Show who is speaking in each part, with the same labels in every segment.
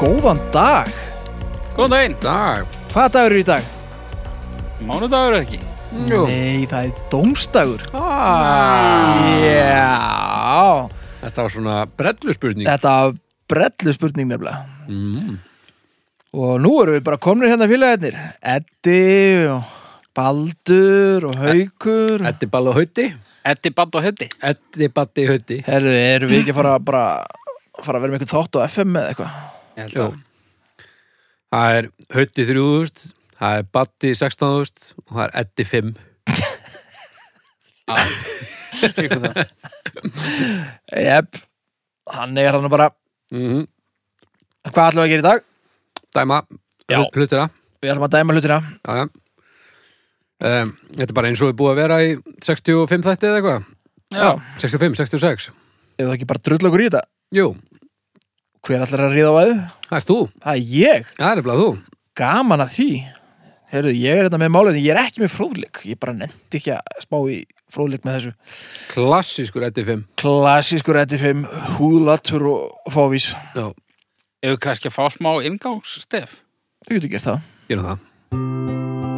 Speaker 1: Góðan dag!
Speaker 2: Góðan daginn,
Speaker 3: dag
Speaker 1: Hvaða dagur er í dag?
Speaker 2: mánudagur eða ekki
Speaker 3: Jú.
Speaker 1: Nei, það er dómstagur.
Speaker 3: ah.
Speaker 1: Já,
Speaker 3: Þetta var svona brellu spurning
Speaker 1: þetta var brellu spurning nefnilega.
Speaker 3: mm.
Speaker 1: Og nú erum við bara komnir hérna félagarnir. Eddi og Baldur og Haukur.
Speaker 3: Eddi Balla Hauti
Speaker 2: Eddi Band og Heddi
Speaker 3: Eddi Batti Hauti
Speaker 1: Herðu, erum við ekki að fara að bara fara að vera með einhvern þátt á FM eða eitthvað?
Speaker 3: Jú. Það er Hauti 3000 Það er Batti 16000 og það er Eddi 5
Speaker 1: Jep, hann er hann bara,
Speaker 3: mm
Speaker 1: Mhm.
Speaker 3: -hmm.
Speaker 1: hvað ætlum við að gera í dag?
Speaker 3: Dæma,
Speaker 1: Já.
Speaker 3: hlu- hlutina
Speaker 1: Við ætlum að dæma hlutina.
Speaker 3: já, já. Um, Þetta er bara eins og við búið að vera í 65 þætti eða eitthvað
Speaker 2: Já.
Speaker 3: 65, 66
Speaker 1: Ef það ekki bara drull okkur í þetta.
Speaker 3: Jú,
Speaker 1: Hver ætlar að ríða á aðið?
Speaker 3: það er þú,
Speaker 1: Það er ég.
Speaker 3: það er bara þú
Speaker 1: gaman að því Heyrðu, ég er þetta með málefni, ég er ekki með fróðleik ég bara nefndi ekki að spá í fróðleik með þessu
Speaker 3: Klassískur Eddi 5
Speaker 1: klassískur etifim, húðlatur og fávís,
Speaker 3: Já,
Speaker 2: Ef við kannski að fá smá ingangsstef
Speaker 1: þú getur gert það
Speaker 3: gerum það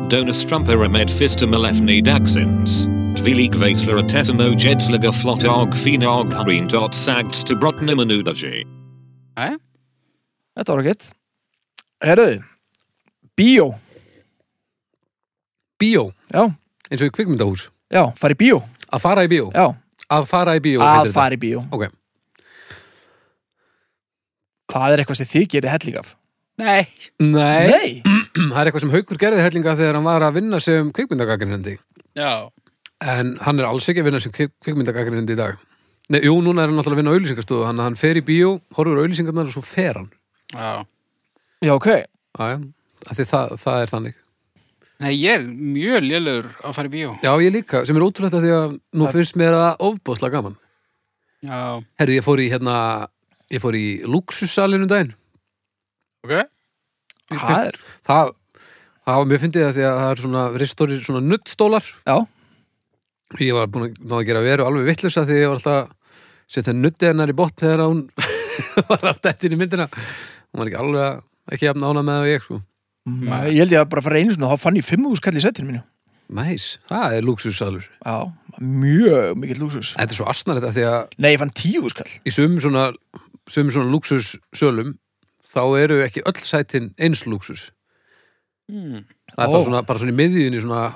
Speaker 4: Donus Trumperemed Fister Malefni Daxins. Tvelig Vasler Atesimo Jedzliga Flotog Finog Harin Dot Sagts to Brotnimanudaji.
Speaker 2: Nei,
Speaker 1: Þetta var ekkert Heyrðu, bíó
Speaker 3: Bíó,
Speaker 1: Já,
Speaker 3: eins og í kvikmyndahús
Speaker 1: já, fara í bíó
Speaker 3: Að fara í bíó
Speaker 1: Já,
Speaker 3: Að fara í bíó heitir
Speaker 1: að
Speaker 3: þetta.
Speaker 1: fara í bíó
Speaker 3: Ok,
Speaker 1: Það er eitthvað sem þið gerir helling af
Speaker 2: nei
Speaker 3: nei,
Speaker 1: Nei,
Speaker 3: það er eitthvað sem Haukur gerði hellinga þegar hann var að vinna sem kvikmyndagagrinhendi
Speaker 2: Já,
Speaker 3: en hann er alls ekki að vinna sem kvikmyndagagrinhendi í dag Nei, jú, núna er hann náttúrulega að vinna á auðlýsingastöðu hann, hann fer í bíó, horfur á auðlýsingarnar og svo fer hann
Speaker 2: já
Speaker 1: já, ok
Speaker 3: Æja, af því það, það er þannig
Speaker 2: Nei, ég er mjög lélugur að fara í bíó
Speaker 3: Já, ég líka, sem er ótrúlegt af því að nú finnst mér það ofbóðslega gaman
Speaker 2: Já,
Speaker 3: Herri, ég fór í hérna ég fór í luxussalinu daginn
Speaker 2: ok
Speaker 3: Ég
Speaker 1: Það er,
Speaker 3: það, það var mér fyndið af því að það er svona ristórir svona nuttstólar
Speaker 1: já,
Speaker 3: Ég var búin að, ná að gera veru alveg vitlusa því ég var alltaf að setja nuttið hennar í botn þegar hún var að detti inn í myndina. Hún var ekki alveg að, ekki jafn ána með það og ég, sko.
Speaker 1: Nei, ég held ég að bara fara einu svona þá fann ég fimm húskall í setinu mínu
Speaker 3: Næs, það er lúksussalur.
Speaker 1: Já, mjög mikill lúksus
Speaker 3: Þetta er svo asnarlegt af því að
Speaker 1: Nei, ég fann tíu húskall
Speaker 3: í sum svona, sum svona lúksussölum þá eru ekki öll sætin eins lúksus.
Speaker 2: mm.
Speaker 3: Það er bara
Speaker 1: Ó.
Speaker 3: svona, bara svona í miðjunni svona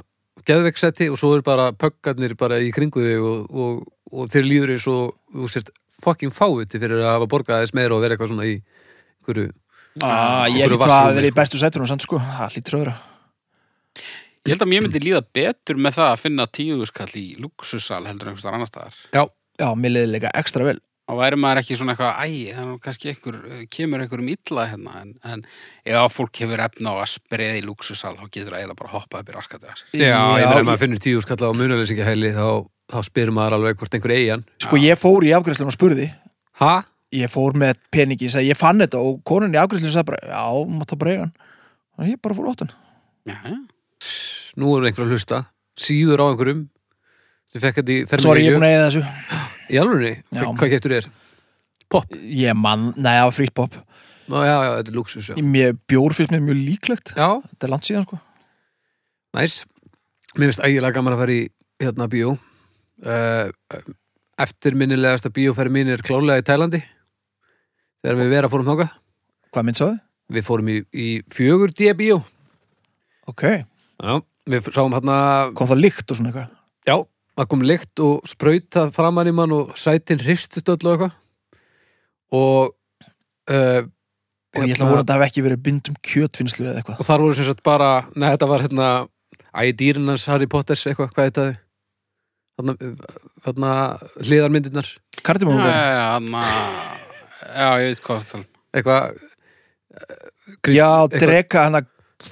Speaker 3: geðveiksæti og svo eru bara pöggarnir bara í kringu þig og, og, og þeir líður eins og þú sért fucking fáviti fyrir að hafa borgað þess meira og vera eitthvað svona í einhverju
Speaker 1: Ah, ég
Speaker 3: Einhverju
Speaker 1: ekki hvað
Speaker 3: vatnsrúmi,
Speaker 1: að vera í
Speaker 3: sko.
Speaker 1: bestu sætunum samt sko, það hlýtur öðra
Speaker 2: Ég held að mér myndi líða betur með það að finna tíuðuskall í luxussal heldur en einhvers þar annar staðar
Speaker 3: Já,
Speaker 1: Já, mér leiði líka ekstra vel
Speaker 2: og væri maður ekki svona eitthvað æ, það er nú kannski einhver, eh, kemur einhverjum illa hérna, en, en ef fólk hefur efna á að spreða í luxussal þá getur það eiginlega bara að hoppa upp í raskatið
Speaker 3: Já, ég meina, ef
Speaker 1: ég-
Speaker 3: maður finnur tíu skalla á munaleysingahæli þá, þá spyrir maður alveg hvort einhver eigin
Speaker 1: Sko ég fór í afgræðslun og spurði
Speaker 3: Ha?
Speaker 1: Ég fór með peningi, ég sagði ég fann þetta og konun í afgræðslun sagði bara, já, maður það bara eiga hann og ég bara fór óttan
Speaker 2: Já, já
Speaker 3: Nú eru einhver að hlusta Síður á einhverjum sem fekk þetta í
Speaker 1: Sorry, ég er
Speaker 3: fermingagjöf.
Speaker 1: búin að eiga þessu
Speaker 3: Í alvörunni?
Speaker 1: Já.
Speaker 3: Hva- Hvað getur þér? Pop?
Speaker 1: Ég mann, nei, það var frýtt pop
Speaker 3: Ná, já, já, þetta er luxus Já,
Speaker 1: Mér bjór fyrst mér mjög líklegt
Speaker 3: já
Speaker 1: Þetta er langt síðan sko
Speaker 3: næs Mér finnst ægilega gaman að fara í hérna bíó uh, Eftirminnilegasta bíóferð mín er klálega í Tælandi Þegar við vera fórum þáka
Speaker 1: Hvað mynd sáði?
Speaker 3: Við fórum í, í fjögur D bíó
Speaker 1: Ok,
Speaker 3: Já Við sáum hérna
Speaker 1: kom það líkt og svona eitthvað
Speaker 3: Já, það kom lykt og sprauta framan í mann og sætin hristust öll og eitthvað og uh,
Speaker 1: Og ég ætla að voru að það hafi ekki verið bindum kjötfinnslu eða eitthvað
Speaker 3: og þar voru sem sagt bara neða, þetta var hérna æ, dýrin hans Harry Potters eitthvað, hvað heit það þarna, þarna hliðarmyndirnar
Speaker 1: Kardimum
Speaker 2: Já,
Speaker 1: ja,
Speaker 2: já, já, þarna- já, ég veit hvað það
Speaker 3: eitthvað eh,
Speaker 1: Já, dreka hana,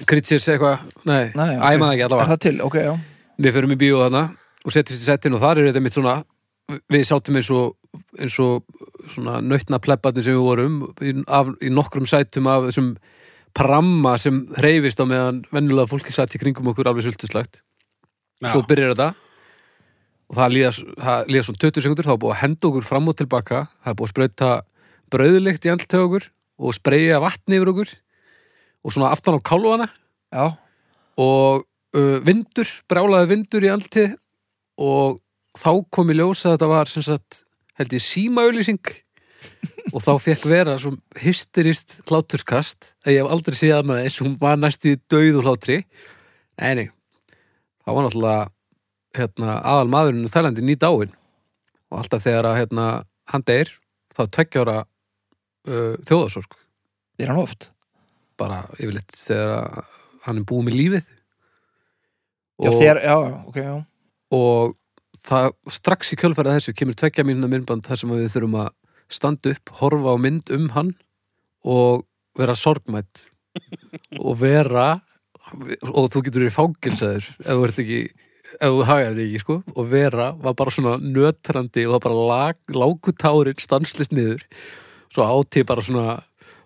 Speaker 3: Kritsers eitthvað, nei,
Speaker 1: Nei,
Speaker 3: nei
Speaker 1: ok.
Speaker 3: æmaði ekki
Speaker 1: er
Speaker 3: allavega
Speaker 1: það til? Ok, já
Speaker 3: við förum í bíó þarna og setjumst í settin og þar er þetta mitt svona við sátum eins og, eins og svona nautna plebbarnir sem við vorum í, af, í nokkrum sætum af þessum pramma sem hreyfist á meðan venjulega fólki satt í kringum okkur alveg sultuslagt svo
Speaker 2: Já,
Speaker 3: byrjar þetta og það líða, það líða svona 20 sekundur þá er búið að henda okkur fram og tilbaka það er búið að sprauta brauðlikt í andlut hjá okkur og spreyja vatni yfir okkur og svona aftan á kálvana
Speaker 1: já,
Speaker 3: og uh, vindur, brálaði vindur í alltið og þá kom í ljós að þetta var sem sagt, held ég símaauðlýsing og þá fekk vera svo hysterist hláturskast að ég hef aldrei séð hana eins og hún var næstu döið úr hlátri nei, nei, þá var náttúrulega hérna, aðal maðurinn í Þælandi nýt áin og alltaf þegar að hérna, hann deyr þá er tveggja ára uh, þjóðarsorg
Speaker 1: er hann oft
Speaker 3: bara yfirleitt þegar að hann er búið með lífið
Speaker 1: já, þér, já, ok, já,
Speaker 3: og það, strax í kjölfæra þessu kemur tvekja mínuna myndband þar sem við þurfum að standa upp, horfa á mynd um hann og vera sorgmætt og vera og þú getur verið fangilsaður ef þú ert ekki ef þú hagar þig ekki sko og vera var bara svona nötrandi og það bara lag, lágu tárin stanslist niður svo átíð bara svona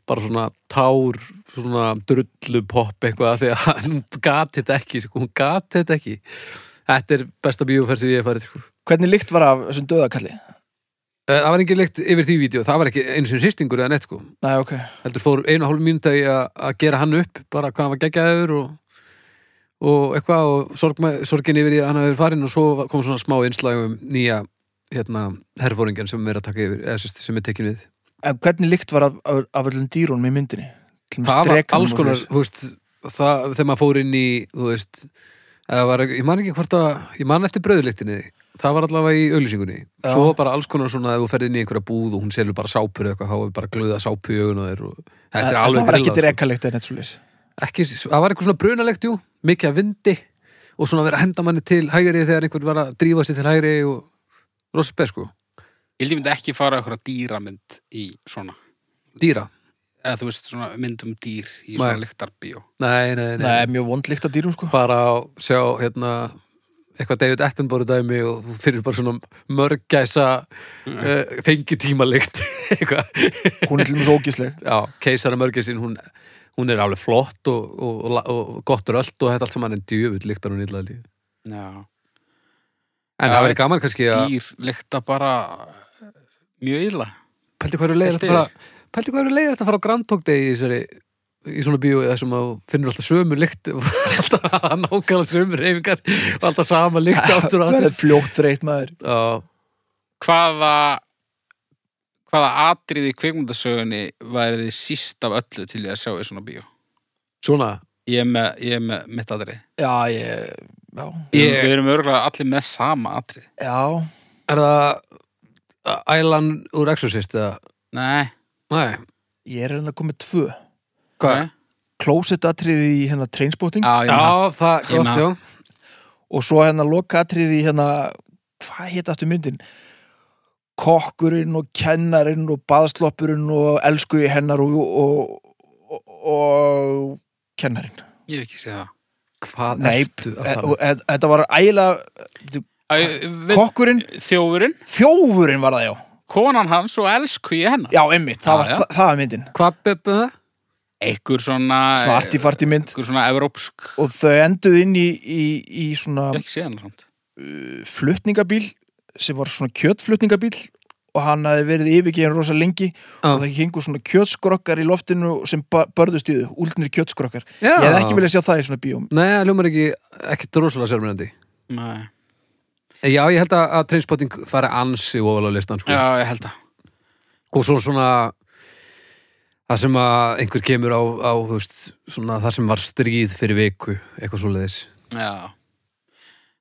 Speaker 3: bara svona tár, svona drullu popp eitthvað því að hann gati þetta ekki sko, hún gati þetta ekki Þetta er besta bíóferð sem ég hef farið sko.
Speaker 1: hvernig lykt var af þessum döðakalli
Speaker 3: Eh, Það var engin leikt yfir því vídeo, það var ekki einu sinni hristingur eða neitt sko.
Speaker 1: næ, ok,
Speaker 3: Heldur fór einu og hálf mínúta í að að gera hann upp, bara hvað hann var geggjaður og, og eitthvað og sorg, sorgin yfir í að hann hafi verið farinn og svo var- kom svona smá innslag um nýja hérna, herfóringjan sem er að taka yfir, eða sem- sem er tekin við.
Speaker 1: en hvernig lykt var af, af, af öllum dýrunum í myndinni Til dæmis
Speaker 3: það var
Speaker 1: drekanum
Speaker 3: alls
Speaker 1: og
Speaker 3: konar
Speaker 1: svoleiðis.
Speaker 3: þú veist, það, þegar maður fór inn í þú veist eða var, ég man ekki hvort að ég man eftir brauðlíktinni það var allavega í auðlýsingunni
Speaker 1: Já.
Speaker 3: svo var bara alls konar svona ef þú ferð inn í einhverja búð og hún selur bara sápur eða eitthvað þá er bara glöða sápu í augun og þér og þetta
Speaker 1: en,
Speaker 3: er
Speaker 1: en
Speaker 3: alveg
Speaker 1: það var ekki
Speaker 3: grillað,
Speaker 1: drekalikt en eitt svoleiðis
Speaker 3: sko. ekki, það var eitthvað svona brunalegt jú mikið að vindi og svona að vera að henda manni til hægri þegar einhvern var að drífa sér til hægri og rosa spes sko
Speaker 2: Ég held ég myndi ekki fara eitthvað dýramynd í svona,
Speaker 3: dýra,
Speaker 2: eða þú veist svona mynd um dýr í svona
Speaker 3: Nei.
Speaker 2: lyktarbíó.
Speaker 3: nei, nei, nei,
Speaker 1: Nei, mjög vond lykt af dýrum sko
Speaker 3: bara að sjá hérna eitthvað David Attenborough dæmi og þú fyrir bara svona mörgæsa uh, fengi tímalikt eitthvað,
Speaker 1: Hún er til mjög svo ógísleg
Speaker 3: já, keisara mörgæsin hún, hún er alveg flott og, og, og, la- og gott rölt og þetta allt saman en djöfull lyktar hún illa líf
Speaker 2: Já.
Speaker 3: en
Speaker 2: Já,
Speaker 3: það væri gaman kannski að
Speaker 2: Dýr lykta bara eh, mjög illa.
Speaker 3: pælti hvað eru leiðir
Speaker 2: Pæltu
Speaker 3: að fara pælti hvað eru leiðir að fara á Grand Talk Day í þessari í svona bíó þar sem að þú finnur alltaf sömu lykt og alltaf nákvæmlega sömu reyfingar og alltaf sama lykt aftur og
Speaker 1: Verður
Speaker 3: aftur
Speaker 1: fljótt þreytt maður
Speaker 3: Já,
Speaker 2: Hvaða hvaða atriði í kvikmyndasögunni væri þið síst af öllu til ég að sjá í svona bíó?
Speaker 3: svona
Speaker 2: Ég er með, ég er með mitt atrið.
Speaker 1: Já, ég, já,
Speaker 2: Ég...
Speaker 3: Ég-
Speaker 2: Við erum örgulega allir með sama atrið.
Speaker 1: já
Speaker 3: Er það Ælan úr Exorcist eða?
Speaker 2: Nei,
Speaker 3: Nei,
Speaker 1: Ég er hérna komið tvö
Speaker 3: hvað?
Speaker 2: Nei.
Speaker 1: Klósetatriði í hérna trainspotting
Speaker 2: já, ég með
Speaker 3: Já, það,
Speaker 2: Ég
Speaker 3: gott,
Speaker 2: meina-
Speaker 3: já
Speaker 1: og svo hérna lokaatriði í hérna hvað heit aftur myndin kokkurinn og kennarinn og baðsloppurinn og elsku í hennar og, og, og, og kennarinn
Speaker 2: ég hef ekki séð það.
Speaker 3: Hvað
Speaker 1: Nei,
Speaker 3: ertu að
Speaker 1: e-
Speaker 2: eh,
Speaker 3: tala? um?
Speaker 1: og e- þetta var ægilega
Speaker 2: Æ, við,
Speaker 1: kokkurinn,
Speaker 2: þjófurinn,
Speaker 1: þjófurinn var það já
Speaker 2: konan hans og elsku ég hennar.
Speaker 1: já, emmitt, það,
Speaker 2: Já,
Speaker 1: var-
Speaker 2: já.
Speaker 1: það, það var myndin
Speaker 3: Hvað beppu það?
Speaker 2: Ekkur svona...
Speaker 1: svona artifarti mynd
Speaker 2: Ekkur svona evrópsk...
Speaker 1: og þau enduð inn í, í, í svona
Speaker 2: Ég hef ekki séð hennar svona.
Speaker 1: flutningabíl sem var svona kjötflutningabíl og hann hafði verið yfirgefin rosa lengi
Speaker 3: Já.
Speaker 1: og það hengur svona kjötskrokkar í loftinu sem ba- börðust í þau, úldnir kjötskrokkar
Speaker 3: Já.
Speaker 1: ég hefði ekki viljað sjá það í svona bíóm
Speaker 3: Nei, það ljómar ekki, ekki drosalega sérmennandi
Speaker 2: Nei.
Speaker 3: Já, ég held að, að Trainspotting fari ansi ofalega listan sko.
Speaker 2: Já, ég held það.
Speaker 3: Og svo svona Það sem að einhver kemur á, á þú veist, svona, það sem var stríð fyrir viku, eitthvað svoleiðis.
Speaker 2: Já.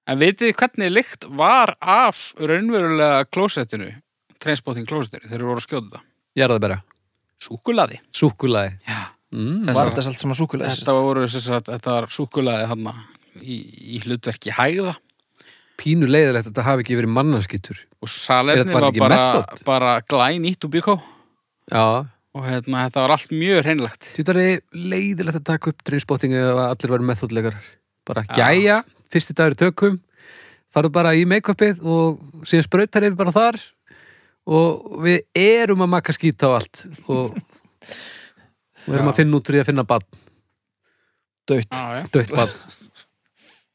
Speaker 2: En vitið þið hvernig lykt var af raunverulega klósettinu, treinspotting klósettinu, þegar við voru að skjóta það?
Speaker 3: Ég er það bara.
Speaker 2: Súkulaði.
Speaker 3: Súkulaði.
Speaker 2: Já.
Speaker 3: Mm.
Speaker 1: var þetta allt saman súkulega
Speaker 2: Þetta voru þess að þetta var súkulaði hann í, í hlutverki hægða
Speaker 3: Pínu leiðilegt að þetta hafi ekki verið mannarskittur.
Speaker 2: og
Speaker 3: Er
Speaker 2: salerni
Speaker 3: þetta bara
Speaker 2: var
Speaker 3: ekki
Speaker 2: bara,
Speaker 3: method?
Speaker 2: bara glæn ítt úr bíkó
Speaker 3: Já,
Speaker 2: og hérna, þetta var allt mjög reynlegt.
Speaker 3: Tjúttari, leiðilegt að taka upp trainspotting ef að allir verður meðþóttlegar. Bara, jæja, fyrsti dagur í tökum, farðu bara í make-upið og síðan sprautar yfir bara þar og við erum að makka skýt á allt og við erum að finna út úr því að finna bann,
Speaker 1: dött,
Speaker 2: Já, já.
Speaker 3: dött bann.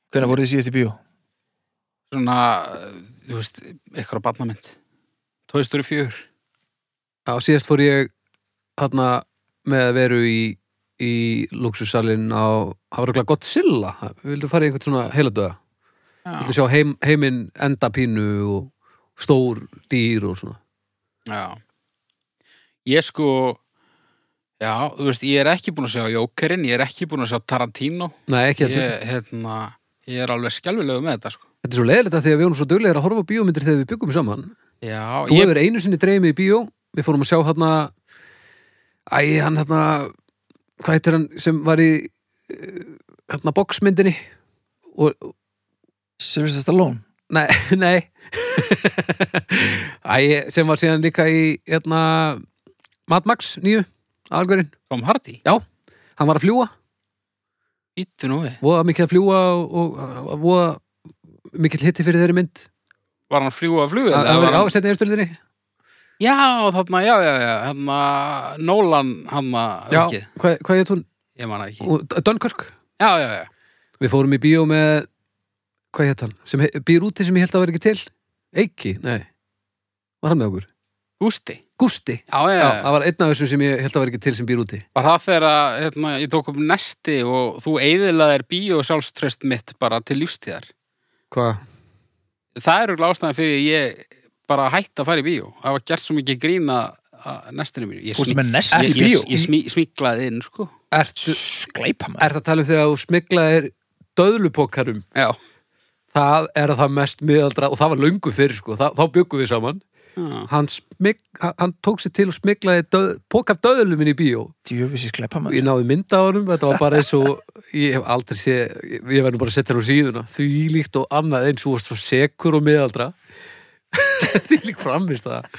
Speaker 1: hvernig voru þið síðast í bíó
Speaker 2: Svona, eh, þú veist, eitthvað á barnamynd. Tóðistur í fjör.
Speaker 3: Já, síðast fór ég þarna með að veru í, í luxusalinn á, það var eitthvað Godzilla við vildum fara í einhvern svona heiladöða við vildum sjá heim, heiminn enda pínu og stór dýr og svona
Speaker 2: Já. Ég sko, já, þú veist, ég er ekki búin að sjá Jókerinn, ég er ekki búin að sjá Tarantino.
Speaker 3: Nei, ekki
Speaker 2: Ég,
Speaker 3: heldur,
Speaker 2: hérna, ég er alveg skjálfilegu með þetta, sko.
Speaker 3: þetta er svo leiðilegt að því að við erum svo duglegir að horfa á bíómyndir þegar við byggum saman
Speaker 2: Já,
Speaker 3: Þú
Speaker 2: ég,
Speaker 3: hefur einu sinni dreymið í bíó Við fórum að sjá hérna Æ, hann hérna Hvað heitir hann sem var í eh, hérna boxmyndinni og,
Speaker 1: Sylvester Stallone
Speaker 3: Nei, nei Æ, sem var síðan líka í hérna Mad Max nýju, aðalgurinn
Speaker 2: Tom Hardy,
Speaker 3: Já, hann var að fljúa
Speaker 2: býttu nú við.
Speaker 3: voða mikið að fljúa og, og voða mikill hitti fyrir þeirri mynd
Speaker 2: Var hann að fljúa að fljúið?
Speaker 3: Það var á setni eftirliðinni
Speaker 2: Já, þarna, já, já, já, hérna, Nolan, hann að
Speaker 3: Já,
Speaker 2: aukið,
Speaker 3: hvað, hvað ég tún?
Speaker 2: ég manna ekki.
Speaker 3: Dunkirk
Speaker 2: Já, já, já,
Speaker 3: Við fórum í bíó með hvað hétt hann? Sem he- býr úti sem ég held að vera ekki til Eiki, nei Var hann með okkur?
Speaker 2: Gústi.
Speaker 3: Gústi
Speaker 2: Já, já,
Speaker 3: Já,
Speaker 2: já,
Speaker 3: það var einn af þessum sem ég held að vera ekki til sem býr úti
Speaker 2: Var það þegar að, hérna, ég tók upp nesti og þú eigðilaðir bíó sjálfströst mitt bara til lífstíðar.
Speaker 3: Hvað?
Speaker 2: það eru ástæðan fyrir ég bara hætti að fara í bíó það var gert svo mikið grína næstinu mínu ég,
Speaker 1: Fórstu
Speaker 2: smí-
Speaker 1: með nesti í
Speaker 2: ég,
Speaker 1: bíó?
Speaker 2: ég, ég smí, smíklaði inn sko
Speaker 3: Ertu,
Speaker 1: Skleipa maður
Speaker 3: ertu að tala um þegar þú smiklaðir döðlupokkarum?
Speaker 2: já,
Speaker 3: Það er það mest miðaldra og það var löngu fyrir sko, það, þá byggum við saman
Speaker 1: Ah.
Speaker 2: já.
Speaker 3: hann, smik, hann- hann tók sér til og smiklaði döð, pokaf döðluminn í bíó
Speaker 1: Djöfis í skleipa
Speaker 3: ég
Speaker 1: maður
Speaker 3: náði mynda á honum, þetta var bara eins og ég hef aldrei sé, ég ég verður bara að setja hann á síðuna, því líkt og annað eins og varst svo sekur og miðaldra því líkt framist það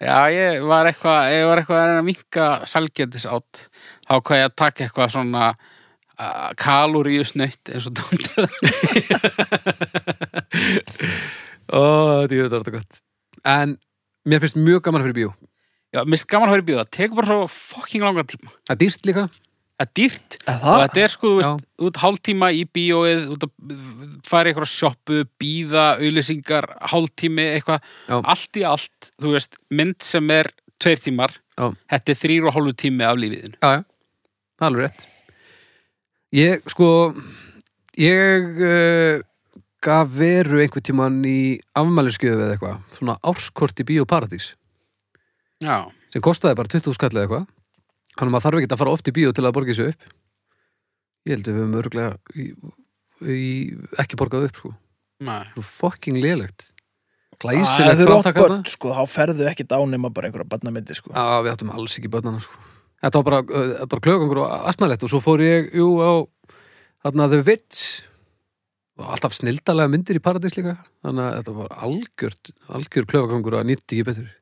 Speaker 2: já, ég var eitthvað ég var eitthvað að reyna að minka salgetis átt þá hvað ég að taka eitthvað svona uh, kaloríu snöytt eins og dóndu
Speaker 3: ó, þetta er þetta gott en mér finnst mjög gaman að fyrir bíó
Speaker 2: já, mist gaman að fara í bíó, það tekur bara svo fucking langan tíma
Speaker 3: það er dýrt líka,
Speaker 2: það er dýrt
Speaker 1: Er það?
Speaker 2: og þetta er sko, þú veist,
Speaker 3: Já.
Speaker 2: út hálftíma í bíóið, út að fara í eitthvað sjoppu, bíða, auðlýsingar hálftími, eitthvað,
Speaker 3: Já.
Speaker 2: allt í allt þú veist, mynd sem er tveir tímar,
Speaker 3: Já.
Speaker 2: þetta er þrýr og hálfu tími af lífiðin.
Speaker 3: já, já, það er alveg rétt ég, sko ég uh, gaf veru einhvern tímann í afmælisgjöfu eða eitthvað, svona árskort í bíó paradís
Speaker 2: Já,
Speaker 3: sem kostaði bara 20 skall eða eitthvað þannig að maður þarf ekki að fara oft í bíó til að borga þessu upp ég held að við höfum örglega í, í, ekki borgað upp sko
Speaker 2: maður.
Speaker 3: svo fucking lélegt
Speaker 1: Það
Speaker 3: glæsilegt
Speaker 1: er ótt
Speaker 3: framtak
Speaker 1: börn
Speaker 3: þarna
Speaker 1: sko Þá ferðu ekki dánema bara einhverja barnamyndi sko
Speaker 3: að við áttum alls ekki börnana sko þetta var bara, uh, bara klögangur og astnalett og svo fór ég jú á þarna The Witch og alltaf snildalega myndir í Paradís líka þannig að þetta var algjört algjör klögangur að nýtti ekki betur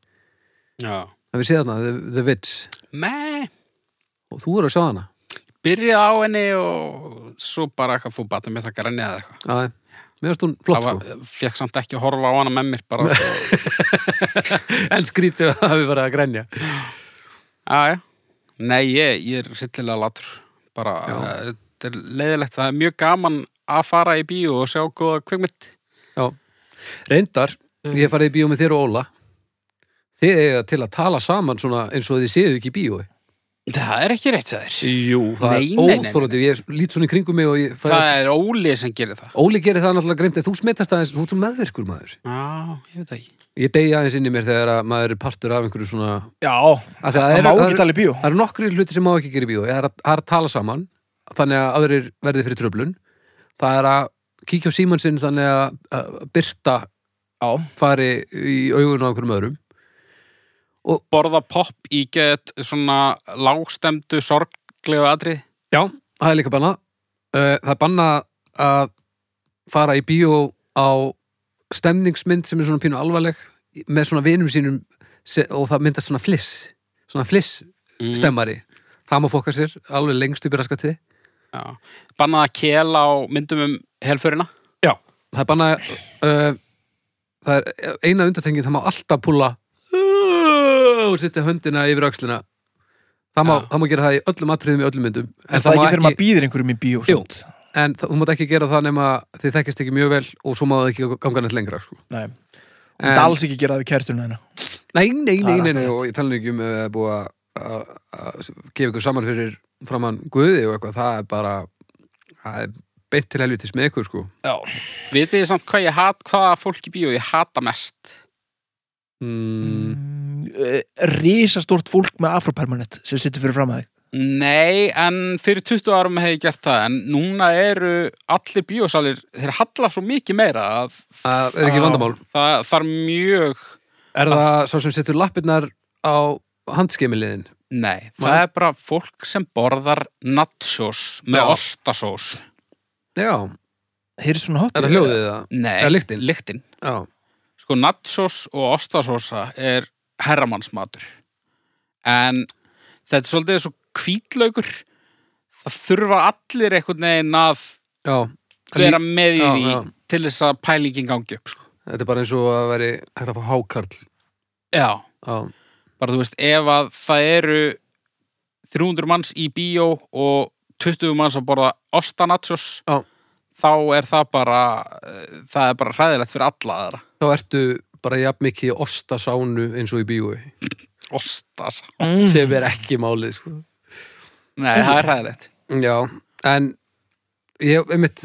Speaker 2: Já.
Speaker 3: en við séð þarna The, The Witch
Speaker 2: Með,
Speaker 3: og þú voru að sjá hana
Speaker 2: byrja á henni og svo bara eitthvað fór batna með það granni eða eitthvað.
Speaker 3: Aðe. mér finnst hún
Speaker 2: Það
Speaker 3: flott sko
Speaker 2: var, fekk samt ekki að horfa á hana með mér bara. sko.
Speaker 3: en skrítið að við varum að grænja
Speaker 2: Já, já. Nei, ég, ég er hryllilega latur. Bara, eh, þetta er leiðilegt. Það er mjög gaman að fara í bíó og sjá góða kvikmynd.
Speaker 3: Já. reyndar, ég hef farið í bíó með þér og Óla þið eiga til að tala saman svona eins og þið séu ekki í bíói
Speaker 2: Það er ekki rétt það er.
Speaker 3: Jú, það
Speaker 2: Nei, nei, nei,
Speaker 3: er óþólandi ég lít svona í kringum mig og ég fæ
Speaker 2: Það er Óli sem gerir það.
Speaker 3: Óli gerir það náttúrulega greimt en þú smittast aðeins, þú ert svo meðvirkur maður
Speaker 2: Já, ég veit það ekki.
Speaker 3: ég deyja aðeins inn í mér þegar að maður er partur af einhverju svona
Speaker 1: Já,
Speaker 3: Af því að
Speaker 1: það
Speaker 3: eru-
Speaker 1: má
Speaker 3: það
Speaker 1: ekki
Speaker 3: eru-
Speaker 1: tala í bíó
Speaker 3: Það eru nokkri hluti sem má ekki gera í bíó Það er að, það er að tala saman Þannig að aðrir verði fyrir tröflun Það er að kíkja á símann sinn Þannig að, að byrta
Speaker 1: Já,
Speaker 3: fari í augun á einhverjum öðrum
Speaker 2: Borða popp í get svona lágstemdu, sorglegu atrið.
Speaker 3: Já, það er líka banna Það er banna að fara í bíó á stemningsmynd sem er svona pínu alvarleg með svona vinum sínum se- og það myndast svona fliss svona fliss
Speaker 1: Mm.
Speaker 3: stemmari það má fokka sér alveg lengst upp í raskatið
Speaker 2: Já. Bannað að kela á myndum um helförina.
Speaker 3: Já Það er banna uh, það er eina undartengin það má alltaf púla og setja höndina yfir öxlina það má,
Speaker 2: Já.
Speaker 3: það má gera það í öllum atriðum í öllum myndum
Speaker 1: en það
Speaker 3: má
Speaker 1: ekki fyrir maður býðir einhverjum í bíó
Speaker 3: Jú,
Speaker 1: samt.
Speaker 3: en það- þú mátt ekki gera það nema þið þekkist ekki mjög vel og svo má það ekki ganga neitt lengra sko.
Speaker 1: Nei, en...
Speaker 3: En-
Speaker 1: það alls ekki gera það við kertuna hérna. hennar
Speaker 3: Nei,
Speaker 1: Það
Speaker 3: nei, nei,
Speaker 1: er
Speaker 3: nei,
Speaker 1: alltaf
Speaker 3: nei
Speaker 1: rétt.
Speaker 3: og ég tala nú ekki um ef það er búið að- að að gefa ykkur saman fyrir framann guði og eitthvað, það er bara það er beint til helvitis með ykkur sko
Speaker 1: Já,
Speaker 2: Vitið þið samt hvað ég hat, hvaða fólk í bíó ég hata mest?
Speaker 3: mm,
Speaker 1: Eh, risastórt fólk með afropermanent sem sittur fyrir fram að þig
Speaker 2: Nei, en fyrir 20 árum hef ég gert það, en núna eru allir bíósalir, þeir halla svo mikið meira að
Speaker 3: Það er ekki vandamál
Speaker 2: það þarf mjög,
Speaker 3: Er það sá sem setur lappirnar á handskimiliðin?
Speaker 2: nei, það
Speaker 3: Nei.
Speaker 2: er bara fólk sem borðar nachos með
Speaker 3: Já.
Speaker 2: ostasós.
Speaker 3: Já,
Speaker 1: Heyrðu svona hot
Speaker 3: er það hljóðið það?
Speaker 2: Nei,
Speaker 3: Eða lyktin?
Speaker 2: lyktin.
Speaker 3: Já,
Speaker 2: Sko, nachos og ostasósa er herramannsmatur. En þetta er svolítið svo kvítlaugur, það þurfa allir einhvern veginn að
Speaker 3: já Það
Speaker 2: vera
Speaker 3: lí-
Speaker 2: með í
Speaker 3: Já,
Speaker 2: því
Speaker 3: já.
Speaker 2: til þess að pælingin gangi upp, sko.
Speaker 3: Þetta er bara eins og að veri hægt að fá hákarl
Speaker 2: Já.
Speaker 3: Já,
Speaker 2: bara þú veist, ef að það eru 300 manns í bíó og 20 manns að borða ostanatsjós,
Speaker 3: Já.
Speaker 2: þá er það bara eh, það er bara hræðilegt fyrir alla aðra
Speaker 3: þá ertu bara jafn mikið ostasánu eins og í bíói
Speaker 2: ostas,
Speaker 1: mm.
Speaker 3: sem er ekki málið sko
Speaker 2: nei það er hræðilegt
Speaker 3: Já, en ég, einmitt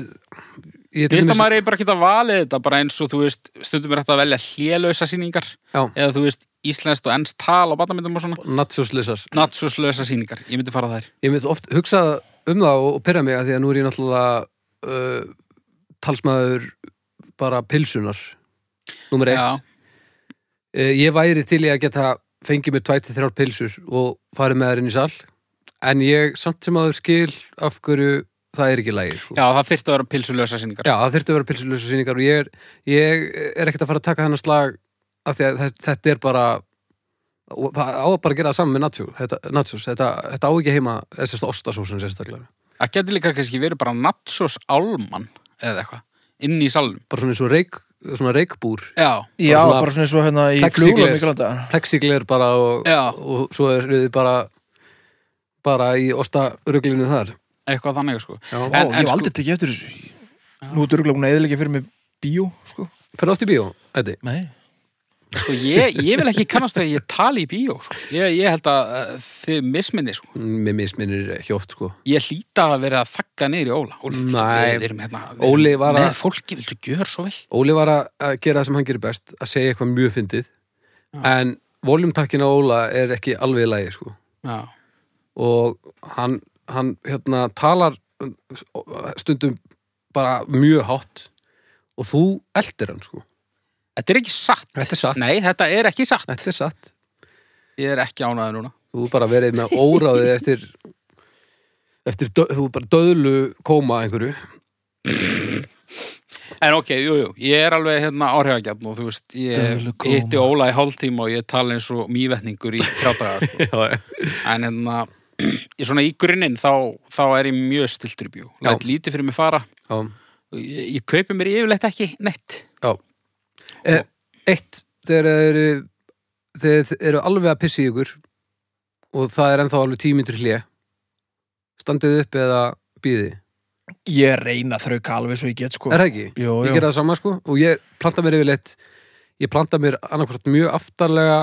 Speaker 3: ég
Speaker 2: Þú veist
Speaker 3: til
Speaker 2: að
Speaker 3: dæmis-
Speaker 2: maður er bara að geta valið þetta bara eins og þú veist, stundum er þetta að velja hlélausa sýningar
Speaker 3: Já.
Speaker 2: eða þú veist, íslenskt og ennst tal á barnamyndum og svona,
Speaker 3: Natsjóslösar
Speaker 2: natsurslausa sýningar ég myndi fara þær.
Speaker 3: Ég mynd oft hugsa um það og pyrra mig að því að nú er ég náttúrulega uh, talsmaður bara pilsunar Númer
Speaker 2: Já.
Speaker 3: eitt uh, Ég væri til í að geta fengið mér tvæti þrjár pilsur og farið með þær inn í sal en ég samt sem aður skil af hverju það er ekki lægi sko.
Speaker 2: Já, það þyrfti að vera pilsulausa sýningar.
Speaker 3: Já, það þurfti að vera pilsulösa sýningar og ég er, ég er ekkert að fara að taka þennan slag af því að þe- þetta er bara og það á að bara gera það saman með nachos þetta, nachos, þetta, þetta á ekki heima þessast ostasósun sérstaklega
Speaker 2: Það geti líka kannski verið bara natsos álman eða eitthvað, inn í salnum.
Speaker 3: bara svona eins og reik, svona reikbúr
Speaker 2: Já,
Speaker 1: Já,
Speaker 3: svona-
Speaker 1: bara svona eins og hérna í
Speaker 3: Plexigler.
Speaker 1: flugla miklanda
Speaker 3: plexigler bara og,
Speaker 2: Já.
Speaker 3: og svo er við bara bara í ostaruglinu þar
Speaker 2: eitthvað þannig sko
Speaker 3: Já.
Speaker 1: Ó, ég
Speaker 2: En- en
Speaker 1: hef
Speaker 2: sko-
Speaker 1: aldrei tekið eftir þessu Nú er örgulega búin að eðilega fyrir mig bíó sko.
Speaker 3: Ferðu oft í bíó, Eddi?
Speaker 1: Nei
Speaker 2: sko, ég, ég vil ekki kannast að ég tali í bíó sko. ég, ég held að uh, þið misminni sko.
Speaker 3: Mér misminir ekki oft sko
Speaker 2: ég hlýta að vera að þakka niður í Óla Óli,
Speaker 3: Nei.
Speaker 2: við erum hérna við
Speaker 3: Óli
Speaker 2: erum
Speaker 3: var að-
Speaker 2: með fólki, viltu gjör svo vel
Speaker 3: Óli var að- að gera það sem hann gerir best að segja eitthvað mjög fyndið en voljumtakkin á Óla er ekki alveg í lagi sko
Speaker 2: Já.
Speaker 3: og hann, hann hérna, talar stundum bara mjög hátt og þú eldir hann sko
Speaker 2: þetta er ekki satt
Speaker 3: Þetta er satt.
Speaker 2: nei, þetta er ekki satt
Speaker 3: þetta er satt,
Speaker 2: ég er ekki ánæði núna
Speaker 3: þú bara verið með óráðið eftir eftir, dö- þú bara döðlu koma einhverju
Speaker 2: en ok, jú, jú, ég er alveg hérna áhrifagjarn og þú veist, ég
Speaker 1: Dölu koma.
Speaker 2: hitti Óla í hálftíma og ég tala eins og mývetningur í þrjátaðar sko.
Speaker 3: já,
Speaker 2: en hérna, ég svona í grunninn þá, þá er ég mjög stiltur í bíó
Speaker 3: Já.
Speaker 2: læt lítið fyrir mig fara
Speaker 3: já,
Speaker 2: ég, ég kaupi mér yfirleitt ekki neitt
Speaker 3: já. E, eitt, þegar þeir eru þeir þeir eru alveg að pissi ykkur og það er ennþá alveg tímyndur hlje standið upp eða býði
Speaker 1: Ég reyna að þrauka alveg svo ég get sko
Speaker 3: er það ekki?
Speaker 1: Jó,
Speaker 3: ég
Speaker 1: jó.
Speaker 3: gera það sama sko og ég planta mér yfirleitt ég planta mér annarkvort mjög aftarlega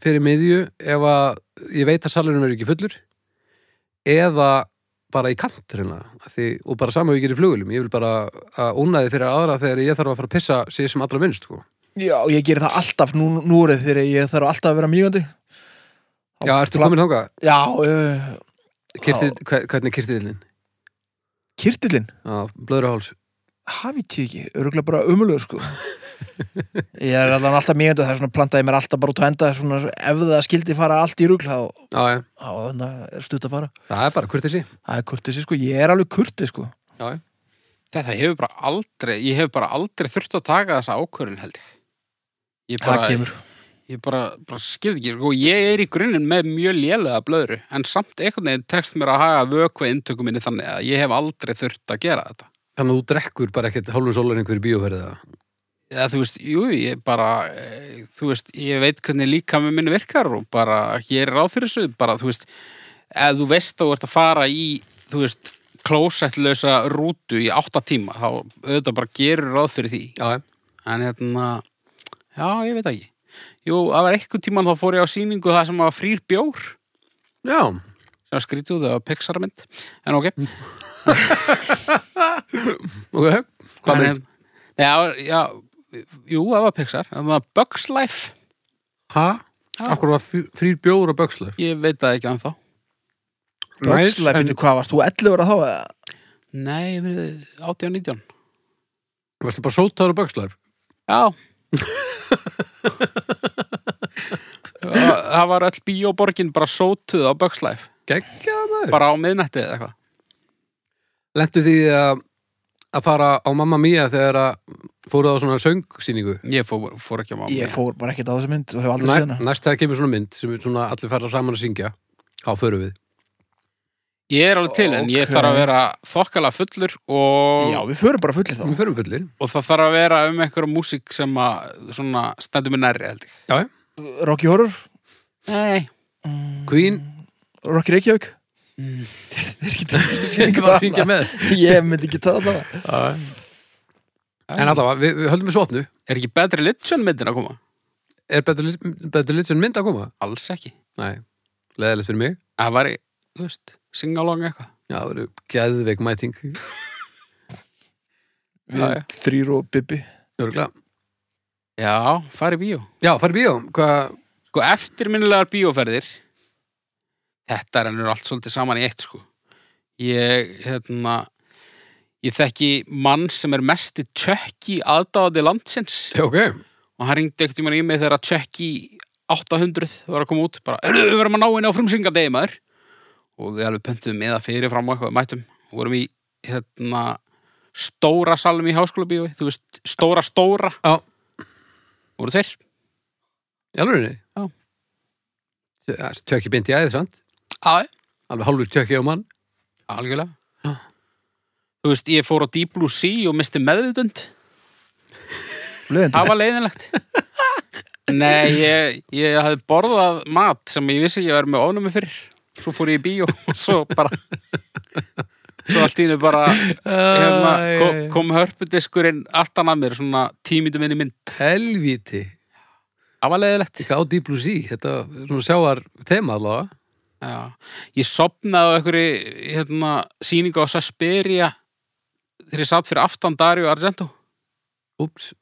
Speaker 3: fyrir miðju ef að ég veit að salurinn verður ekki fullur eða bara í kanturina því, og bara sama og ég gerir í flugulum ég vil bara að ónaði fyrir aðra þegar ég þarf að fara að pissa sér sem allra minnst sko.
Speaker 1: Já, ég ger það alltaf nú, núrið þegar ég þarf alltaf að vera mýgandi
Speaker 3: Já, ertu komin þangað?
Speaker 1: Já, uh,
Speaker 3: Kirtill- hve- Hvernig kirtiðlinn?
Speaker 1: kirtillin
Speaker 3: Já, blöðruháls
Speaker 1: hafi ég ekki, örgulega bara umulugur sko ég er allan alltaf mjög undir það er svona plantaði mér alltaf bara út að enda svona, ef það skildi fara allt í rugl þá
Speaker 3: Já, já,
Speaker 1: þá það er stutt að fara
Speaker 3: það er bara kurtesi
Speaker 1: það er kurtisi sko, ég er alveg kurti sko
Speaker 3: Já, já
Speaker 2: Þetta hefur bara aldrei, ég hefur bara aldrei þurft að taka þessa ákvörðin held ég. Ég
Speaker 1: það
Speaker 2: bara,
Speaker 1: kemur,
Speaker 2: ég bara, bara skilð ekki, sko, ég er í grunninn með mjög lélega blöðru, en samt einhvern veginn tekst mér að haga vökva inntöku minni þannig að ég hef aldrei þurft að gera þetta.
Speaker 3: Þannig að þú drekkur bara ekkert hálfum sólarinn hverju bíóferðið
Speaker 2: Eða þú veist, jú, ég bara, eh, þú veist, ég veit hvernig líka með minni virkar og bara, ég er ráð fyrir þessu, bara, þú veist, ef þú veist að þú ert að fara í, þú veist, klósettlösa rútu í átta tíma, þá auðvitað bara gerur ráð fyrir því.
Speaker 3: Já, já
Speaker 2: en hérna já, ég veit það ekki jú, það var eitthvað tíman þá fór ég á sýningu það sem var frýr bjór
Speaker 3: Já,
Speaker 2: sem var skrítið út, það var Pixar-mynd en ok,
Speaker 3: Hm, ok, hvað
Speaker 2: En,
Speaker 3: mynd?
Speaker 2: Nei, það var- já, jú, það var Pixar það var Bugs Life
Speaker 3: Ha? Af hverju var frí- þrír bjóður og bögslæf?
Speaker 2: ég veit það ekki anþá
Speaker 1: Bögslæpinu, hvað varst þú 11 ára þá? eða?
Speaker 2: nei, ég verið 18 19
Speaker 3: Varstu bara sótaður og bögslæf?
Speaker 2: já það það var öll bíóborgin bara sótuð á Bugs Life
Speaker 3: Gekkjað maður.
Speaker 2: bara á miðnætti eða eitthvað
Speaker 3: Lentu því að að fara á Mamma Mia þegar að fóruð á svona söngsýningu?
Speaker 2: ég fór, fór ekki á mamma
Speaker 1: Ég
Speaker 2: Mia.
Speaker 1: fór bara ekkert á þessu mynd og hef aldrei séð
Speaker 3: Næ,
Speaker 1: hana
Speaker 3: næst það kemur svona mynd sem við svona allir fara saman að syngja á förum við.
Speaker 2: ég er alveg til en ég
Speaker 1: Ókei.
Speaker 2: þarf að vera þokkala fullur og,
Speaker 1: Já, við förum bara fullir þá
Speaker 3: Við förum fullir.
Speaker 2: og það þarf að vera um einhverja músík sem að svona stendur mér nærri held ég
Speaker 3: Já, já.
Speaker 1: Mm. Rocky Horror,
Speaker 2: nei,
Speaker 3: Queen
Speaker 1: Rocky Reykjavík Mm. Þeir eru ekki til að syngja
Speaker 3: var að
Speaker 1: hana.
Speaker 3: syngja með.
Speaker 1: Ég myndi ekki um það allavega
Speaker 3: En allavega, við, við höldum við svo opnu.
Speaker 2: er ekki betri litsjón myndin að koma?
Speaker 3: Er betur, Lit- betur litsjön mynd að koma?
Speaker 2: alls ekki
Speaker 3: Nei, leðilegt fyrir mig.
Speaker 2: það var, þú veist, singalong eitthvað
Speaker 3: Já, það eru geðveik mæting.
Speaker 2: Já, já.
Speaker 1: Við þrýr og Bibi
Speaker 3: Örgla.
Speaker 2: já, fari í bíó
Speaker 3: Já, farið bíó. Hvað?
Speaker 2: sko, eftirminnilegar bíóferðir þetta rennur allt svolítið saman í eitt sko ég, hérna ég þekki mann sem er mesti tjökki aðdáði landsins
Speaker 3: Já, ok.
Speaker 2: og hann ringdi ekkert í mann í mig þegar að tjökki 800 var að koma út bara, "Heyrðu, við verðum að ná henni á frumsyngadegi maður og við alveg pöntum með að fyrir fram og eitthvað við mættum, vorum í hérna, stóra salum í háskóla bíó þú veist, stóra stóra
Speaker 3: Já.
Speaker 2: voru þeir?
Speaker 3: Í alveg
Speaker 2: Já.
Speaker 3: Já. Tjökki beint í æðið, sant?
Speaker 2: aðeins
Speaker 3: Alveg hálfur tjökki á mann.
Speaker 2: Algjörlega
Speaker 3: Já.
Speaker 2: Þú veist, ég fór á Deep Blue Sea og misti meðvitund
Speaker 1: Leðandi
Speaker 2: Það var leiðinlegt Nei, ég, ég hafði borðað mat sem ég vissi ekki að vera með ofnum fyrir Svo fór ég í bíó og svo bara Svo allt í einu bara hérna, kom, kom hörpudiskurinn aftan að mér svona tímindum inn í mynd
Speaker 3: Helvíti.
Speaker 2: Það var leiðinlegt
Speaker 3: Eitthvað á Deep Blue Sea. Þetta er svona sjáar þema allavega.
Speaker 2: Já. Ég sopnaði á einhverju hérna, sýningu á Sasperia þegar ég satt fyrir aftan Dario Argento
Speaker 3: Úps.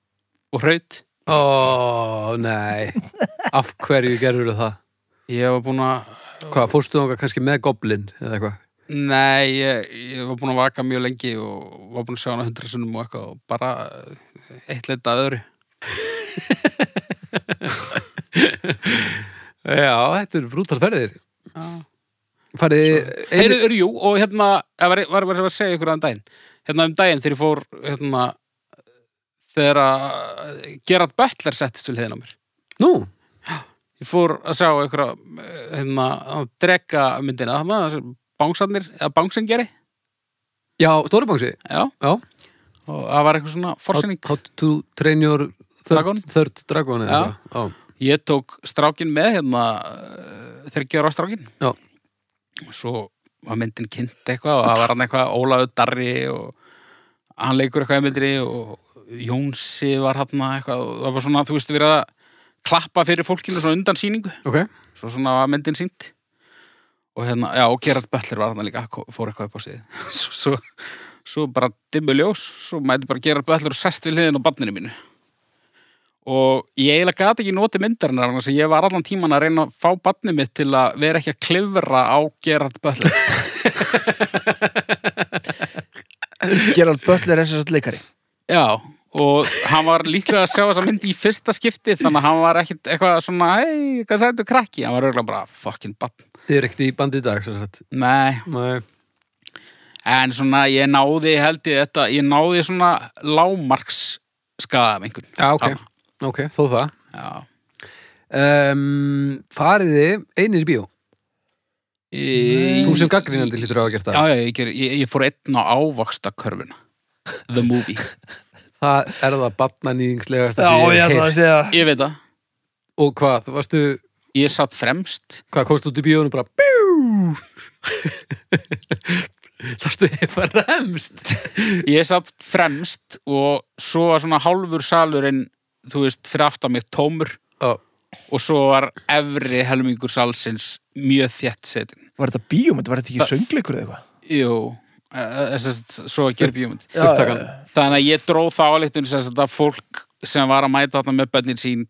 Speaker 2: og hraut
Speaker 3: Ó, nei. Af hverju gerður það?
Speaker 2: Ég var búin að
Speaker 3: Hvað, fórstu þangað kannski með goblin eða eitthvað?
Speaker 2: Nei, ég, ég var búin að vaka mjög lengi og var búin að sjá hana hundra sunnum og eitthvað og bara eh, eitt leita að öðru.
Speaker 3: Já, þetta eru brútal ferðir.
Speaker 2: Já.
Speaker 3: Farið,
Speaker 2: Heyrðu, er, jú, og hérna, eh, var, var, var, var að segja ykkur um daginn. Hérna um daginn þegar ég fór, hérna, þegar að eh, Gerard Butler settist til hérna á mér.
Speaker 3: nú,
Speaker 2: Ég fór að sjá ykkur að, hérna, að drega myndina þarna, þessi bangsarnir, eða bangsengeri,
Speaker 3: já, Stóribangsi,
Speaker 2: já,
Speaker 3: já.
Speaker 2: og það var eitthvað svona
Speaker 3: How,
Speaker 2: forsinning.
Speaker 3: how to train your third
Speaker 2: Dragon?
Speaker 3: dragon, third dragon eða
Speaker 2: Já.
Speaker 3: eitthvað.
Speaker 2: Ég tók strákin með, hérna, þryggjöra strákin.
Speaker 3: Já, já.
Speaker 2: og svo var myndin kynnt eitthvað og það var hann eitthvað Ólaður Darri og hann leikur eitthvað í myndri og Jónsi var hann eitthvað og það var svona, þú veist, verið að klappa fyrir fólkinu svona undan sýningu
Speaker 3: ok.
Speaker 2: svo svona var myndin sýnt og hérna, já, og Gerard Böttler var hann líka ko- fór eitthvað upp á síði svo, svo, svo bara dimmu ljós svo mæti bara Gerard Böttler og sest við hliðin á banninu mínu og ég eiginlega gati ekki notið myndarinnar þannig að ég var allan tíman að reyna að fá banninu mitt til að vera ekki að klifra á Gerard Böttler
Speaker 1: Gerald Butler er sérst leikari
Speaker 2: Já, og hann var líklega að sjá þessa mynd í fyrsta skipti þannig að hann var ekkit eitthvað svona hei, hvað sagði þú krakki? Hann var auðvitað bara fucking bann.
Speaker 3: Þið er ekkert í bandi í dag, svo sagt.
Speaker 2: Nei,
Speaker 3: Nei.
Speaker 2: en svona ég náði held ég þetta, ég náði svona lámarks skaða af einhvern.
Speaker 3: Já, ok, ok, þó það.
Speaker 2: Já,
Speaker 3: Um, fariði einir í bíó.
Speaker 2: Ég-
Speaker 3: Þú sem gagnrýnandi lítur á að gert
Speaker 2: Já,
Speaker 3: það.
Speaker 2: já, ég, ger- ég, ég fór einn á ávaxta körfuna. The movie.
Speaker 3: Það er það batnanýðingslegasta
Speaker 1: Já,
Speaker 3: sem
Speaker 1: ég ætla
Speaker 3: ég
Speaker 1: að
Speaker 3: hef heilt.
Speaker 1: segja
Speaker 2: Ég veit það.
Speaker 3: Og hvað, þú varstu,
Speaker 2: Ég satt fremst.
Speaker 3: hvað komst út í bíónu bara bjú? Sástu eitthvað remst?
Speaker 2: Ég satt fremst og svo var svona hálfur salurinn, þú veist, fyrir aftan mig tómur
Speaker 3: Já,
Speaker 2: og svo var efri helmingur salsins mjög þétt setin
Speaker 1: Var þetta bíómynd, var þetta ekki söngleikur eða eitthvað?
Speaker 2: Jú, eh, eh, sem sagt, svo að gera bíómynd
Speaker 1: Já,
Speaker 3: Upptakan.
Speaker 1: já,
Speaker 2: Þannig að ég dróð það áleittun sem sagt, að fólk sem var að mæta þarna með bönnin sín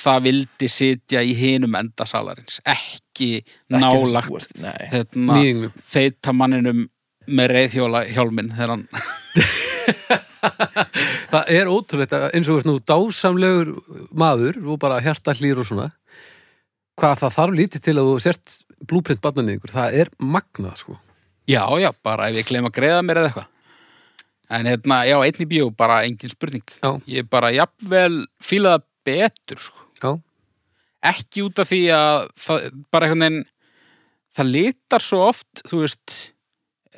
Speaker 2: það vildi sitja í hinum enda salarins ekki
Speaker 1: já. Ekki þess að
Speaker 2: nálagt
Speaker 1: þú varst- Nei,
Speaker 2: hérna,
Speaker 3: Nýðingnum.
Speaker 2: feita manninum með reyðhjóla hjálminn þegar hann
Speaker 3: Það er ótrúlegt að eins og veist nú dásamlegur maður og bara hjarta hlýr og svona hvað það þarf lítið til að þú sért blúprint barnan ykkur, það er magnað sko.
Speaker 2: já, já, bara ef ég kleim að greiða mér eða eitthvað en hérna, já, einn í bíó, bara engin spurning
Speaker 3: Já.
Speaker 2: ég bara jafnvel fílaða betur sko.
Speaker 3: Já,
Speaker 2: ekki út af því að það, bara einhvern veginn það litar svo oft, þú veist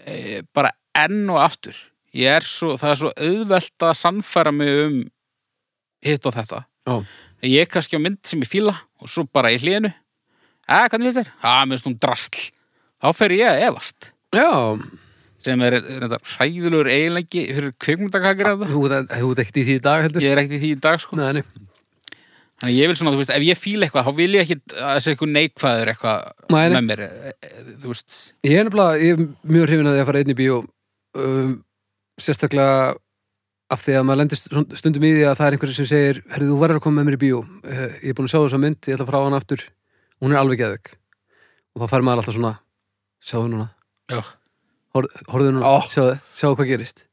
Speaker 2: e, bara enn og aftur ég er svo, það er svo auðvelt að sannfæra mig um hitt og þetta
Speaker 3: já,
Speaker 2: ég er kannski á mynd sem ég fíla og svo bara í hlénu að, hvernig finnst þér? að, minnst hún drastl þá fer ég að efast
Speaker 3: já
Speaker 2: sem er reyndar hræðulegur eiginleiki fyrir kvikmyndakakir að það
Speaker 3: þú ert- þú ert ekkert í því í dag heldur
Speaker 2: ég er ekkert í því í dag sko
Speaker 3: Nei, nei,
Speaker 2: Þannig að ég vil svona, þú veist, ef ég fíla eitthvað, þá vil ég ekki að þessi eitthvað neikvæður eitthvað
Speaker 3: Nei, nei.
Speaker 2: með mér, e- e- þú veist.
Speaker 3: Ég er nefnilega, ég er mjög hrifin að því að fara einn í bíó um, sérstaklega af því að maður lendir stund- stundum í því að það er einhverjum sem segir herrðu, þú verður að koma með mér í bíó Eh, ég er búin að sjá þessa mynd, ég ætla að fara á hana aftur hún er alveg geðveik og þá fær maður alltaf svona, sjáðu núna
Speaker 2: Já.
Speaker 3: Hor- horfðu núna,
Speaker 1: Ó.
Speaker 3: sjáðu, sjáðu hvað gerist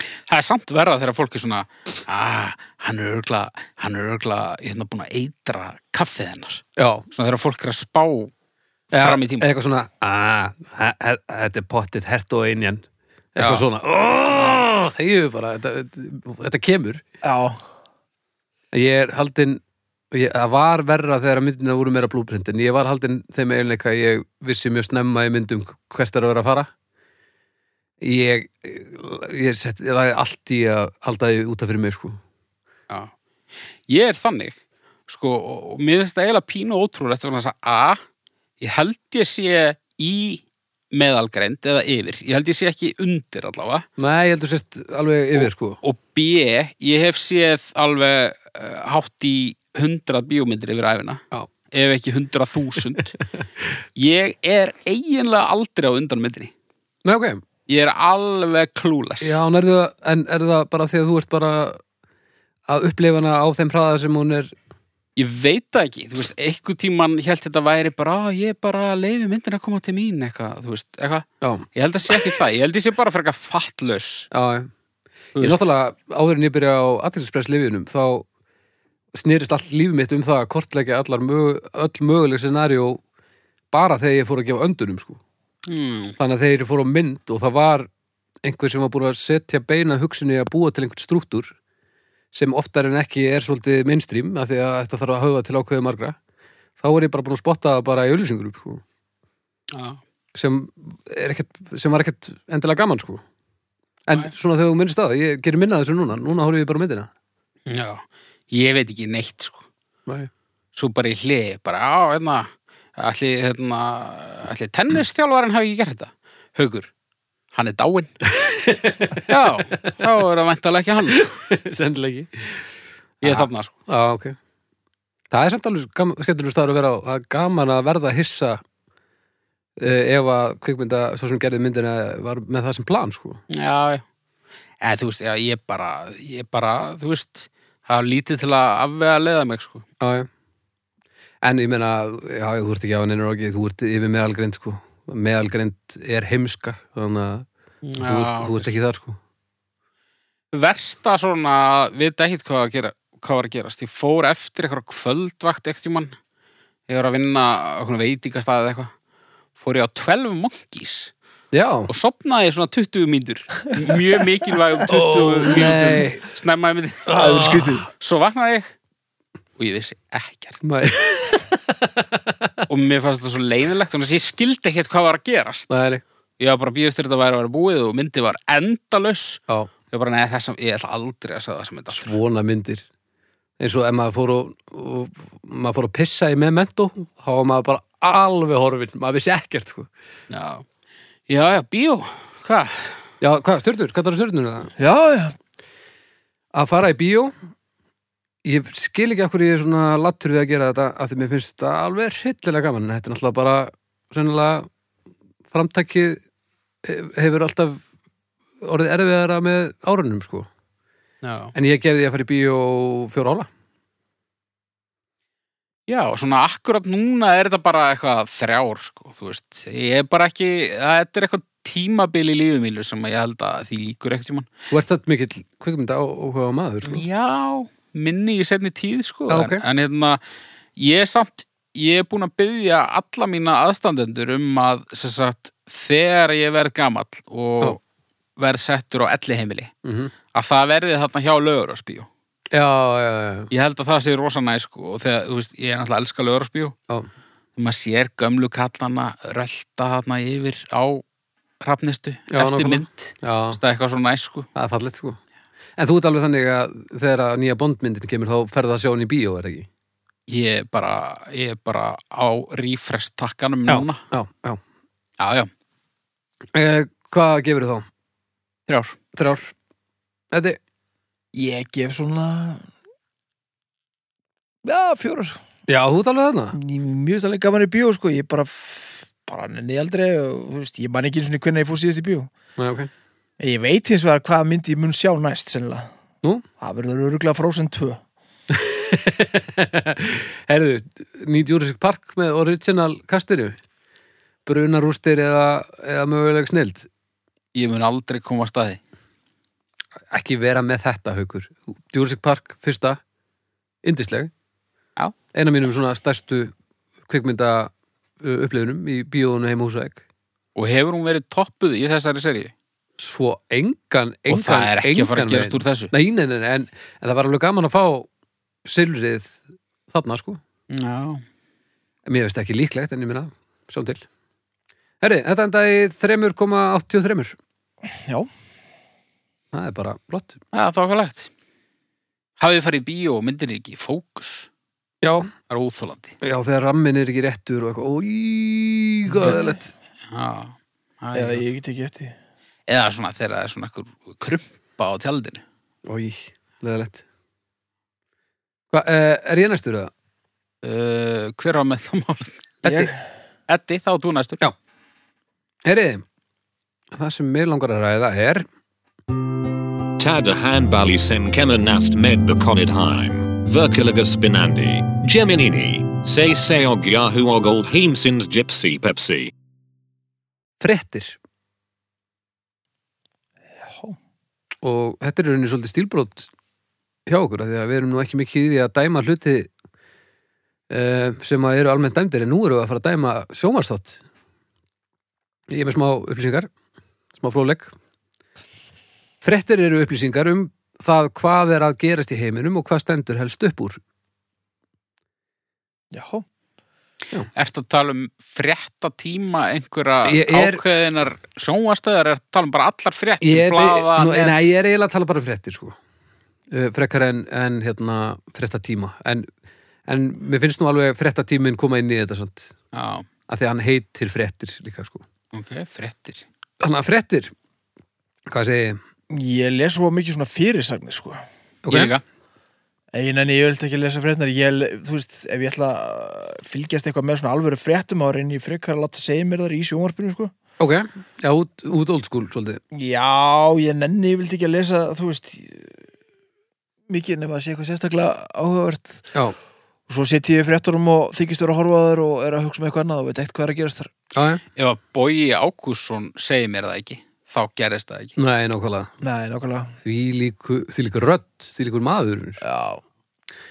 Speaker 2: Það er samt verða þegar fólk er svona, ah, hann er örgla, hann er örgla, ég hefna búin að eitra kaffið hennar.
Speaker 3: Já,
Speaker 2: Svona þegar fólk er að spá fram í tíma.
Speaker 3: eitthvað svona, "Ah, he- he- þetta er pottið hert og einjan eitthvað
Speaker 2: Já.
Speaker 3: svona, oh, þegiðu bara þetta, þetta, þetta kemur
Speaker 1: já,
Speaker 3: Ég er haldinn ég- það var verra þegar myndina voru meira blúprint en ég var haldinn þeim eiginleika að ég vissi mjög snemma í myndum hvert er að vera að fara ég ég, sett, ég lagði allt í að halda því út af fyrir mig sko
Speaker 2: Já. Ég er þannig, sko, og- og mér finnst það eiginlega pínu ótrúlegt vegna þess að A, ég held ég sé í meðalgreind eða yfir, ég held ég sé ekki undir allavega.
Speaker 3: Nei, ég heldur sérst alveg yfir sko
Speaker 2: og B, ég hef séð alveg uh, hátt í 100 bíómyndir yfir æfina
Speaker 3: Já.
Speaker 2: ef ekki 100.000 ég er eiginlega aldrei á undan myndinni
Speaker 3: Nei, ok,
Speaker 2: ég er alveg klúles
Speaker 3: já, en er það, en er það bara því að þú ert bara að upplifa hana á þeim hraða sem hún er
Speaker 2: ég veit það ekki, þú veist, einhver tíman held þetta væri bara, "Á, ég bara leifi myndin að koma til mín eitthvað, þú veist, eitthvað
Speaker 3: Já,
Speaker 2: ég held að sé ekki það, ég held að sé bara fyrir eitthvað fattlaus
Speaker 3: já, já Ég
Speaker 2: veist.
Speaker 3: náttúrulega, áður en ég byrja á aðtilspress lifinum, þá snerist allt líf mitt um það að kortleggja allar mög, öll möguleg scenarió bara þegar ég fór að gefa öndunum, sko.
Speaker 2: hmm.
Speaker 3: Þannig að þegar ég fór á mynd og það var einhver sem var búin að setja beina hugsunni að búa til einhvern strúktúr sem oftar en ekki er svolítið mainstream af því að þetta þarf að höfa til ákveðu margra þá er ég bara búin að spotta það bara í auðlýsingur sko,
Speaker 2: já.
Speaker 3: sem, er ekkert, sem var ekkert endilega gaman sko. en svona þegar þú minnist það, ég gerir minna af þessu núna núna horfum ég bara á myndina
Speaker 2: já, ég veit ekki neitt sko
Speaker 3: Nei.
Speaker 2: svo bara í hliði, bara á, hérna, allir, hérna, allir tennistjálfarinn hafi ekki gert þetta. Haugur, hann er dáinn. Já, þá er það væntalega ekki hann.
Speaker 3: Sennilegi
Speaker 2: Ég er þarna, sko.
Speaker 3: Já, Ah, ok Það er samt alveg gam- skemmtilegur staður að vera á að gaman að verða hissa uh, ef að kvikmynda svo sem gerði myndina var með það sem plan sko.
Speaker 2: Já, já. En þú veist, já, ég bara, ég bara, þú veist, það er lítið til að afvega að leiða mig, sko.
Speaker 3: Já, já En ég meina, já, þú ert ekki á henni ekki, þú ert yfir meðalgreind sko. meðalgreind er heimska þannig að þú, ert, þú ert ekki þar sko.
Speaker 2: versta svona vita ekkit hvað var að gera hvað var að gerast, ég fór eftir eitthvað kvöldvakt ekkert tímann ég var að vinna á einhvern veitingastað eða eitthvað fór ég á 12 monkeys
Speaker 3: Já,
Speaker 2: og sopnaði ég svona 20 mínútur mjög mikilvægum 20
Speaker 3: Ó, nei. Ah.
Speaker 2: mínútur snemmaði myndi
Speaker 1: það er skrítið
Speaker 2: svo vaknaði ég og ég vissi ekkert
Speaker 3: nei,
Speaker 2: og mér fannst það svo leiðilegt þannig að ég skildi ekkert hvað var að gerast
Speaker 3: nei, nei.
Speaker 2: ég var bara að býja eftir þetta væri að vera búið og myndi var endalaus
Speaker 3: Já,
Speaker 2: ég var bara neða þessam, ég ætla aldrei að segja þessam mynd aftur.
Speaker 3: svona myndir eins og ef maður fór og, og maður fór að pissa í memento þá var maður bara alveg horfinn maður vissi ekkert sko.
Speaker 2: Já, já, já, bíó, hvað?
Speaker 3: Já, hvað, stjörnur? Hvað er stjörnur það?
Speaker 1: Já, já,
Speaker 3: Að fara í bíó ég skil ekki af hverju ég er svona lattur við að gera þetta af því mér finnst það alveg hryllilega gaman en þetta er náttúrulega bara sennilega framtakið hef- hefur alltaf orðið erfiðara með árunum sko
Speaker 2: Já.
Speaker 3: en ég gefði því að fara í bíó fjóra ála
Speaker 2: Já, svona akkurat núna er þetta bara eitthvað þrjár, sko, þú veist. Ég er bara ekki, þetta er eitthvað tímabil í lífið mínu sem að ég held að því líkur ekkert tímann.
Speaker 3: Þú ert þetta mikill kvikmynda og hvað maður sko.
Speaker 2: Já, minni í setni tíð, sko.
Speaker 3: Já, ok.
Speaker 2: en, en hérna, ég er samt, ég er búin að byggja alla mína aðstandendur um að, sem sagt, þegar ég verð gamall og
Speaker 3: Já.
Speaker 2: verð settur á elli heimili,
Speaker 3: Mhm.
Speaker 2: að það verði þarna hjá lögur að spíu.
Speaker 3: Já, já, já, já.
Speaker 2: Ég held að það sé rosa næ, sko, og þegar, þú veist, ég er náttúrulega elska lögur að spíu.
Speaker 3: já.
Speaker 2: maður sér gömlu kallana rölda þarna yfir á hrafnistu
Speaker 3: Já,
Speaker 2: eftir
Speaker 3: nákvæmlega.
Speaker 2: mynd
Speaker 3: Já,
Speaker 2: það er eitthvað svona næs sko
Speaker 3: það er fallegt sko En þú ert alveg þannig að þegar að nýja bondmyndin kemur þá ferðu að sjá hann í bíó, er það ekki?
Speaker 2: ég er bara, ég er bara á refresh takkanum núna
Speaker 3: Já, já
Speaker 2: já, já,
Speaker 3: eh, Hvað gefur þú þá?
Speaker 2: þrjár
Speaker 3: Þrjár? Þetta,
Speaker 1: Ég gef svona Já, fjórar
Speaker 3: já, þú ert alveg þarna?
Speaker 1: Ég- Mér finnst alveg gaman í bíó sko Ég bara, bara nenni aldrei og, þú veist, Ég man ekki einu sinni hvernig ég fór síðast í bíó
Speaker 3: Nei, ok
Speaker 1: Ég veit hins vegar hvað myndi ég mun sjá næst sennilega
Speaker 3: Nú?
Speaker 1: Það verður öruglega Frozen 2
Speaker 3: Herðu, nýt Jurassic Park með original kastinu Brunarústir eða, eða möguleg snild
Speaker 2: ég mun aldrei koma að staði
Speaker 3: Ekki vera með þetta, haukur Jurassic Park, fyrsta Indisleg
Speaker 2: Já.
Speaker 3: Eina mínum svona stærstu kvikmynda uh, upplifunum í bíóðunum heim húsæk
Speaker 2: og hefur hún verið toppuð í þessari seri
Speaker 3: Svo engan, engan,
Speaker 2: og það er ekki að fara
Speaker 3: engan
Speaker 2: að gerast
Speaker 3: veginn.
Speaker 2: úr þessu
Speaker 3: Nei, nei, nei, nei en, en það var alveg gaman að fá silfrið þarna, sko
Speaker 2: já,
Speaker 3: En Mér veist ekki líklegt, en ég minna, sjá til. Herri, þetta endaði í 3,83.
Speaker 1: Já,
Speaker 3: Það er bara flott.
Speaker 2: það er þokkalegt hafið þið farið í bíó og myndin er ekki í fókus
Speaker 3: Já.
Speaker 2: það er óþólandi
Speaker 3: Já, þegar rammin er ekki réttur og eitthvað, óí, hvað er þetta?
Speaker 2: já, það
Speaker 1: eða
Speaker 2: er-
Speaker 1: ég get ekki eftir því.
Speaker 2: eða svona þegar það er svona einhver krumpa á tjaldinu
Speaker 3: Óí, leðalegt. Hva, eh, er ég næstur eða?
Speaker 2: uh, hver á með það mál
Speaker 3: Eddi.
Speaker 1: Ég-
Speaker 2: Eddi, þá þú næstur
Speaker 3: Já. Herri, það sem mér langar að ræða er,
Speaker 4: Tada handbali sem kemmer nast med bekonidheim. Verkeliga spinandi, geminini, se seog yahoo og old heimsins gypsy pepsi.
Speaker 3: frettir.
Speaker 1: Já,
Speaker 3: Og þetta er í rauninni svolítið stílbrót hjá okkur, af því að við erum nú ekki mikið í því að dæma hluti eh, sem að eru almennt dæmdir, en nú erum við að fara að dæma sjómarsþátt. Ég er með smá upplýsingar, smá fróleg. Frettir eru upplýsingar um það hvað er að gerast í heiminum og hvað stendur helst upp úr.
Speaker 1: já
Speaker 2: Ertu að tala um frétta tíma einhverja
Speaker 3: Ég er-
Speaker 2: ákveðinar sjónvastöðar, ertu að tala um bara allar fréttir
Speaker 3: Ég er,
Speaker 2: blaða,
Speaker 3: nú,
Speaker 2: net?
Speaker 3: nei, ég er eiginlega að tala bara um frettir, sko. Eh, Frekar en, en hérna, frettatíma. En, en mér finnst nú alveg frettatíminn koma inn í þetta, sant?
Speaker 2: Já,
Speaker 3: Af því að hann heitir frettir líka, sko.
Speaker 2: ok, fréttir
Speaker 3: Þannig að frettir Hvað segi ég?
Speaker 1: Ég les svo mikið svona fyrirsagnir sko
Speaker 3: Ok.
Speaker 2: Ég líka,
Speaker 1: Ég nenni, ég vilt ekki lesa fréttnar ég, Þú veist, ef ég ætla að fylgjast eitthvað með svona alvöru fréttum þá reyni ég frekar að láta segja mér þar í sjónvarpinu sko
Speaker 3: Ok, já, út, út old school svolítið
Speaker 1: Já, ég nenni, ég vilt ekki að lesa þú veist mikið nema að sé eitthvað sérstaklega áhugavert
Speaker 3: Já,
Speaker 1: og svo setjum ég fréttunum og þykist vera að horfa á þér og er að hugsa með eitthvað annað og veit ekkert hvað er að gerast þar
Speaker 3: já, já
Speaker 2: ef að Bogi Ákússon segir mér það ekki, þá gerist það ekki
Speaker 3: Nei, nákvæmlega
Speaker 1: Nei, nákvæmlega
Speaker 3: Því líku, því líku rödd, því líkur maður
Speaker 1: Já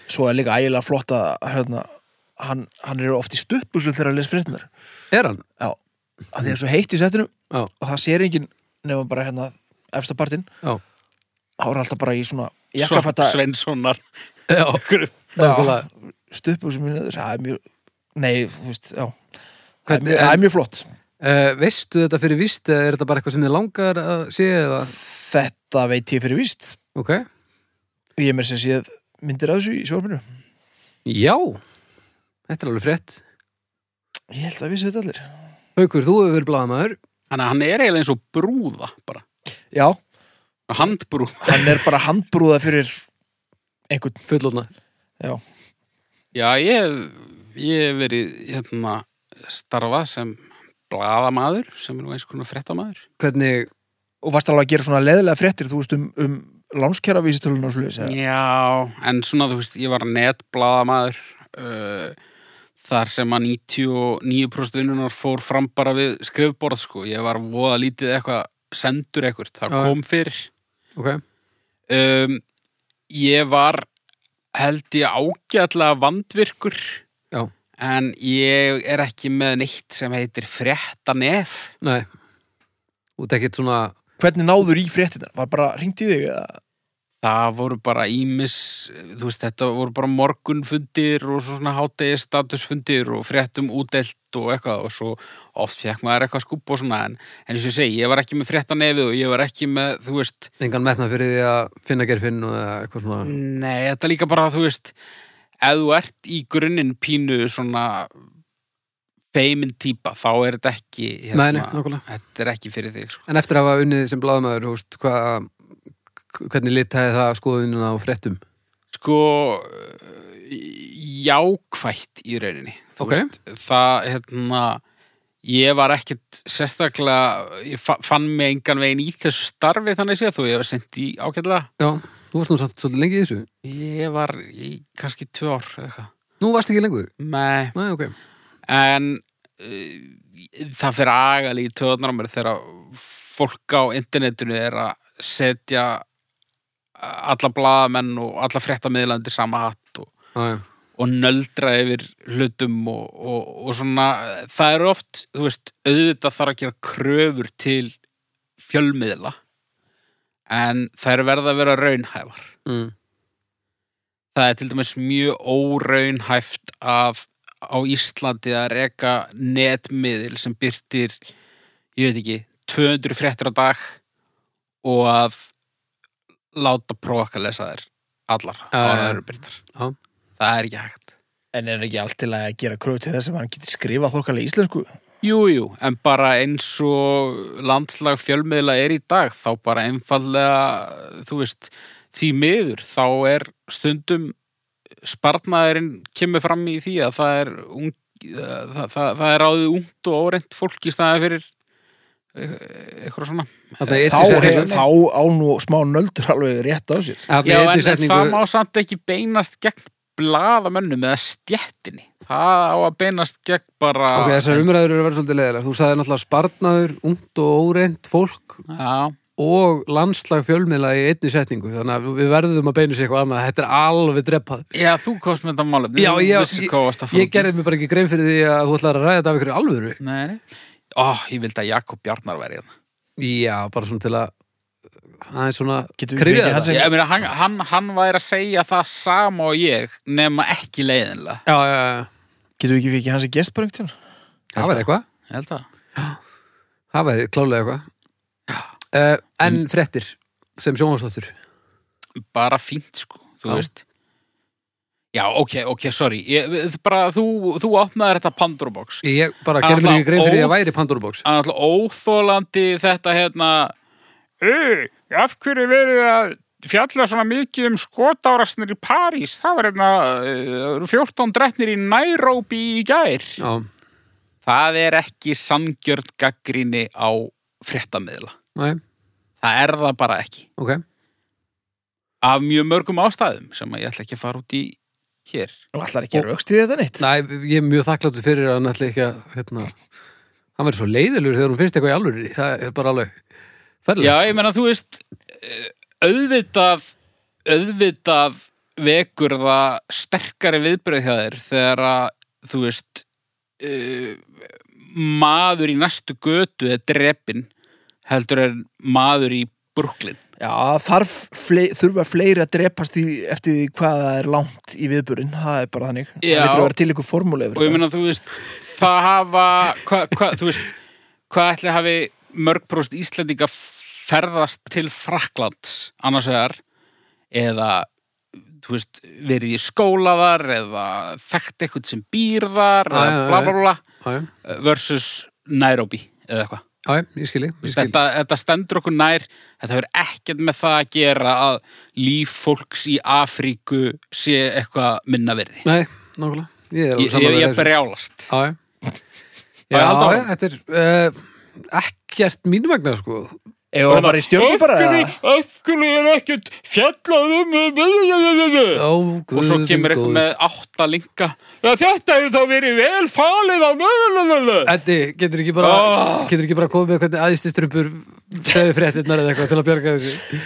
Speaker 1: Svo er líka ægilega flott að hérna, hann, hann er oft í stuppusu þegar að lesa fréttunar
Speaker 3: Er hann?
Speaker 1: Já, að því að svo heitt í setinu
Speaker 3: Já.
Speaker 1: og það sér enginn nefnum bara hérna efsta partinn,
Speaker 3: Já,
Speaker 1: þá er alltaf bara í svona
Speaker 2: Svamp
Speaker 1: jakkafata
Speaker 2: Sveinssonar
Speaker 3: já, nákvæmlega
Speaker 1: stuppu sem minni, það er mjög nei, þú veist, já það er
Speaker 3: Hvernig-
Speaker 1: mjög, það er mjög flott
Speaker 3: uh, Veistu þetta fyrir vist eða er þetta bara eitthvað sem þið langar að sé eða
Speaker 1: þetta veit ég fyrir víst
Speaker 3: Ok,
Speaker 1: og ég er mér sem séð myndir að þessu í sjófinu
Speaker 3: já Þetta er alveg frett
Speaker 1: ég held að vissi þetta allir
Speaker 3: Haukur, þú hefur verið blaðamaður
Speaker 2: Þannig að hann er eiginlega eins og brúða bara,
Speaker 1: já,
Speaker 2: handbrúða
Speaker 1: hann er bara handbrúða fyrir einhvern,
Speaker 3: fullorna
Speaker 1: já,
Speaker 2: Já, ég, hef- ég hef verið hérna starfað sem bladamaður, sem er nú eins konar fréttamaður.
Speaker 3: hvernig,
Speaker 1: og varst alveg að gera svona leðilega fréttir, þú veist, um, um lánskjara vísitölun og sluðis, eða?
Speaker 2: Já, en svona þú veist, ég var netbladamaður uh, þar sem að 99% vinnunar fór fram bara við skrifborð, sko. Ég var voða lítið eitthvað sendur ekkert, það
Speaker 3: Já, já.
Speaker 2: kom fyrir.
Speaker 3: ok
Speaker 2: Um, ég var held ég ágætlega vandvirkur
Speaker 3: Já.
Speaker 2: en ég er ekki með neitt sem heitir fréttanef
Speaker 3: Nei Út ekkert svona
Speaker 1: Hvernig náður í fréttina? Var bara hringt í þig eða?
Speaker 2: það voru bara ímis þú veist þetta voru bara morgunfundir og svo svona hátegi statusfundir og fréttum útelt og eitthvað og svo oft fekk maður eitthvað skúb og svona en, en eins og ég segi, ég var ekki með fréttanefið og ég var ekki með, þú veist,
Speaker 3: engan metnað fyrir því að finna gerfinn og eða eitthvað svona
Speaker 2: Nei, þetta er líka bara, þú veist, ef þú ert í grunninn pínu svona feimin típa, þá er þetta ekki, hérna,
Speaker 3: Nei, nei, nákvæmlega
Speaker 2: þetta er ekki fyrir þig, sko.
Speaker 3: Hérna. En eftir að hafa unnið sem blaðmaður, þú veist, hvað hvernig litaði það skoðunina á fréttum?
Speaker 2: Sko, eh, jákvætt í rauninni, þú
Speaker 3: Ok.
Speaker 2: veist, það, hérna, ég var ekkit sérstaklega, ég fa- fann mig engan veginn í þessu starfi þannig séð, þó ég var sent í ágætlega.
Speaker 3: Já, þú varst nú samt svolítið lengi í þessu.
Speaker 2: Ég var í kannski tvö ár eða eitthvað.
Speaker 3: Nú varst ekki lengur.
Speaker 2: Nei,
Speaker 3: Nei, ok.
Speaker 2: en uh, það fyrir agal í töðunar á mér þegar fólk á internetinu er að setja alla blaðamenn og alla fréttamiðla undir sama hatt og,
Speaker 3: Já, já.
Speaker 2: og nöldra yfir hlutum og, og, og svona það eru oft, þú veist, auðvitað þarf að gera kröfur til fjölmiðla en það eru verða að vera raunhæfar
Speaker 3: Mm.
Speaker 2: það er til dæmis mjög óraunhæft að á Íslandi að reka netmiðil sem byrtir ég veit ekki, 200 fréttir á dag og að láta prófa að lesa þær allar á
Speaker 3: Ah, Já, já,
Speaker 2: það
Speaker 3: já.
Speaker 2: eru byrtar
Speaker 3: Já.
Speaker 2: það er ekki hægt
Speaker 1: En er ekki allt til að gera kröfu til þess að hann geti skrifað þokkalega íslensku?
Speaker 2: Jú, jú, en bara eins og landslag fjölmiðla er í dag þá bara einfallega þú veist, því miður þá er stundum sparnaðurinn kemur fram í því að það er ung, það, það, það er ráðið ungt og óreint fólk í staðið fyrir eh, eitthvað svona
Speaker 3: Þarna í
Speaker 1: Þá,
Speaker 3: einni
Speaker 1: er,
Speaker 3: setningu-
Speaker 1: þá á nú smá nöldur alveg rétt á sér.
Speaker 3: þarna í
Speaker 2: Já, en,
Speaker 3: einni
Speaker 2: en það má
Speaker 3: setningu-
Speaker 2: samt ekki beinast gegn blaðamönnum eða stjettinni það á að beinast gegn bara
Speaker 3: Ok, þessar umræður eru að vera svolítið leðilega. Þú sagði náttúrulega sparnaður, ungt og óreint fólk
Speaker 2: Já,
Speaker 3: og landslag fjölmiðla í einni setningu. Þannig að við verðum að beina sér eitthvað annað. Þetta er alveg dreppað.
Speaker 2: já, þú komst með þetta málefni
Speaker 3: Já,
Speaker 2: þú
Speaker 3: ég,
Speaker 2: vissir
Speaker 3: ég,
Speaker 2: hvað varst að
Speaker 3: ég,
Speaker 2: fara út í.
Speaker 3: gerði mér bara ekki grein fyrir því að þú ætlar að ræða þetta af ykkur alvöru.
Speaker 2: Nei, nei. Ó, ég vildi að Jakob Bjarnar væri hérna.
Speaker 3: Já, bara svona til að það er svona
Speaker 1: Getum við
Speaker 3: kryfja
Speaker 1: fengið hann
Speaker 3: þetta
Speaker 1: sem-
Speaker 2: Ég meina, hann, hann, hann væri að segja það sama og ég, nema ekki leiðinlega.
Speaker 3: Já, já, já,
Speaker 1: Getur við ekki fikið hans að gest bara einhvern tíðan?
Speaker 3: það væri eitthvað
Speaker 2: Ég held að.
Speaker 3: það væri klálega eitthvað uh, en fréttir sem sjónvarsdóttur
Speaker 2: Bara fínt, sko, þú
Speaker 3: Já.
Speaker 2: veist. Já, ok, ok, sorry. Ég, við- bara, þú, þú opnaði þetta Pandora-box.
Speaker 3: ég bara
Speaker 2: Það
Speaker 3: gerði mér ekki
Speaker 2: var
Speaker 3: grein fyrir því að
Speaker 2: óð-
Speaker 3: væri Pandora-box
Speaker 2: Hann er alltaf óþólandi þetta hérna, Ö, af hverju er verið að fjalla svona mikið um skotárasnir í París? Það var hérna, uh, 14 drefnir í Nairobi í gær.
Speaker 3: Já,
Speaker 2: Það er ekki sangjörn gaggrinni á fréttamiðla.
Speaker 3: nei,
Speaker 2: Það er það bara ekki.
Speaker 3: ok
Speaker 2: Af mjög mörgum ástæðum sem að ég ætla ekki að fara út í hér.
Speaker 1: Þú ætlar ekki að raukst í þetta neitt?
Speaker 3: Nei, ég er mjög þakkláttur fyrir að hann ætla ekki að hérna, hann verður svo leiðilur þegar hún finnst eitthvað í alvöru það er bara alveg
Speaker 2: Já,
Speaker 3: ferðilegt
Speaker 2: ég menna, þú veist, eh, auðvitað, auðvitað vekur það sterkari viðbröð hjá þér þegar að, þú veist, uh, maður í næstu götu er drepin heldur en maður í Brooklyn.
Speaker 1: Já, þarf fle þurfa fleiri að drepast í, eftir því hvað það er langt í viðburinn, það er bara þannig.
Speaker 2: Já.
Speaker 1: Það lítur að vera til ykkur formúli
Speaker 2: og
Speaker 1: yfir
Speaker 2: ég meina þú veist það hafa hva, hva, þú veist, hvað ætli hafi mörgpróst Íslendinga ferðast til Fraklands annars vegar eða þú veist, verið í skóla þar eða þekkt eitthvað sem býr þar
Speaker 3: Já,
Speaker 2: eða
Speaker 3: já, já,
Speaker 2: bla bla bla
Speaker 3: Já, já,
Speaker 2: versus Nairobi eða eitthvað
Speaker 3: já, já, ég skili, ég skili.
Speaker 2: Þetta, þetta stendur okkur nær, þetta hefur ekkert með það að gera að líf fólks í Afríku sé eitthvað minna verði.
Speaker 3: Nei, nákvæmlega Ég er
Speaker 2: Ég,
Speaker 3: alveg
Speaker 2: ég,
Speaker 3: samanlega
Speaker 2: ég brjálast.
Speaker 3: Já, já.
Speaker 2: Já,
Speaker 3: Já,
Speaker 2: halda
Speaker 3: já,
Speaker 2: áfram.
Speaker 3: þetta er uh, ekkert mínu vegna, sko.
Speaker 1: Ef það var í stjörnum bara eða?
Speaker 2: Öfkunni er ekkert fjallað um
Speaker 3: Ó,
Speaker 2: og svo kemur eitthvað með átta linka Já, þetta hefur þá verið vel falið á
Speaker 3: Eddi, getur ekki bara,
Speaker 2: Ah.
Speaker 3: getur ekki bara komið með hvernig æðististrumpur segði fréttinnar eða eitthvað til að bjarga þessu?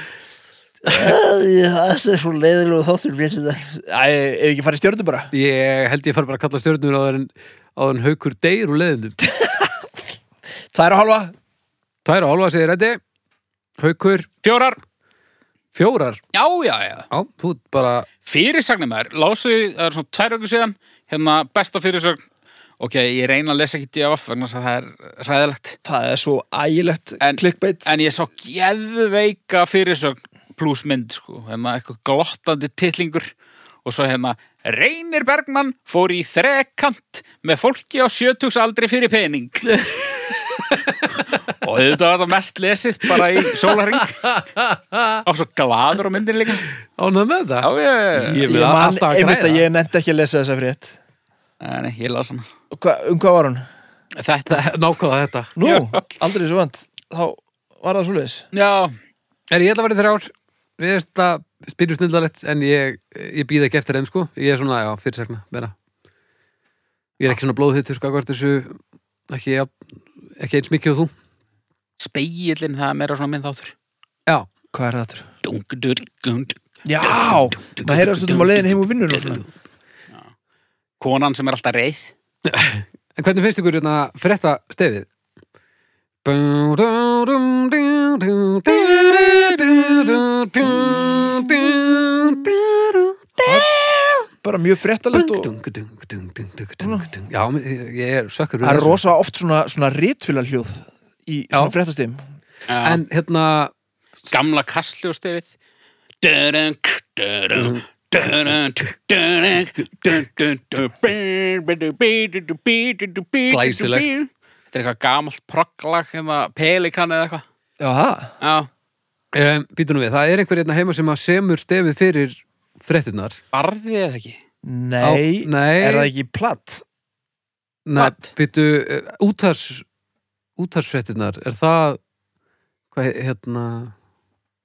Speaker 1: Það er svo leiðilegu þáttur mér þetta. Æ, ef ekki farið í stjörnum bara
Speaker 3: Ég held ég fara bara að kalla stjörnur á þenn, á þenn haukur deyr úr leðindum.
Speaker 1: Tvær og halva
Speaker 3: Tæra hálfa segir Eddi, haukur
Speaker 2: Fjórar,
Speaker 3: fjórar.
Speaker 2: já, já, já
Speaker 3: Já, þú ert bara,
Speaker 2: fyrirsagnir maður, lásu það er svona tvær vöku síðan, hérna besta fyrirsagn ok, ég reyna að lesa ekki DFF vegna þess að það er ræðilegt
Speaker 1: Það er svo ægilegt
Speaker 2: En-
Speaker 1: klikkbeitt
Speaker 2: en ég sá geðveika fyrirsögn pluss mynd sko, hérna eitthvað glottandi titlingur og svo hérna Reynir Bergmann fór í þrekant með fólki á sjötugsaldri fyrir pening og þetta var það mest lesið bara í sólaring og svo gladur á myndin líka
Speaker 3: ánað með
Speaker 2: já
Speaker 3: þetta.
Speaker 2: ég,
Speaker 3: Ég
Speaker 2: ég,
Speaker 1: Ég
Speaker 3: vil
Speaker 1: man
Speaker 3: alltaf að
Speaker 1: einmitt að
Speaker 3: græða.
Speaker 1: ég nefndi ekki að lesa þessa frétt
Speaker 2: Nei, ég las hana
Speaker 1: Og hva, Um hvað var hún?
Speaker 2: þetta,
Speaker 3: Nákvæða þetta.
Speaker 1: Nú,
Speaker 2: Já.
Speaker 1: aldrei svo vant Þá var það svoleiðis
Speaker 2: já,
Speaker 3: Er ég ætla að vera í þrjár Við erum þetta spyrjum snildalett En ég, ég býð ekki eftir þeim sko Ég er svona, já, fyrirsegna, vera Ég er ekki svona blóðhittur sko Hvort þessu, ekki, ja, ekki eins mikið og þú
Speaker 2: speigillin það er meira svona minn þáttur
Speaker 3: Já,
Speaker 1: Hvað er það aftur?
Speaker 2: Dungudur, gund
Speaker 1: Já, maður heyrðast stundum á leiðin heim og vinnur og svona.
Speaker 2: Konan sem er alltaf reið
Speaker 3: en hvernig finnst ykkur hérna Fretta stefið? Það
Speaker 1: bara mjög fréttalegt og
Speaker 3: Já, ég er sökkur
Speaker 1: það er rosa oft svona, svona rítfylar hljóð í svona
Speaker 3: Já.
Speaker 1: fréttastim
Speaker 2: en,
Speaker 3: En hérna,
Speaker 2: Gamla kastljóstefið Dörung, dörung
Speaker 3: Glæsilegt.
Speaker 2: Glæsilegt Þetta er eitthvað gamalt progglag hérna, pelikan eða eitthvað
Speaker 1: Já, það?
Speaker 2: Já,
Speaker 3: Um, Býtu nú við, það er einhver hérna heima sem að semur stefið fyrir frettinnar
Speaker 2: barðið eða ekki
Speaker 1: Nei,
Speaker 3: Á, nei.
Speaker 1: er það ekki platt?
Speaker 2: Hvað?
Speaker 3: Býtu, uh, útars útarsfrettinnar, er það hvað he- hérna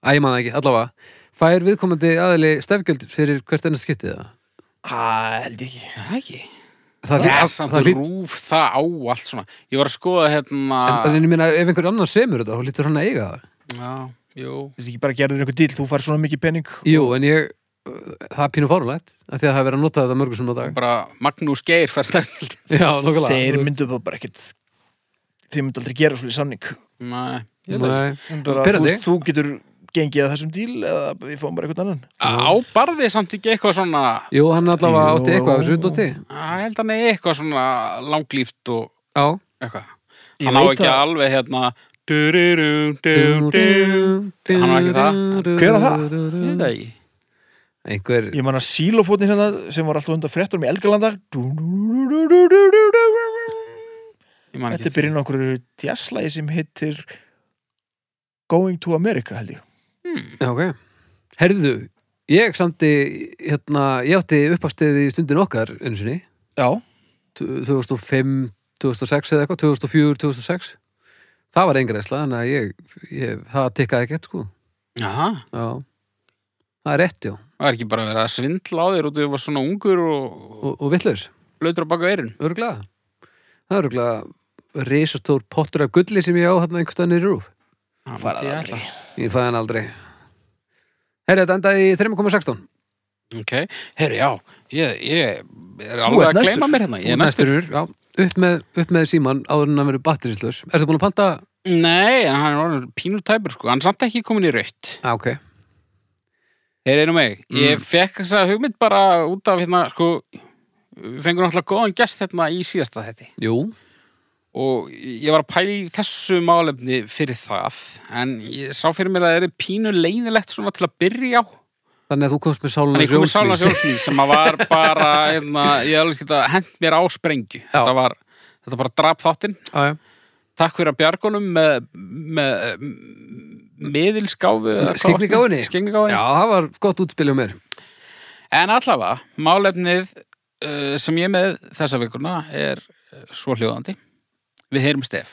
Speaker 3: Æ, ég maður ekki, allavega Fær viðkomandi aðili stefgjöld fyrir hvert ennast skiptið það?
Speaker 1: Það held ég ekki
Speaker 2: Það ekki
Speaker 3: Það
Speaker 2: Það
Speaker 3: hlýt-
Speaker 2: er samt
Speaker 3: það hlýt-
Speaker 2: rúf það á allt svona Ég var að skoða hérna
Speaker 3: En, en ég meina, ef einhver annar semur þetta, þá lítur hann að eiga það
Speaker 2: Já, jú
Speaker 1: Það er ekki bara gerður einhver dýl, þú fær svona mikið penning
Speaker 3: Jú, en ég, uh, það er pínu fárulegt af því að það er verið að nota þetta mörgum sem á dag
Speaker 2: bara Magnús Geir fær stefnild
Speaker 3: Já, nokkulega
Speaker 1: Þeir myndu bara bara ekkert Þeir myndu aldrei gera svona í samning
Speaker 2: Nei, ég veit það ekki.
Speaker 1: bara,
Speaker 3: Nei,
Speaker 1: þú,
Speaker 3: Mm, Pirrandi.
Speaker 1: veist, þú getur gengið að þessum dýl eða við fáum bara einhvern annan
Speaker 2: á barðið samt ekki eitthvað svona
Speaker 3: Jú, hann allavega
Speaker 1: Jú.
Speaker 3: átti eitthvað af þessu dóti
Speaker 2: að held hann er eitthvað svona langlíft og
Speaker 3: Já
Speaker 2: eitthvað
Speaker 1: Ég
Speaker 2: hann á
Speaker 1: veit
Speaker 2: ekki
Speaker 1: að-
Speaker 2: alveg hérna du-du-du, du-du.
Speaker 3: Hann
Speaker 2: var ekki það.
Speaker 1: Hver var það?
Speaker 2: Ég veit það ekki.
Speaker 3: Einhver
Speaker 1: Ég man að sílofótni hérna sem var alltaf undan fréttunum í Elgalanda Þetta
Speaker 2: Ég man
Speaker 1: er
Speaker 2: ekki
Speaker 1: byrjun á okkur tjæslægi sem hittir Going to America held ég
Speaker 3: Já, ok Herðu, ég samti hérna, ég átti uppafstæði í stundin okkar einu sinni,
Speaker 1: Já,
Speaker 3: t- 2005 2006 eða eitthvað, 2004, 2006 Það var engreisla, þannig að ég, ég það tikkaði ekkert sko
Speaker 2: Jaha,
Speaker 3: Já Það er rétt, já,
Speaker 2: það er ekki bara verið að svindla á þér og þú var svona ungur og
Speaker 3: og, og villaus
Speaker 2: blöytur á baka eirinn
Speaker 3: Örglega Það er örglega risastór pottur af gulli sem ég á hérna einhvers staðan í rúf
Speaker 1: farað aldrei.
Speaker 3: Ég fæði hann aldrei Herra, þetta endaði í 3,16
Speaker 2: Ok, herru já ég, ég er
Speaker 1: ert
Speaker 2: alveg að
Speaker 1: næstur.
Speaker 2: gleyma mér hérna Ég er næstur
Speaker 3: Næsturur, já, upp með, upp með síman áður en að vera batterislaus Ertu búin að panta?
Speaker 2: Nei, en hann er orðin pínutæpur sko Hann er samt ekki komin í raut
Speaker 3: Já, ok
Speaker 2: Þeir einu mig,
Speaker 1: Mm.
Speaker 2: ég fekk þessa hugmynd bara út af hérna, sko, við fengum náttúrulega góðan gest hérna í síðasta þetti
Speaker 3: Jú,
Speaker 2: og ég var að pæla í þessu málefni fyrir það, en ég sá fyrir mér að það er pínu leiðilegt svona til að byrja á.
Speaker 3: þannig að þú komst með sálunar
Speaker 2: Þannig ég kom með Sála Sjónsmýr sem að var bara, hérna, ég alveg skil að hent mér á sprengju. Þetta var, þetta bara drap þáttinn
Speaker 3: Já, já,
Speaker 2: takk fyrir að bjargunum með, með miðilsgáfu eða hvað var-
Speaker 3: Skyggnigáfunni?
Speaker 2: skyggnigáfunni.
Speaker 3: Já, það var gott útspil um mér
Speaker 2: En allavega, málefnið uh, sem ég er með þessa vikuna er uh, svo hljóðandi. Við heyrum stef.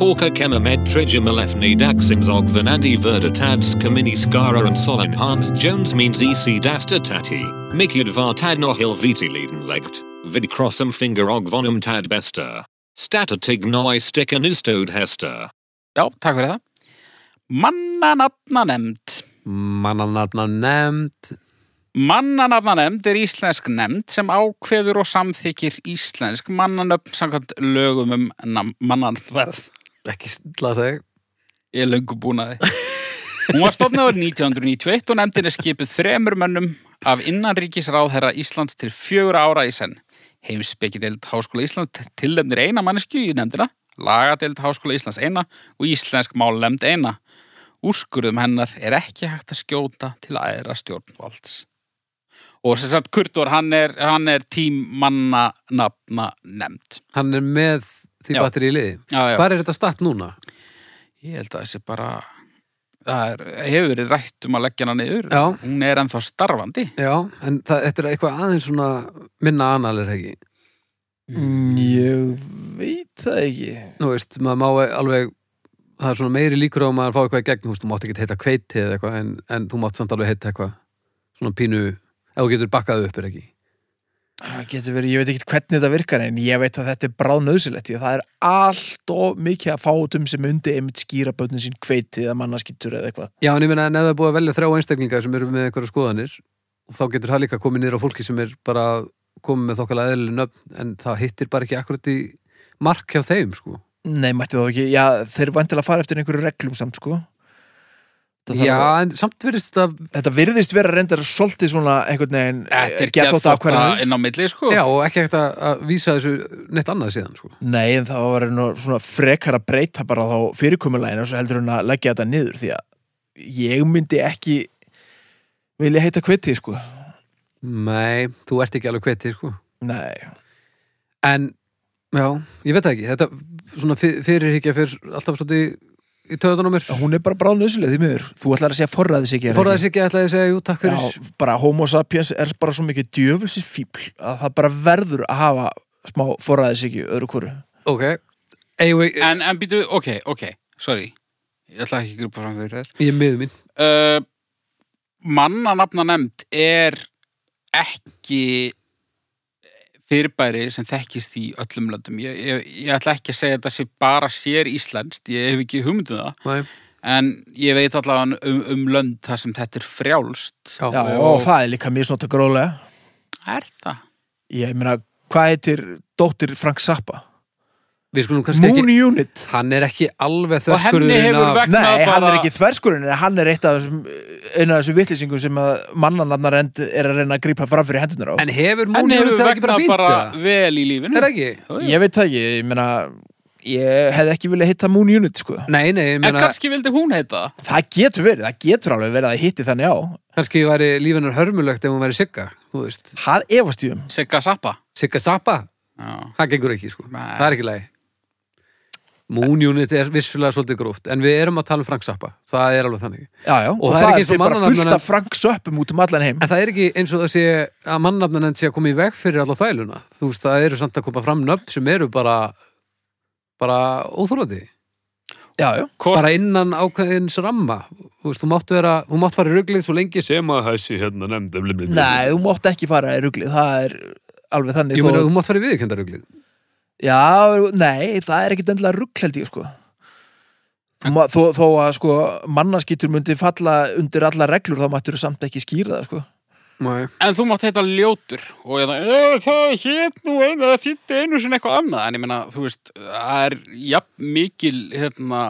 Speaker 4: Hawker Kemamed Trigimalefni Daximzog Vanandi Verdatats Kamini Skara and Solon Hans Jones means EC Dasta Tati, Mikid Vartadno Hilviti Ledenlegt, Vidcrossum Finger Ogvonum Tad Bester, Statatig Noi Stikanustod Hester.
Speaker 2: Já, takk fyrir það. Mannanafna nefnd.
Speaker 3: Mannanarna nefnd
Speaker 2: Mannanafna nefnd er íslensk nefnd sem ákveður og samþykir íslensk mannanöfn samkvæmt lögum um nam- mannanverð.
Speaker 3: Ekki slasa þig
Speaker 2: Ég er löngu búin að þið. Hún var stofnað árið 1991 og nefndin er skipuð þremur mönnum af innanríkisráðherra Íslands til fjögur ára í senn. Heimspekideild Háskóla Íslands tilnefnir eina mannesku í nefndina, lagadeild Háskóla Íslands eina og íslensk málnefnd eina. Úrskurðum hennar er ekki hægt að skjóta til aðra stjórnvalds. Og sem sagt, Kurtur, hann er, hann er tímanna nafna nefnd.
Speaker 3: Hann er með því
Speaker 2: Já.
Speaker 3: batteri í liði
Speaker 2: Já, já.
Speaker 3: Hvar er þetta statt núna?
Speaker 2: Ég held að þessi bara það er, hefur verið rætt um að leggja hana niður
Speaker 3: Já.
Speaker 2: hún er ennþá starfandi
Speaker 3: Já, en það, þetta er eitthvað aðeins svona minna anal er það ekki
Speaker 1: Mm, Ég veit það ekki
Speaker 3: Nú veist, maður má alveg það er svona meiri líkur á að maður fá eitthvað í gegn þú veist, þú mátt ekki heita kveiti eða eitthvað en, en þú mátt samt alveg heita eitthvað svona pínu, ef þú getur bakkað upp er ekki
Speaker 1: Það getur verið, ég veit ekki hvernig þetta virkar en ég veit að þetta er bráð nöðsilegt því að það er allt og mikið að fátum sem undi einmitt skýra bötnin sín kveiti eða mannaskittur eða eitthvað
Speaker 3: Já, en ég meina en ef það er búið að velja þrjá einstaklinga sem eru með einhverja skoðanir og þá getur það líka komið niður á fólki sem er bara komið með þokkalega eðlileg nöfn en það hittir bara ekki akkurat í mark hjá þeim, sko
Speaker 1: Nei, mætti þá ekki, já, þeir vantilega fara eftir einhverju reglum samt, sko Þetta þarf
Speaker 3: Já,
Speaker 1: að-
Speaker 3: en samt virðist það
Speaker 1: Þetta virðist vera reyndar svolítið svona einhvern veginn eh,
Speaker 2: Þetta er
Speaker 1: geðþótta ákvarðanir.
Speaker 2: inn á milli sko
Speaker 3: Já, og ekki hægt að, að vísa þessu neitt annað síðan, sko
Speaker 1: Nei, en það var nú svona frekar að breyta bara þá fyrirkomulegin og svo heldur hún að leggja þetta niður því að ég myndi ekki vilja heita kviti, sko
Speaker 3: Nei, þú ert ekki alveg kveiti, sko
Speaker 1: Nei,
Speaker 3: En, já, ég veit það ekki Þetta svona fyr- fyrirhyggja fyrir alltaf svolítið í, í töðunum mér
Speaker 1: hún er bara bráð nöðsileg því miður Þú ætlar að segja forræðis ekki
Speaker 3: Forðaðis ekki ætlaði að segja, jú, takk fyrir
Speaker 1: Já, bara homo sapiens er bara svo mikið djöfelsins fíbl að það bara verður að hafa smá forræðis ekki öðru hverju
Speaker 3: Ok, eigum við,
Speaker 2: En, en býtu, ok, ok, sorry Ég ætla ekki að grúpa fram fyrir þér
Speaker 3: ég er miður mín
Speaker 2: uh, Mannanafna nefnd er ekki fyrirbæri sem þekkist í öllum löndum ég, ég, ég ætla ekki að segja þetta sem bara sér íslenskt Ég hef ekki hugmyndum það
Speaker 3: Nei.
Speaker 2: En ég veit allavega um, um lönd þar sem þetta er frjálst
Speaker 3: Já,
Speaker 1: Já, og það er líka mjög snóta grólega
Speaker 2: Er það?
Speaker 1: Ég meina, hvað heitir dóttir Frank Zappa?
Speaker 3: Við skulum kannski
Speaker 1: Moon
Speaker 3: ekki
Speaker 1: Unit
Speaker 3: Hann er ekki alveg
Speaker 2: Og henni
Speaker 3: þverskurðurinn
Speaker 2: hefur
Speaker 3: af
Speaker 2: vegna-
Speaker 1: Nei, hann er
Speaker 2: bara-
Speaker 1: ekki þverskurinn en hann er eitt af þessum einu af þessum vittlýsingum sem að mannanarnar end er að reyna að grípa fram fyrir hendunar á
Speaker 3: En hefur
Speaker 2: Henni
Speaker 3: Moon
Speaker 2: hefur
Speaker 3: Unit ekki
Speaker 2: vegna
Speaker 3: bara fínt
Speaker 2: bara
Speaker 3: það?
Speaker 2: vel í lífinu
Speaker 3: Er það ekki?
Speaker 2: Jú, jú.
Speaker 1: Ég veit það ekki, ég meina ég hefði ekki viljað hitta Moon Unit sko
Speaker 3: Nei, nei, ég
Speaker 2: En
Speaker 3: meina,
Speaker 2: kannski vildi hún heita það
Speaker 1: Það getur verið, það getur alveg verið að það hitti þannig á
Speaker 3: kannski væri lífinar hörmulegt ef hún væri Sigga, þú veist
Speaker 1: Það efast ég um
Speaker 2: Sigga Zappa
Speaker 3: Sigga Zappa,
Speaker 2: Já.
Speaker 3: það gengur ekki, sko
Speaker 2: Nei.
Speaker 3: Það er ekki lægi Moon Unit er vissulega svolítið gróft en við erum að tala um Frank Zappa, það er alveg þannig
Speaker 1: Já, já, og, það, er
Speaker 3: eins og
Speaker 1: til bara fullt
Speaker 3: mannanafnanefnd-
Speaker 1: af Frank Söppum út um allan heim
Speaker 3: En það er ekki eins og það sé að mannafnanend sé að koma í veg fyrir alla þvæluna. Þú veist, það eru samt að koma fram nöfn sem eru bara bara óþúlandi.
Speaker 1: Já, já,
Speaker 2: Hvort,
Speaker 3: Bara innan ákveðins ramma. Þú veist, þú mátt vera, þú mátt fara í ruglið svo lengi sem að hæssi hérna nefnd.
Speaker 1: nei, þú mátt ekki fara í ruglið Það er alveg þannig
Speaker 3: Ég meina,
Speaker 1: þó-
Speaker 3: þú mátt fara í viðkenda ruglið.
Speaker 1: Já, nei, það er ekkit endilega rugg held ég sko Þú ma- Þó, þó að sko mannaskýtur myndi falla undir alla reglur þá mættur þú samt ekki skýra það sko
Speaker 3: Nei.
Speaker 2: en þú mátt heita ljótur og ég það, "Eh, það hét nú einu það þýtti einu sinni eitthvað annað en ég meina, þú veist, það er jafn mikil hérna,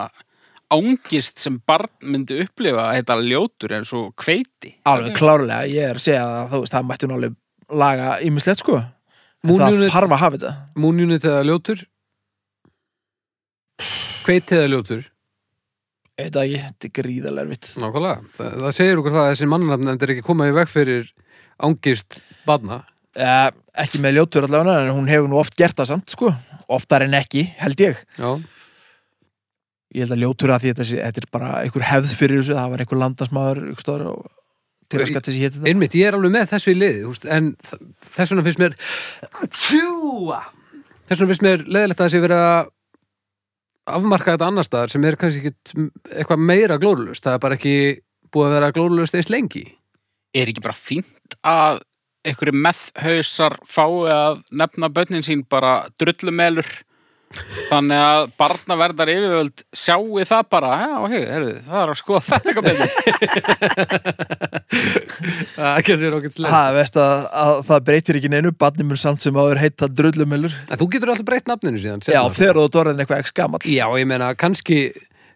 Speaker 2: ángist sem barn myndi upplifa að heita ljótur eins og kveiti
Speaker 1: Alveg klárlega, ég er að segja að þú veist það mættur nálega laga ímislegt sko En
Speaker 3: Moon
Speaker 1: Það
Speaker 3: Unit-
Speaker 1: þarf að hafa þetta
Speaker 3: Moon Unit eða ljótur? Hveit eða ljótur?
Speaker 1: Ég veit það ekki, þetta er gríðalega erfitt
Speaker 3: Nákvæmlega. Það, það segir okkur það að þessi mannafnanend er ekki að koma í veg fyrir ángist badna.
Speaker 1: eh, ekki með ljótur allavega en hún hefur nú oft gert það samt sko oftar en ekki, held ég
Speaker 3: já,
Speaker 1: ég held að ljótur að því þetta, sé, þetta er bara einhver hefð fyrir þessu, það var einhver landasmaður einhver stóður á tilhæskat þessi hétt þetta
Speaker 3: einmitt, ég er alveg með þessu í liði þú veist, en þ- þess vegna finnst mér Tjúa! þess vegna finnst mér leðilegt að þessi verið að afmarka þetta annar staðar sem er kannski ekkit m- eitthvað meira glórulust það er bara ekki búið að vera glórulust eins lengi
Speaker 2: er ekki bara fínt að einhverju meðhausar fái að nefna bönnin sín bara drullumelur þannig að barnaverðar yfirvöld sjáu það bara já, hey, heyrðu, það er að skoða þetta eitthvað betur
Speaker 3: það getur okkur til
Speaker 1: Það veist að, að það breytir ekki neinu barnið mun samt sem áður heita drullumelur
Speaker 3: en þú getur alltaf breytt nafninu síðan
Speaker 1: Já,
Speaker 3: seinna.
Speaker 1: þegar þú ert orðin eitthvað ekki skamall
Speaker 3: já ég meina kannski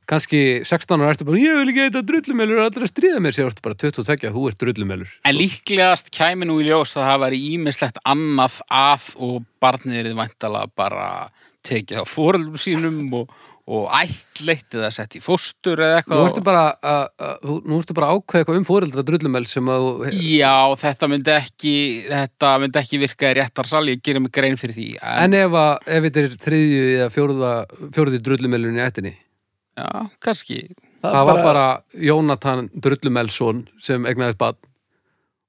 Speaker 3: kannski 16 ára ertu bara ég vil ekki heita drullumelur og allir að stríða mér sér ertu bara 22 þú ert drullumelur
Speaker 2: en líklegast kæmi nú í ljós að það væri ímislegt annað að og barnið er væntalega bara tekið á fóröldum sínum og, og ættleitt eða sett í fóstur eða
Speaker 3: Nú ertu
Speaker 2: eitthvað
Speaker 3: bara að, að, þú- nú ertu bara að ákveða eitthvað um fóreldra drullumel sem að þú
Speaker 2: Já, þetta myndi ekki þetta myndi ekki virka í réttarsal ég gerir mig grein fyrir því en,
Speaker 3: En ef, að, ef þetta er þriðju eða fjóruða, fjóruði drullumelun í ættinni
Speaker 2: já, kannski
Speaker 1: Það
Speaker 3: Það
Speaker 1: er
Speaker 3: var bara Jónatan Drullumelsson sem egnaðist bann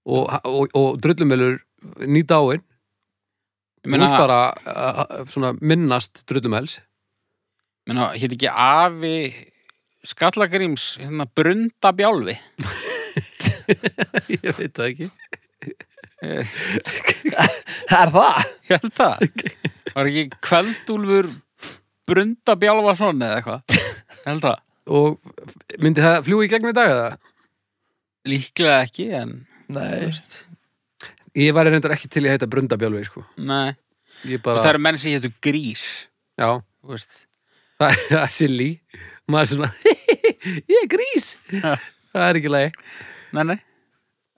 Speaker 3: og, og, og drullumelur nýta
Speaker 2: Ég
Speaker 3: áin Þú
Speaker 2: meina,
Speaker 3: ert bara að, að, svona, minnast drullumels
Speaker 2: meina hér ekki afi Skallagríms, hérna, brunda bjálfi
Speaker 3: Ég veit það ekki
Speaker 1: Er það?
Speaker 2: ég held það var ekki kveldúlfur brunda bjálfa svona eða eitthvað ég held það,
Speaker 3: Og myndi það fljúi í gegnum í dag eða?
Speaker 2: líklega ekki en,
Speaker 1: Nei,
Speaker 3: Ég væri reyndar ekki til í að heita Brundabjálfi sko.
Speaker 2: nei,
Speaker 3: Ég
Speaker 2: Þú
Speaker 3: bara,
Speaker 2: veist, það eru menn sem hétu grís
Speaker 3: já,
Speaker 2: þú veist.
Speaker 3: það, það er silly Maður er svona, ég er grís
Speaker 2: Já.
Speaker 3: Það er ekki lægi
Speaker 2: nei, nei,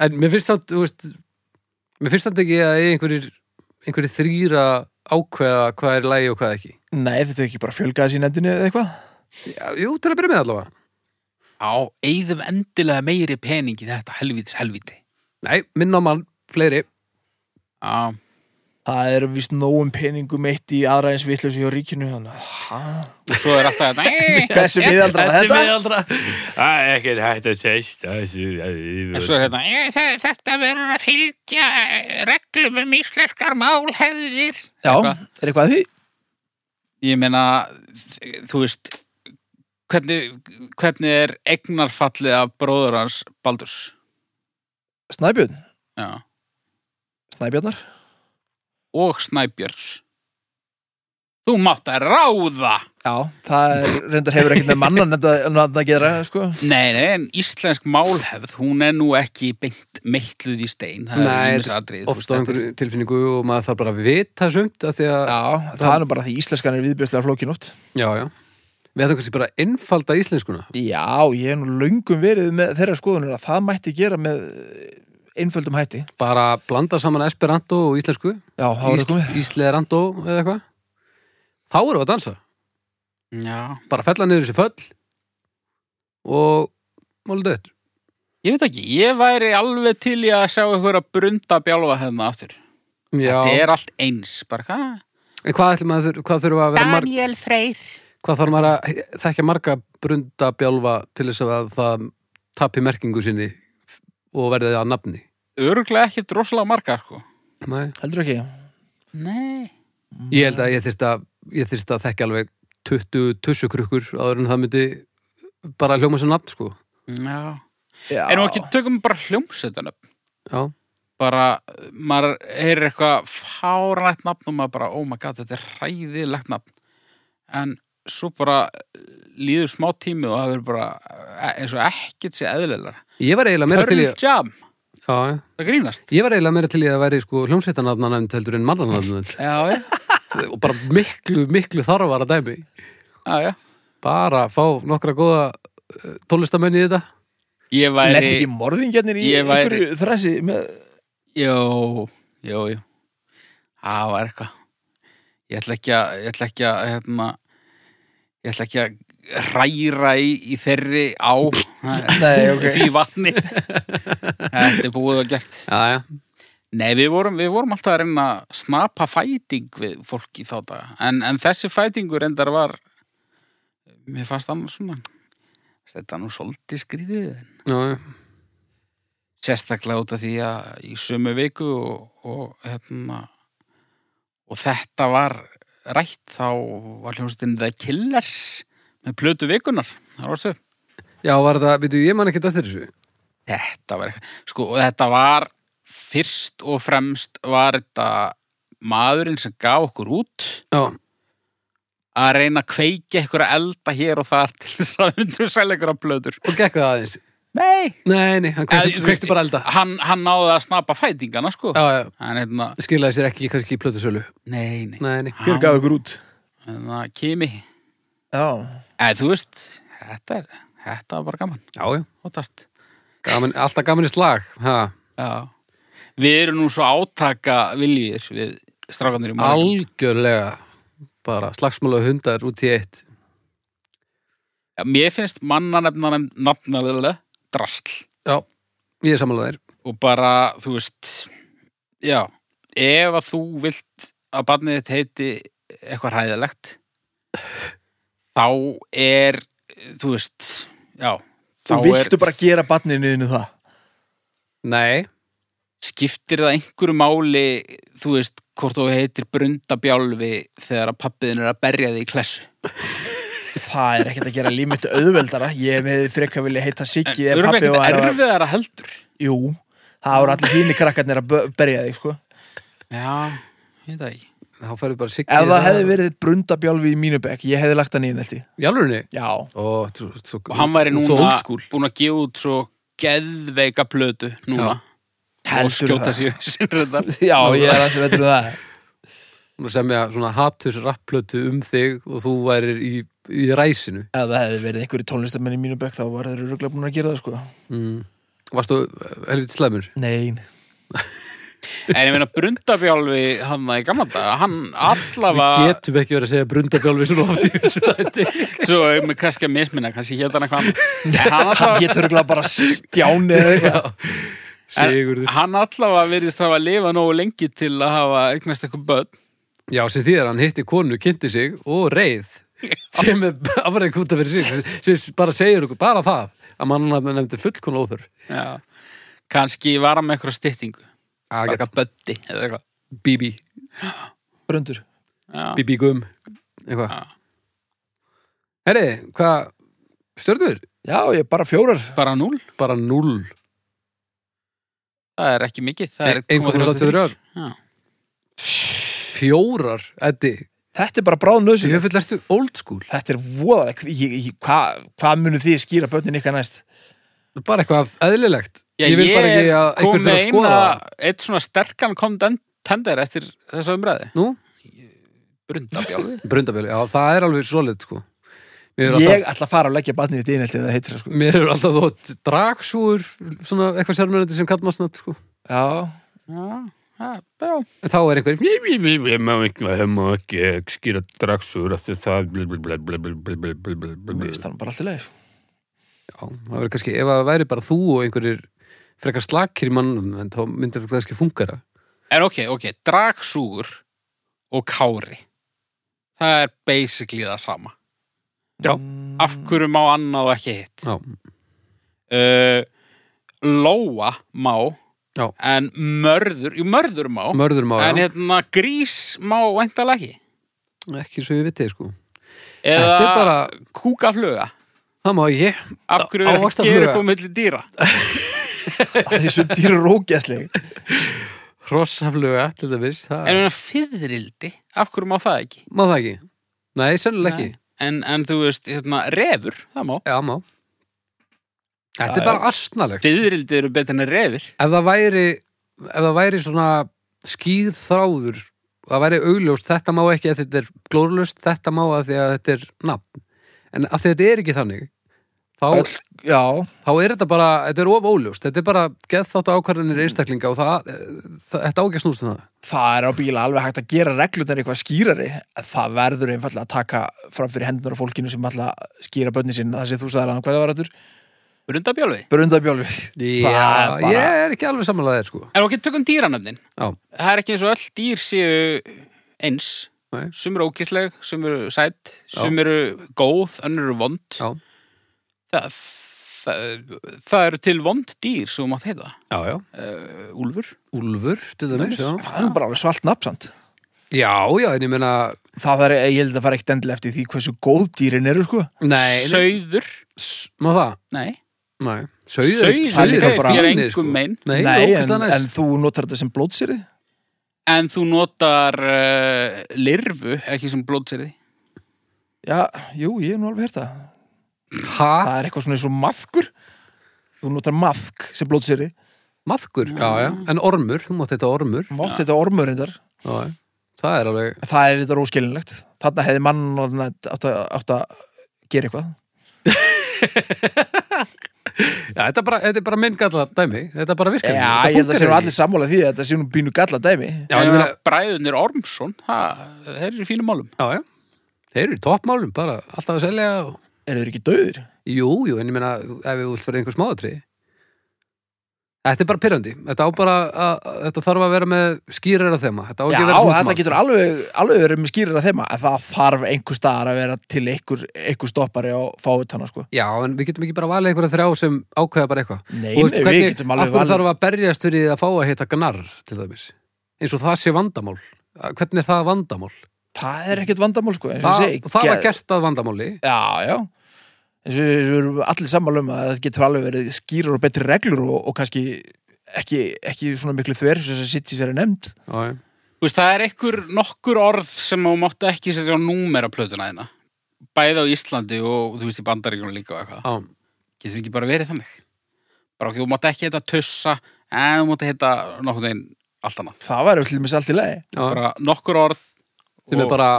Speaker 3: En mér finnst það, þú veist Mér finnst það ekki að eiga einhverjir einhverjir þrýra ákveða hvað er lægi og hvað ekki
Speaker 1: nei þetta er ekki bara fjölgaðis í nefndinu eða eitthvað
Speaker 3: Já, Jú, til að byrja með allavega
Speaker 2: á, eigðum endilega meiri pening í þetta helvítis helvíti
Speaker 3: Nei, minna á mann, fleiri
Speaker 2: á,
Speaker 1: Það eru víst nógum peningum eitt í aðra eins vitleysu hjá ríkinu þannig. að- Ha?
Speaker 2: og svo er alltaf þetta "Eh,
Speaker 1: Hversu miðaldra var þetta?
Speaker 3: miðaldra
Speaker 5: Það er ekkert hægt að testa þessu.
Speaker 2: En svo er hérna, "Ég, þe- þetta verður að fylgja eh, reglum um íslenskar málhefðir.
Speaker 1: Já,
Speaker 2: Eitthvað.
Speaker 1: er eitthvað að því?
Speaker 2: Ég meina, þ- þú veist, hvernig, hvernig er egnarfallið af bróður hans Baldurs?
Speaker 1: Snæbjörn,
Speaker 2: Já.
Speaker 1: Snæbjörnar
Speaker 2: Og Snæbjörns. Þú mátt að ráða!
Speaker 1: Já, það er, reyndar hefur ekkert með mannan þetta að gera, sko
Speaker 2: Nei, nei, en íslensk málhefð, hún er nú ekki beint meitluð í stein. Það
Speaker 3: Nei,
Speaker 2: er
Speaker 3: þetta
Speaker 2: ýmis
Speaker 3: er
Speaker 2: atriði, þú veist,
Speaker 3: Oft á
Speaker 2: þetta er-
Speaker 3: einhverju tilfinningu og maður þarf bara að vita sumt að því að,
Speaker 1: Já, það, er nú bara því íslenskan er viðbjörslega flókin oft
Speaker 3: já, já Við ætlum kannski bara að innfalda íslenskuna
Speaker 1: Já, ég hef nú löngum verið með þeirra skoðunir að það mætti gera með eh, einföldum hætti
Speaker 3: Bara blanda saman esperanto og íslensku
Speaker 1: Já, það var komið
Speaker 3: Ísleranto eða eitthvað Þá erum við að dansa
Speaker 2: Já,
Speaker 3: bara fella niður þessi föll og málið dött
Speaker 2: ég veit ekki, ég væri alveg til í að sjá einhverja brunda bjálfa hérna aftur. Þetta er allt eins, bara hvað?
Speaker 3: en hvað ætlum að þur, hvað þurfa að vera marg,
Speaker 2: Daniel Freyr
Speaker 3: hvað þarf maður að þekkja marga brunda bjálfa til þess að það tapi merkingu sinni og verði það að nafni
Speaker 2: Öruglega ekki droslega margar sko
Speaker 3: Nei.
Speaker 1: Heldur ekki?
Speaker 2: Nei
Speaker 3: ég held að ég þyrst að ég þyrst að þekkja alveg 20 tussukrukkur áður en það myndi bara hljóma sem nafn sko
Speaker 2: Já
Speaker 1: Já,
Speaker 2: En nú ekki tökum bara hljómsveitan upp
Speaker 3: já,
Speaker 2: Bara, uh, maður er eitthvað fárætt nafn og maður bara, oh my god, þetta er hræðilegt nafn En svo bara uh, líður smá tími og það verður bara uh, eins og ekkert sé eðlilegar
Speaker 3: ég var eiginlega meira til í
Speaker 2: Pearl
Speaker 3: að-
Speaker 2: Jam,
Speaker 3: já, já.
Speaker 2: það grínast
Speaker 3: ég var eiginlega meira til í að væri sko hljómsveitanafnanefnd heldur en mannanafnanefnd
Speaker 2: Já, já,
Speaker 3: og bara miklu, miklu þarfara dæmi
Speaker 2: já, já
Speaker 3: bara fá nokkra góða tólistamenn í þetta
Speaker 2: Ég
Speaker 1: Lendi
Speaker 2: væri
Speaker 1: ekki morðingjarnir í
Speaker 2: Ég væri-
Speaker 1: einhverju þræsi með...
Speaker 2: Jó, jó, jó. Það var eitthvað. Ég ætla ekki að, ég ætla ekki að, hérna, ég ætla ekki að hræra í, í þeirri á
Speaker 1: Nei, ok
Speaker 2: því vatni. Þetta er búið og gert.
Speaker 3: já, já.
Speaker 2: Nei, við vorum, við vorum alltaf að reyna að snapa fæting við fólk í þá daga. En, en þessi fætingur endar var, mér fannst annars svona, þetta er nú svolítið skrítið.
Speaker 3: já, já.
Speaker 2: Sérstaklega út af því að í sömu viku og, og, hérna, og þetta var rætt, þá var hljómsveitin The Killers með plötu vikunar. Það var stöð.
Speaker 3: já, var þetta, veitum, ég man ekki þetta þessu
Speaker 2: Þetta var eitthvað, sko, og þetta var fyrst og fremst var þetta maðurinn sem gaf okkur út
Speaker 3: já,
Speaker 2: að reyna að kveiki einhverja elda hér og þar til þess að myndu selja einhverja blöður.
Speaker 3: og gekk það aðeins
Speaker 2: Nei.
Speaker 3: nei, nei, hann kveikti- kveikti bara elda
Speaker 2: Hann, hann náði að snapa fætingana, sko.
Speaker 3: já, já,
Speaker 2: Hann hérna,
Speaker 3: skilaði sér ekki kannski í plötusölu
Speaker 2: nei, nei,
Speaker 3: nei, nei,
Speaker 1: Hver gaf ykkur út?
Speaker 2: hann kemi.
Speaker 1: Já,
Speaker 2: Eða þú veist, þetta er, þetta var bara gaman,
Speaker 3: já, já
Speaker 2: óttast.
Speaker 3: gaman, alltaf gaman í slag ha.
Speaker 2: Já. Við erum nú svo átaka viljir við strákanir í morgun.
Speaker 3: algjörlega bara slagsmála hundar út í eitt
Speaker 2: Já, Mér finnst mannanefnanum nafnalegulega drasl.
Speaker 3: já, ég er samanlega þér
Speaker 2: og bara, þú veist já, ef að þú vilt að barnið þitt heiti eitthvað hræðilegt þá er þú veist, já þá
Speaker 1: þú viltu bara gera barninu þínu það
Speaker 3: nei,
Speaker 2: skiptir það einhverju máli þú veist, hvort þú heitir brundabjálfi þegar að pappiðin er að berja þig í klessu
Speaker 1: Það er ekkert að gera líf mitt auðveldara Ég hefði frekka vilja heita Siggi
Speaker 2: Við
Speaker 1: eða
Speaker 2: erum
Speaker 1: pappi og
Speaker 2: ekkert
Speaker 1: að...
Speaker 2: erfiðara heldur
Speaker 1: Jú, það voru allir hínir krakkarnir að bö- berja þig sko.
Speaker 2: Já, ég það ekki
Speaker 3: þá færðu bara sikki
Speaker 1: Ef það hefði verið brundabjálfi í mínu bekk Ég hefði lagt hann í nælti
Speaker 3: jálfurinni
Speaker 1: Já,
Speaker 3: Ó, þetta er svo- svo-
Speaker 2: og hann væri
Speaker 3: svo
Speaker 2: núna
Speaker 3: old school.
Speaker 2: búin að gefa út svo geðveika plötu núna og
Speaker 1: heldur
Speaker 2: skjóta
Speaker 1: það
Speaker 2: sig í hausinn reyndar.
Speaker 1: Já, ég er aðeins veitur um það
Speaker 3: Hún er að semja svona hattus rapplötu um þig og þú værir í, í ræsinu
Speaker 1: Ef það hefði verið einhverju tónlistamenn í mínu bekk Þá var þeir röglega búin að gera það sko
Speaker 3: mm. Varstu helviti eh, slæmur?
Speaker 1: Nein
Speaker 2: En ég meina Brundabjálfi hann í gamla daga, hann
Speaker 3: Við
Speaker 2: allavega
Speaker 3: getum ekki verið að segja brundabjálfi svona oft í þessu þætti
Speaker 2: svo um kannski að misminna, kannski hétt hann eitthvað annað. en hann
Speaker 1: Hann
Speaker 2: allavega,
Speaker 1: getur röglega bara stjáni eða eitthvað
Speaker 3: Sigurður
Speaker 2: hann allavega virðist hafa lifað nógu lengi til að hafa eignast eitthvað börn
Speaker 3: Já, sem því að hann hitti konu, kynnti sig og reið sem er afræk út af fyrir sig sem bara segir okkur, bara það að mannarnar nefndi fullkona óþur
Speaker 2: Já. kannski var hann með eitthvað styttingu
Speaker 3: Bara
Speaker 2: eitthvað böddi eða eitthvað
Speaker 3: eitthvað BB,
Speaker 1: Brundur
Speaker 2: Já.
Speaker 3: BB gum eitthvað
Speaker 2: Já.
Speaker 3: Herri, hvað stjörnur?
Speaker 1: Já, ég er bara fjórar
Speaker 2: bara núl,
Speaker 3: Bara 0
Speaker 2: það er ekki mikið það er 1,33.
Speaker 3: 1,33
Speaker 2: Já.
Speaker 3: Fjórar, Eddi
Speaker 1: Þetta er bara bráð
Speaker 3: Þú hefur lertu old school
Speaker 1: Þetta er voðaleg Hvað hva munu þið skýra börnin ykkar næst?
Speaker 3: Bara eitthvað eðlilegt
Speaker 2: Já,
Speaker 3: Ég vil bara ekki að
Speaker 2: kom
Speaker 3: einhver þarf
Speaker 2: með
Speaker 3: að skoða
Speaker 2: eina,
Speaker 3: það
Speaker 2: eitt svona sterkan kontender eftir þessa umræði
Speaker 3: Nú,
Speaker 2: Brundabjálfi
Speaker 3: brundabjölu, já það er alveg svolít sko Mér er
Speaker 1: Ég
Speaker 3: alltaf,
Speaker 1: ætla að fara að leggja barnið í dýnelti eða heitir það sko
Speaker 3: mér er alltaf þótt dragsúr svona eitthvað sérmennandi sem kallar maður snabbt sko
Speaker 1: Já,
Speaker 2: Já, já, já
Speaker 3: En þá er einhver
Speaker 5: Ég- ég- ég- Ég má ekki, ég má ekki skýra dragsur af því það bl- bl- bl- bl- bl- bl- bl- bl- bl-
Speaker 1: mér
Speaker 5: bl-
Speaker 1: finnst það bara alltaf leið
Speaker 3: Já, það verður kannski, ef það væri bara þú og einhverjir frekar slakir í mannum en þá myndir það kannski fungara
Speaker 2: En ok, ok, dragsúgur og kári Það er basically það sama
Speaker 3: Já.
Speaker 1: Mm,
Speaker 2: Af hverju má annað og ekki hitt
Speaker 3: Já,
Speaker 2: uh, Lóa má
Speaker 3: Já.
Speaker 2: En mörður, jú mörður má
Speaker 3: mörður má,
Speaker 2: En
Speaker 3: já,
Speaker 2: hérna grís má væntalega ekki
Speaker 3: ekki svo ég vitið sko Þetta
Speaker 2: Eða
Speaker 3: er bara,
Speaker 2: kúkafluga
Speaker 3: það má ég
Speaker 2: Af hverju er ekki að
Speaker 3: Ávaxtafluga.
Speaker 2: gera upp á milli dýra
Speaker 1: af Því sem dýr er ógeðsleg
Speaker 3: hrossafluga til dæmis, það
Speaker 2: En hérna fiðrildi, af hverju má það ekki
Speaker 3: má það ekki Nei, sennilega ekki,
Speaker 2: En, en þú veist, hérna, refur, það má
Speaker 3: já má Þetta
Speaker 1: Já,
Speaker 3: er bara astnalegt
Speaker 2: Fiðrildi eru betur en refir
Speaker 3: Ef það væri, ef það væri svona skýð þráður það væri augljóst, þetta má ekki að þetta er glórlust, þetta má að því að þetta er nafn, en að þetta er ekki þannig þá,
Speaker 1: Öll, Já,
Speaker 3: þá er þetta bara, þetta er of óljóst þetta er bara geðþátt ákvarðanir einstaklinga og það, það, þetta ágæst núst um það
Speaker 1: það er á bíla alveg hægt að gera reglunar eitthvað skýrari en það verður einfallega að taka fram fyrir hendunar og fólkinu sem ætla að skýra börnin sín það sem þú sagðir að hvað það var rættur
Speaker 2: Brundabjálfi.
Speaker 1: Brundabjálfi Það
Speaker 3: Já,
Speaker 1: er bara-
Speaker 3: ég er ekki alveg samanlegaðir sko
Speaker 2: En ok, tökum dýranöfnin.
Speaker 3: Já,
Speaker 2: Það er ekki eins og öll dýr séu eins.
Speaker 3: Nei.
Speaker 2: Sum eru ókísleg, sum eru sætt, sum eru góð, önnur eru vond.
Speaker 3: já,
Speaker 2: Það, það, það eru til vond dýr sem þú mátt heita.
Speaker 3: já, já
Speaker 2: Uh, Úlfur.
Speaker 3: Úlfur, til dæmis, já
Speaker 1: Það er nú bara alveg svalt nafnsand
Speaker 3: Já, já, en ég meina
Speaker 1: Það er, ég held að fara ekkert endilega eftir því hversu góð dýrin eru sko
Speaker 3: Nei, nei,
Speaker 2: Sauður.
Speaker 3: s- má það
Speaker 2: Nei.
Speaker 3: Nei, sauðir
Speaker 2: Sauðir
Speaker 1: eru bara
Speaker 2: engum mein.
Speaker 3: sko. Nei,
Speaker 1: en,
Speaker 3: ókvæslega
Speaker 1: en
Speaker 3: næst
Speaker 1: þú notar þetta sem blótsýrið
Speaker 2: En þú notar uh, lirfu, ekki sem blótsýrði.
Speaker 1: Já, jú, ég er nú alveg hérta
Speaker 3: Ha,
Speaker 1: Það er eitthvað svona eins og maðkur Þú notar maðk sem blótsýrið
Speaker 3: maðkur, já, já En ormur, þú mátt þetta ormur
Speaker 1: Mátt þetta ormur reyndar
Speaker 3: Já, já, það er alveg
Speaker 1: Það er þetta róskilinlegt Þarna hefði mann átt að, átt að gera eitthvað
Speaker 3: Já, þetta er bara, þetta er bara minn galla dæmi Þetta er bara virkar
Speaker 1: Já, ég held að séu allir sammála því að þetta séu nú bínu galla dæmi
Speaker 3: Já, en ég meina,
Speaker 2: Bræðunir Ormsson, ha, þeir eru í fínum málum.
Speaker 3: já, já Þeir eru í toppmálum, bara alltaf að selja og...
Speaker 1: Er þeir ekki döður?
Speaker 3: Jú, jú, en ég meina Ef við vilt fyrir einhver smáðatri Þetta er bara pyrrandi Þetta á bara, að, að, þetta þarf að vera með skýrara þema Þetta
Speaker 1: Já,
Speaker 3: á ekki að vera svona
Speaker 1: þetta getur alveg, alveg verið með skýrir að þeima að það þarf einhver staðar að vera til einhver, einhver stoppari á fáutana sko.
Speaker 3: Já, en við getum ekki bara valið einhverja þrjá sem ákveða bara eitthvað
Speaker 1: Nei,
Speaker 3: Og veistu
Speaker 1: nei, við
Speaker 3: hvernig-
Speaker 1: getum alveg
Speaker 3: Af hverju
Speaker 1: valið-
Speaker 3: þarf að berjast fyrir því að fá að heita gnar til dæmis eins og það sé vandamál Hvernig er það vandamál?
Speaker 1: Það er ekkert vandamál sko, eins og
Speaker 3: Það,
Speaker 1: ég segi,
Speaker 3: það var
Speaker 1: ge-
Speaker 3: gert að vandamáli
Speaker 1: Já, já eins og við erum allir sammála um að það getur alveg verið skýrar og betri reglur og, og kannski ekki, ekki svona miklu þver sem þessi sitt í sér er nefnd
Speaker 3: Já, já.
Speaker 2: Þú veist, það er einhver nokkur orð sem þú mátt ekki setja á númera plötuna þína. Bæði á Íslandi og þú veist í Bandaríkjunum líka og eitthvað.
Speaker 3: Já,
Speaker 2: Getur ekki bara verið þannig. Bara okkur, þú mátt ekki heita tussa, en þú mátt heita nokkur veginn allt annað.
Speaker 1: Það var til dæmis allt í lagi
Speaker 3: já.
Speaker 2: Bara nokkur orð.
Speaker 3: sem er
Speaker 2: og-
Speaker 3: bara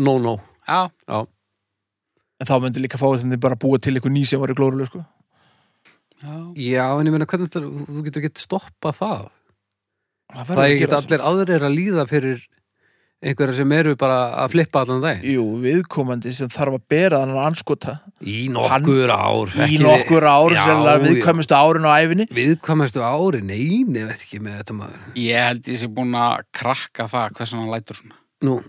Speaker 3: no-no
Speaker 2: Já,
Speaker 3: Já,
Speaker 1: en þá myndi líka fáutana bara búa til einhver ný sem var í glórulega sko.
Speaker 2: já.
Speaker 3: já en ég meina hvernig þetta, þú- þú getur ekki stoppa það
Speaker 1: Það
Speaker 3: Það
Speaker 1: verður
Speaker 3: er
Speaker 1: að
Speaker 3: ekki
Speaker 1: gera
Speaker 3: allir aðrir að líða fyrir einhverja sem eru bara að flippa allan daginn
Speaker 1: Jú, viðkomandi sem þarf að bera þannig anskota
Speaker 3: Í nokkur ár
Speaker 1: í
Speaker 3: ekki-
Speaker 1: nokkur ár
Speaker 3: Já,
Speaker 1: sem
Speaker 3: já.
Speaker 1: viðkvæmustu árin á æfinni
Speaker 3: Viðkvæmastu ári, nei, nefnir ekki með þetta maður
Speaker 2: Ég held ég sé búin að krakka það hversu hann lætur svona.
Speaker 3: Nú,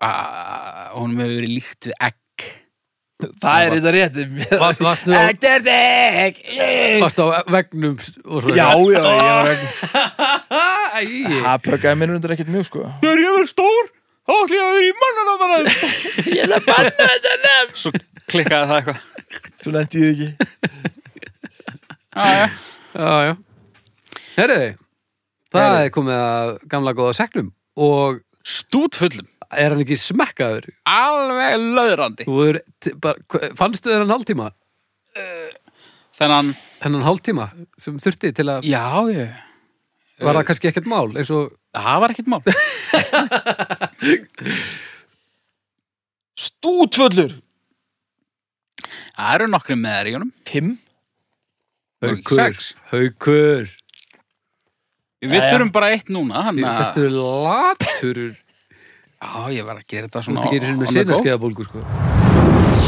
Speaker 2: Ah, Honum hefur verið líkt við egg.
Speaker 1: Það er þetta rétt
Speaker 3: Var- varstu á-
Speaker 1: Ekkert egg
Speaker 3: varst á vegnum og svo
Speaker 1: Já, já, ég var ekki
Speaker 3: Æi.
Speaker 1: Það pökkaði mér undir ekkert mjög sko
Speaker 2: Þegar ég verið stór, þá ætlum ég að vera í mannanabaraðum.
Speaker 1: Ég er að banna þetta nefn
Speaker 2: Svo klikkaði það eitthvað.
Speaker 1: Svo lendi ég því ekki
Speaker 2: Já, já.
Speaker 3: Já, já Herriði, það er komið að gamla góða seklum og
Speaker 2: Stútfullum.
Speaker 3: er hann ekki smekkaður?
Speaker 2: Alveg löðrandi.
Speaker 3: Þú er, t- bara, hva- fannstu þennan hálftíma?
Speaker 2: Þennan,
Speaker 3: Þennan hálftíma sem þurfti til að
Speaker 2: já, ég,
Speaker 3: var það kannski ekkert mál eins og
Speaker 2: það var ekkert mál.
Speaker 1: Stútfullur
Speaker 2: Það eru nokkri með þær í honum.
Speaker 1: Fimm
Speaker 2: Nú, sex.
Speaker 3: Haukur
Speaker 2: Við
Speaker 1: Jæja.
Speaker 2: þurfum bara eitt núna, hann að...
Speaker 3: Þetta er latur Þú
Speaker 2: Já, ég var að gera þetta
Speaker 3: ert
Speaker 2: svona...
Speaker 3: ekki einu sinni
Speaker 2: on
Speaker 3: með
Speaker 2: the go.
Speaker 3: sinarskeiðabólgu sko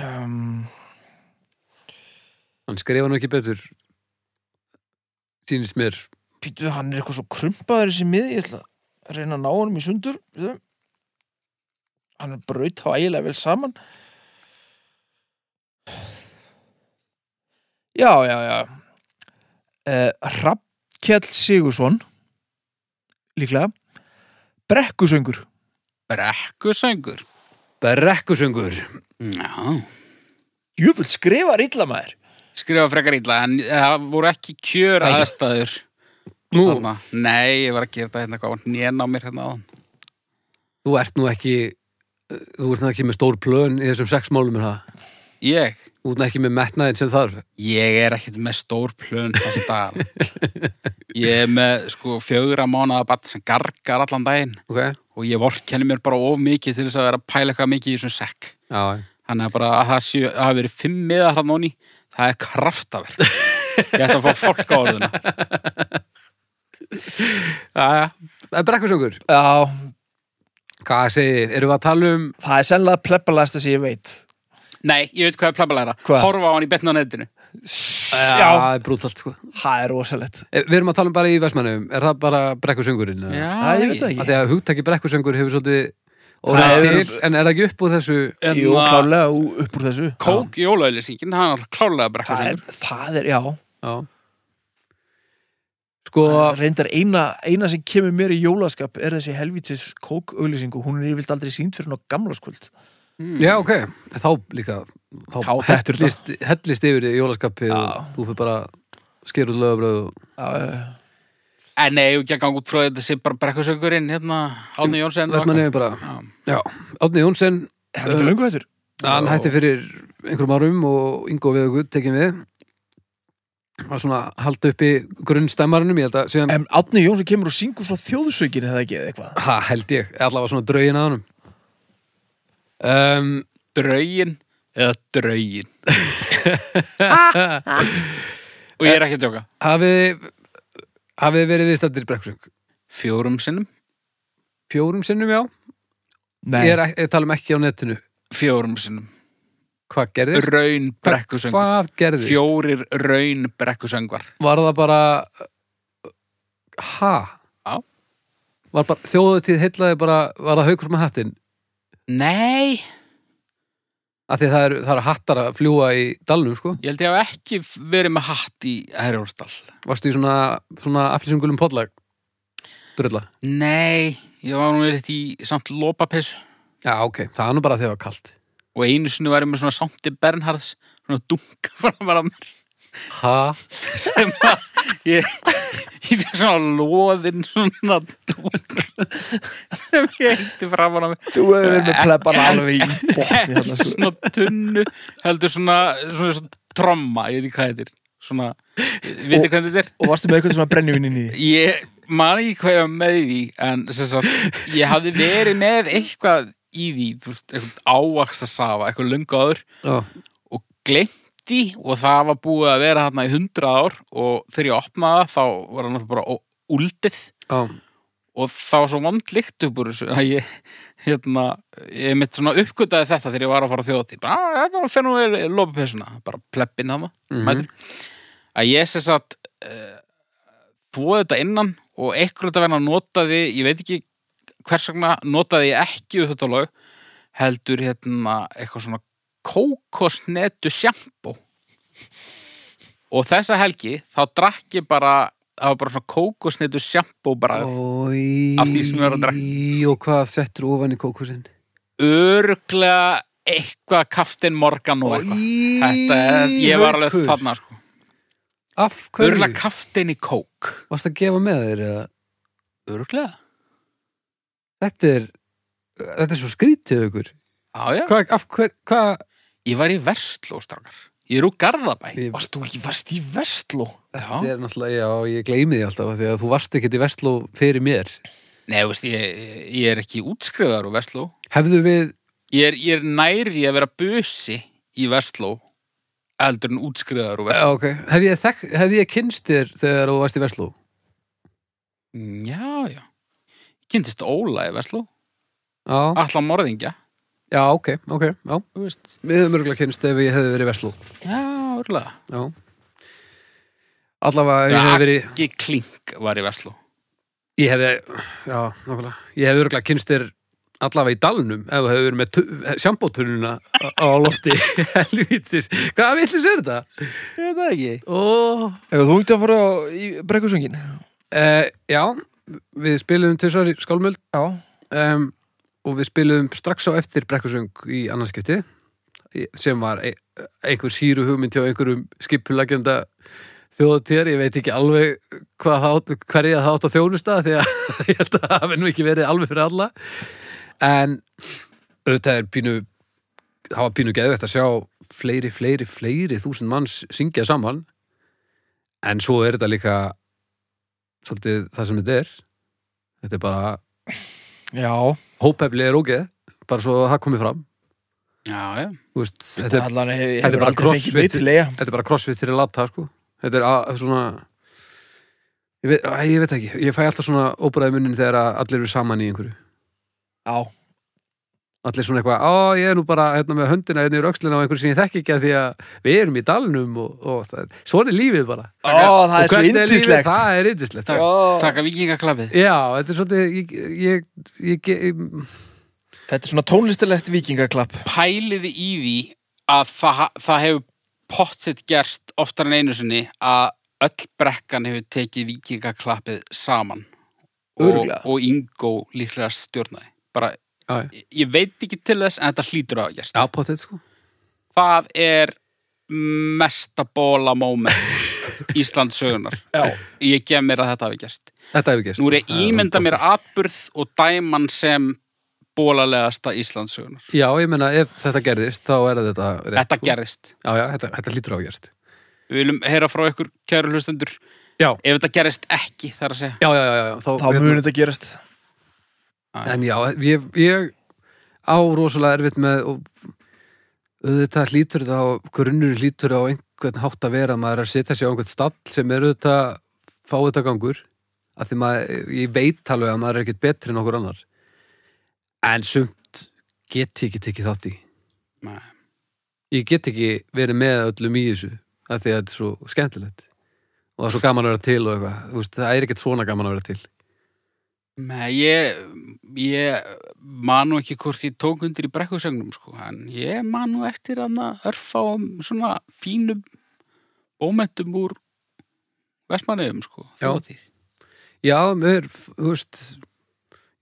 Speaker 3: Um, Hann skrifa nú ekki betur Sýnist mér
Speaker 1: Pítu, hann er eitthvað svo krumpaður þessi mið Ég ætla að reyna að ná honum í sundur Við þau. Hann er braut þá ægilega vel saman Já, já, já eh, Rappkjall Sigursson Líklega Brekkusöngur
Speaker 2: Brekkusöngur.
Speaker 3: Brekkusöngur
Speaker 2: Já.
Speaker 1: Jöfull skrifar illa maður
Speaker 2: Skrifa frekar illa, en eh, það voru ekki kjör aðstæður.
Speaker 3: Nú,
Speaker 2: Þarna. Nei, ég var að gera þetta hérna hvað, nén á mér hérna á hann.
Speaker 3: þú ert nú ekki Þú ert nú ekki með stór plön í þessum sex málum er það
Speaker 2: Ég?
Speaker 3: Þú ert nú ekki með metnaðin sem þarf
Speaker 2: Ég er ekkert með stór plön þess að dagar. Ég er með sko fjögra mánada barn sem gargar allan daginn
Speaker 3: Ok,
Speaker 2: og og ég vorkenni mér bara of mikið til þess að vera að pæla eitthvað mikið í þessum sekk
Speaker 3: já,
Speaker 2: þannig að bara að það séu að hafa verið fimm miða hrann onni, það er kraftaverk ég ætti að fá fólk á orðuna
Speaker 3: já Það er Eh, brekkusöngur
Speaker 1: Já,
Speaker 3: Hvað segir, erum við að tala um
Speaker 1: það er sennilega plebbalæsta sem ég veit
Speaker 2: nei, ég veit hvað er plabbalæra,
Speaker 1: Hvað?
Speaker 2: horfa á hann í betna á netinu
Speaker 1: Já,
Speaker 3: það er brútalt sko
Speaker 1: það er rosalegt
Speaker 3: Eh, Við erum að tala um bara í Vestmannum Er það bara brekkusöngurinn? eða?
Speaker 1: Já, ég veit það
Speaker 3: Af
Speaker 1: ekki
Speaker 3: því að hugtaki brekkusöngur hefur svolítið
Speaker 1: Það
Speaker 3: orðið
Speaker 1: hefur-
Speaker 3: til, en er það ekki upp úr þessu
Speaker 2: En
Speaker 1: Jú,
Speaker 2: að-
Speaker 1: klálega ú- upp úr þessu
Speaker 2: kók í ólauglýsingin, hann er
Speaker 1: Það
Speaker 2: klálega
Speaker 1: er,
Speaker 2: brekkusöngur
Speaker 1: það er, já
Speaker 3: Já Sko,
Speaker 1: Reyndar eina, eina sem kemur mér í jólaskap er þessi helvitis kókauglýsingu hún er yfirvilt aldrei sínd fyrir ná gamla skuld
Speaker 3: já ok Þá líka, þá
Speaker 1: Þá dettur það.
Speaker 3: hellist, hellist yfir í jólaskapið og þú fyrir bara skerur lögabröð og
Speaker 1: Ah,
Speaker 2: en nei, ég ekki að ganga út frá því að þetta sé bara brekkusöngurinn hérna, Átni Jónsson
Speaker 3: Vestmanni er bara Já, Átni Jónsson
Speaker 1: Eh, Er hann ekki löngu hættur?
Speaker 3: hann
Speaker 1: Já.
Speaker 3: hætti fyrir einhverjum árum og Ingo Veðugud tekin við var svona að halda uppi grunnstemmarinum, ég held að síðan
Speaker 1: En Átni Jónsson kemur og syngur svo þjóðsökin eða ekki eða eitthvað
Speaker 3: ha, held ég, allavega svona draugin að honum um,
Speaker 2: draugin eða draugin og ég er ekki að djóka
Speaker 3: hafið hafið þið verið viðstættir brekkusöng
Speaker 2: fjórum sinnum
Speaker 3: fjórum sinnum já,
Speaker 1: Nei,
Speaker 3: ég, er, ek- ég tala um ekki á netinu
Speaker 2: fjórum sinnum,
Speaker 3: hvað gerðist?
Speaker 2: raun
Speaker 3: Hvað-
Speaker 2: brekkusöngur
Speaker 3: hvað gerðist?
Speaker 2: fjórir raun brekkusöngvar
Speaker 3: var það bara ha?
Speaker 2: Já.
Speaker 3: var bara, þjóðutíð heillaði bara var það haukur með hattinn?
Speaker 2: nei,
Speaker 3: af því það eru er hattar að fljúa í dalnum sko
Speaker 2: ég held ég hafa ekki verið með hatt í Herjórsdal
Speaker 3: Varstu í svona, svona appilsingulum podlag? Drulla?
Speaker 2: nei, ég var nú eitt í samt lópapessu
Speaker 3: Já, ok. Það er nú bara þegar það var kalt.
Speaker 2: og einu sinni var ég með svona samti Bernhards svona dunka framar á mér
Speaker 3: Ha?
Speaker 2: sem að ég, ég fyrir svona loðinn svona dunk sem ég eitti framar á mér
Speaker 1: þú hefur verið með plebban alveg í botni
Speaker 2: ekki
Speaker 1: þarna, sko.
Speaker 2: svona tunnu heldur svona, svona, svona tromma, ég veit ekki hvað þetta er svona, veitir
Speaker 1: Og-
Speaker 2: hvað þetta er?
Speaker 1: Og varstu með eitthvað svona brennivinn inn í því?
Speaker 2: Ég man ekki hvað ég var með í því en sem sagt, ég hafði verið með eitthvað í því, þú veist, eitthvað ávaxta safa, eitthvað löngu áður
Speaker 3: Já.
Speaker 2: og glemti og það var búið að vera þarna í hundrað ár og þegar ég opnaði það, þá var hann náttúrulega bara ó- úldið
Speaker 3: Já.
Speaker 2: og það var svo vandlikt upp úr þessu að ég, hérna, ég mitt svona uppgötaði þetta þegar ég var að fara á þjóðatí bara, "Ah, þetta var fennu við lopapessuna bara pleppin hana,
Speaker 3: Mhm.
Speaker 2: mætur að ég sér satt uh, þvóði þetta innan og einhverjum þetta verðna notaði, ég veit ekki hvers vegna notaði ég ekki upp þetta lög, heldur hérna eitthvað svona kókosnetu sjampó og þessa helgi þá drakk ég bara það var bara svona kókosnetu sjampó bara
Speaker 3: Ói.
Speaker 2: Af því sem við erum að drekka.
Speaker 3: Og hvað settur ofan í kókusinn?
Speaker 2: örglega eitthvað kaftin morgan og eitthvað Þetta, er- ég var alveg
Speaker 3: Haukur.
Speaker 2: þarna sko.
Speaker 3: Af
Speaker 2: örglega
Speaker 3: hverju?
Speaker 2: kaftin í kók
Speaker 3: Varst að gefa með þér eða?
Speaker 2: örglega,
Speaker 3: Þetta er, þetta er svo skrítið ykkur.
Speaker 2: já já
Speaker 3: Hvað, af hver, hvað?
Speaker 2: ég var í versló strákar, ég er úr Garðabæ
Speaker 3: Ég-
Speaker 1: Varst þú ekki varst í Vestló?
Speaker 3: Þetta
Speaker 2: já,
Speaker 3: er náttúrulega, já, ég gleymi því alltaf af því að þú varst ekkert í Vestló fyrir mér.
Speaker 2: nei, þú veist, ég, ég er ekki útskrifaður úr versló
Speaker 3: Hefðu við,
Speaker 2: ég er, ég er nærði að vera busi í versló eldur en útskrifaður úr
Speaker 3: Já,
Speaker 2: versló
Speaker 3: ok, hef ég, þekk, hef ég kynst þér þegar þú varst í Vestló?
Speaker 2: Mm, já, já Ég kynntist Óla í versló
Speaker 3: Já.
Speaker 2: allan morðingja,
Speaker 3: Já, ok, ok, já.
Speaker 2: þú veist
Speaker 3: Við höfum örgulega kynst ef ég hefði verið í Vestló.
Speaker 2: já, örglega
Speaker 3: Já. Allavega ef ég hefði verið,
Speaker 2: Aggi Klink var í versló
Speaker 3: ég hefði, já, nákvæmlega, ég hefði örgulega kynst þér allavega í dalnum ef þú hefði verið með sjambótununa á lofti. Helvítis, hvaða villis er þetta?
Speaker 2: ég veit það ekki
Speaker 3: Ó.
Speaker 1: Ef þú ert að fara á- í brekkusöngin?
Speaker 3: Eh, já, við spilum tvisar í skálmöld
Speaker 1: Já
Speaker 3: um, og við spilum strax á eftir brekkusöng í annarskipti sem var e einhver síru hugmynd hjá einhverjum skipulagjönda þjóðatíðar, ég veit ekki alveg hvað það átt, hverja það átt að þjónusta því að ég held að það hafi nú ekki verið alveg fyrir alla en auðvitað er pínu það var pínu geðvægt að sjá fleiri, fleiri, fleiri þúsund manns syngja saman en svo er þetta líka svolítið það sem þetta er þetta er bara
Speaker 1: já,
Speaker 3: hópefli er ógeð, bara svo það komið fram
Speaker 2: já, já.
Speaker 3: Þú veist, þetta,
Speaker 1: þetta
Speaker 3: er,
Speaker 1: allan hef-
Speaker 3: þetta er
Speaker 1: hefur
Speaker 3: bara
Speaker 1: aldrei fengið
Speaker 3: crossfit
Speaker 1: neitt til eiga
Speaker 3: þetta er bara crossfit fyrir latta sko. þetta er að, svona ég veit, að, ég veit ekki, ég fæ alltaf svona óbræði munnin þegar að allir eru saman í einhverju
Speaker 1: Já,
Speaker 3: allir svona eitthvað, á ég er nú bara hérna, með höndina hérna yfir öxlina á einhverju sem ég þekki ekki af því að við erum í dalnum og, og það, svona er lífið bara
Speaker 1: Ó, það
Speaker 3: Og
Speaker 1: er svo
Speaker 3: hvernig lífið?
Speaker 1: indislegt
Speaker 3: það er yndislegt sko.
Speaker 2: Takk,
Speaker 1: Já.
Speaker 2: taka vikingaklappið
Speaker 3: já, þetta er svolítið ég, ég, ég, ég,
Speaker 1: Þetta er svona tónlistilegt vikingaklapp
Speaker 2: pæliði í því að það, það hefur pottitt gerst oftar en einu sinni að öll brekkan hefur tekið vikingaklappið saman og,
Speaker 1: Örugglega.
Speaker 2: og Ingo líklega stjórnaði bara,
Speaker 3: Já, já.
Speaker 2: ég, ég veit ekki til þess en þetta hlýtur að hafa gerst
Speaker 3: já, potið sko
Speaker 2: það er mesta bóla moment Ísland sögunar
Speaker 1: Já.
Speaker 2: ég gef mér að þetta hafi gerst
Speaker 3: þetta hefur gerst
Speaker 2: nú er ég
Speaker 3: Það er
Speaker 2: ímynda
Speaker 3: nú
Speaker 2: mér
Speaker 3: gott.
Speaker 2: atburð og dæman sem bólalegasta Ísland sögunar
Speaker 3: já, ég meina, ef þetta gerðist, þá er þetta rétt,
Speaker 2: þetta
Speaker 3: sko.
Speaker 2: gerðist
Speaker 3: já, já, þetta, þetta lítur á að gerst
Speaker 2: við viljum heyra frá ykkur kæru hlustendur
Speaker 3: já,
Speaker 2: ef þetta gerist ekki þar að segja
Speaker 3: já, já, já, já þá, hérna-
Speaker 1: Þá muni þetta gerast
Speaker 3: en já, ég, ég á rosalega erfitt með og auðvitað hlýtur þetta á grunnur hlýtur á einhvern hátt að vera að maður er að setja sig á einhvern stall sem er auðvitað fáutagangur að því maður, ég veit alveg að maður er ekkert betri en okkur annar en sumt get ég ekki tekið þátt í
Speaker 2: Nei.
Speaker 3: ég get ekki verið með öllum í þessu af því að þetta er svo skemmtilegt og það er svo gaman að vera til og eitthvað Þú veist, það er ekkert svona gaman að vera til
Speaker 2: Nei, ég, ég man nú ekki hvort ég tók undir í brekkusögnum sko, en ég man nú eftir hann að örfa á svona fínum bómentum úr vestmanniðum sko,
Speaker 3: Já.
Speaker 2: þjóðatíð.
Speaker 3: já, mér, þú veist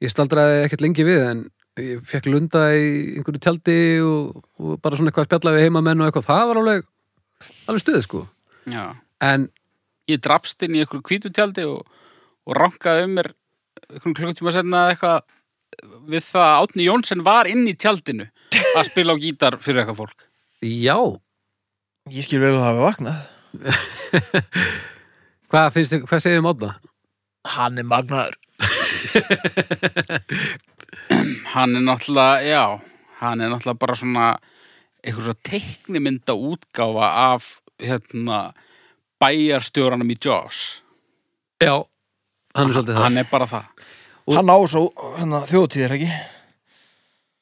Speaker 3: ég staldraði ekkert lengi við en ég fekk lunda í einhverju tjaldi og, og bara svona eitthvað að spjalla við heimamenn og eitthvað, það var alveg alveg stuð sko,
Speaker 2: Já.
Speaker 3: en
Speaker 2: Ég drapst inn í einhverju kvítutjaldi og, og rankaði um mér einhverjum klukkutíma senna eitthvað við það að Átni Jónsson var inn í tjaldinu að spila á gítar fyrir eitthvað fólk.
Speaker 3: já
Speaker 1: Ég skil vel að það hafi vaknað
Speaker 3: hvað finnst þið, hvað segir þið um átna?
Speaker 1: Hann er magnaður
Speaker 2: hann er náttúrulega, já hann er náttúrulega bara svona eitthvað svo teiknimynda útgáfa af hérna bæjarstjóranum í Jaws
Speaker 3: já, hann er svolítið það
Speaker 2: hann er bara það
Speaker 1: Hann á svo hana, þjóðtíðir ekki
Speaker 2: er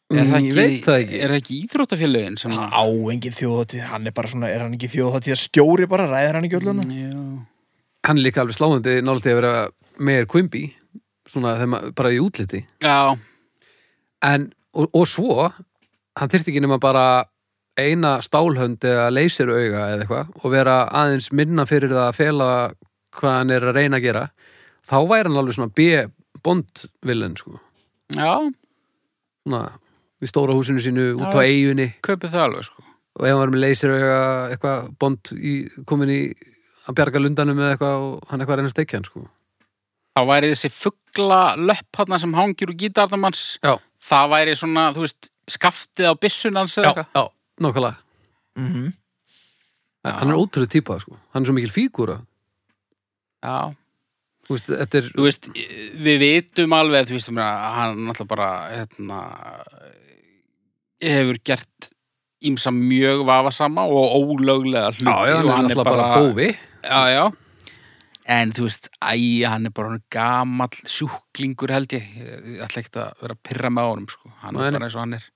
Speaker 3: Mm, ég veit það ekki.
Speaker 2: er það ekki íþróttafélögin sem
Speaker 1: Hann á engin þjóðtíð Hann er bara svona, er hann ekki þjóðtíð stjóri bara, ræðir hann ekki ölluna
Speaker 2: Mm, já.
Speaker 3: hann er líka alveg sláðandi nálætti að vera meir kvimbi svona þegar maður, bara í útliti
Speaker 2: já,
Speaker 3: en, og, og svo hann þyrfti ekki nema bara eina stálhönd eða leysir auga eða eitthvað og vera aðeins minna fyrir það að fela hvað hann er að reyna að gera þá væri hann alveg svona B-bondvillen sko
Speaker 2: já,
Speaker 3: svona, í stóra húsinu sínu út á
Speaker 2: Já.
Speaker 3: eigunni
Speaker 2: kaupið það alveg sko
Speaker 3: og ef hann var með leysir auga eitthvað bond í, komin í að bjarga lundanum eða eitthvað og hann eitthvað að reyna að steikja hann sko
Speaker 2: þá væri þessi fuggla löpp hann sem hangir úr gítardamanns
Speaker 3: já,
Speaker 2: það væri svona, þú veist, skaftið á byssunans
Speaker 3: já,
Speaker 2: eða eitthvað
Speaker 3: já, Mhm. nákvæmlega
Speaker 1: mm
Speaker 3: hann er ótrúð típa sko, hann er svo mikil fígúra
Speaker 2: já,
Speaker 3: þú veist, þetta er
Speaker 2: þú veist, við vitum alveg, þú veist, ég meina, hann náttúrulega bara, hérna, hefur gert ímsa mjög vafasama og ólöglega hluti
Speaker 3: Já, já, hann
Speaker 2: og
Speaker 3: er náttúrulega bara, bófi
Speaker 2: Já, já. En þú veist, æ, hann er bara hann gamall sjúklingur held ég. Ég ætla ekkert að vera að pyrra með honum, sko. Hann
Speaker 3: Nei,
Speaker 2: er
Speaker 3: nei.
Speaker 2: bara eins og hann er.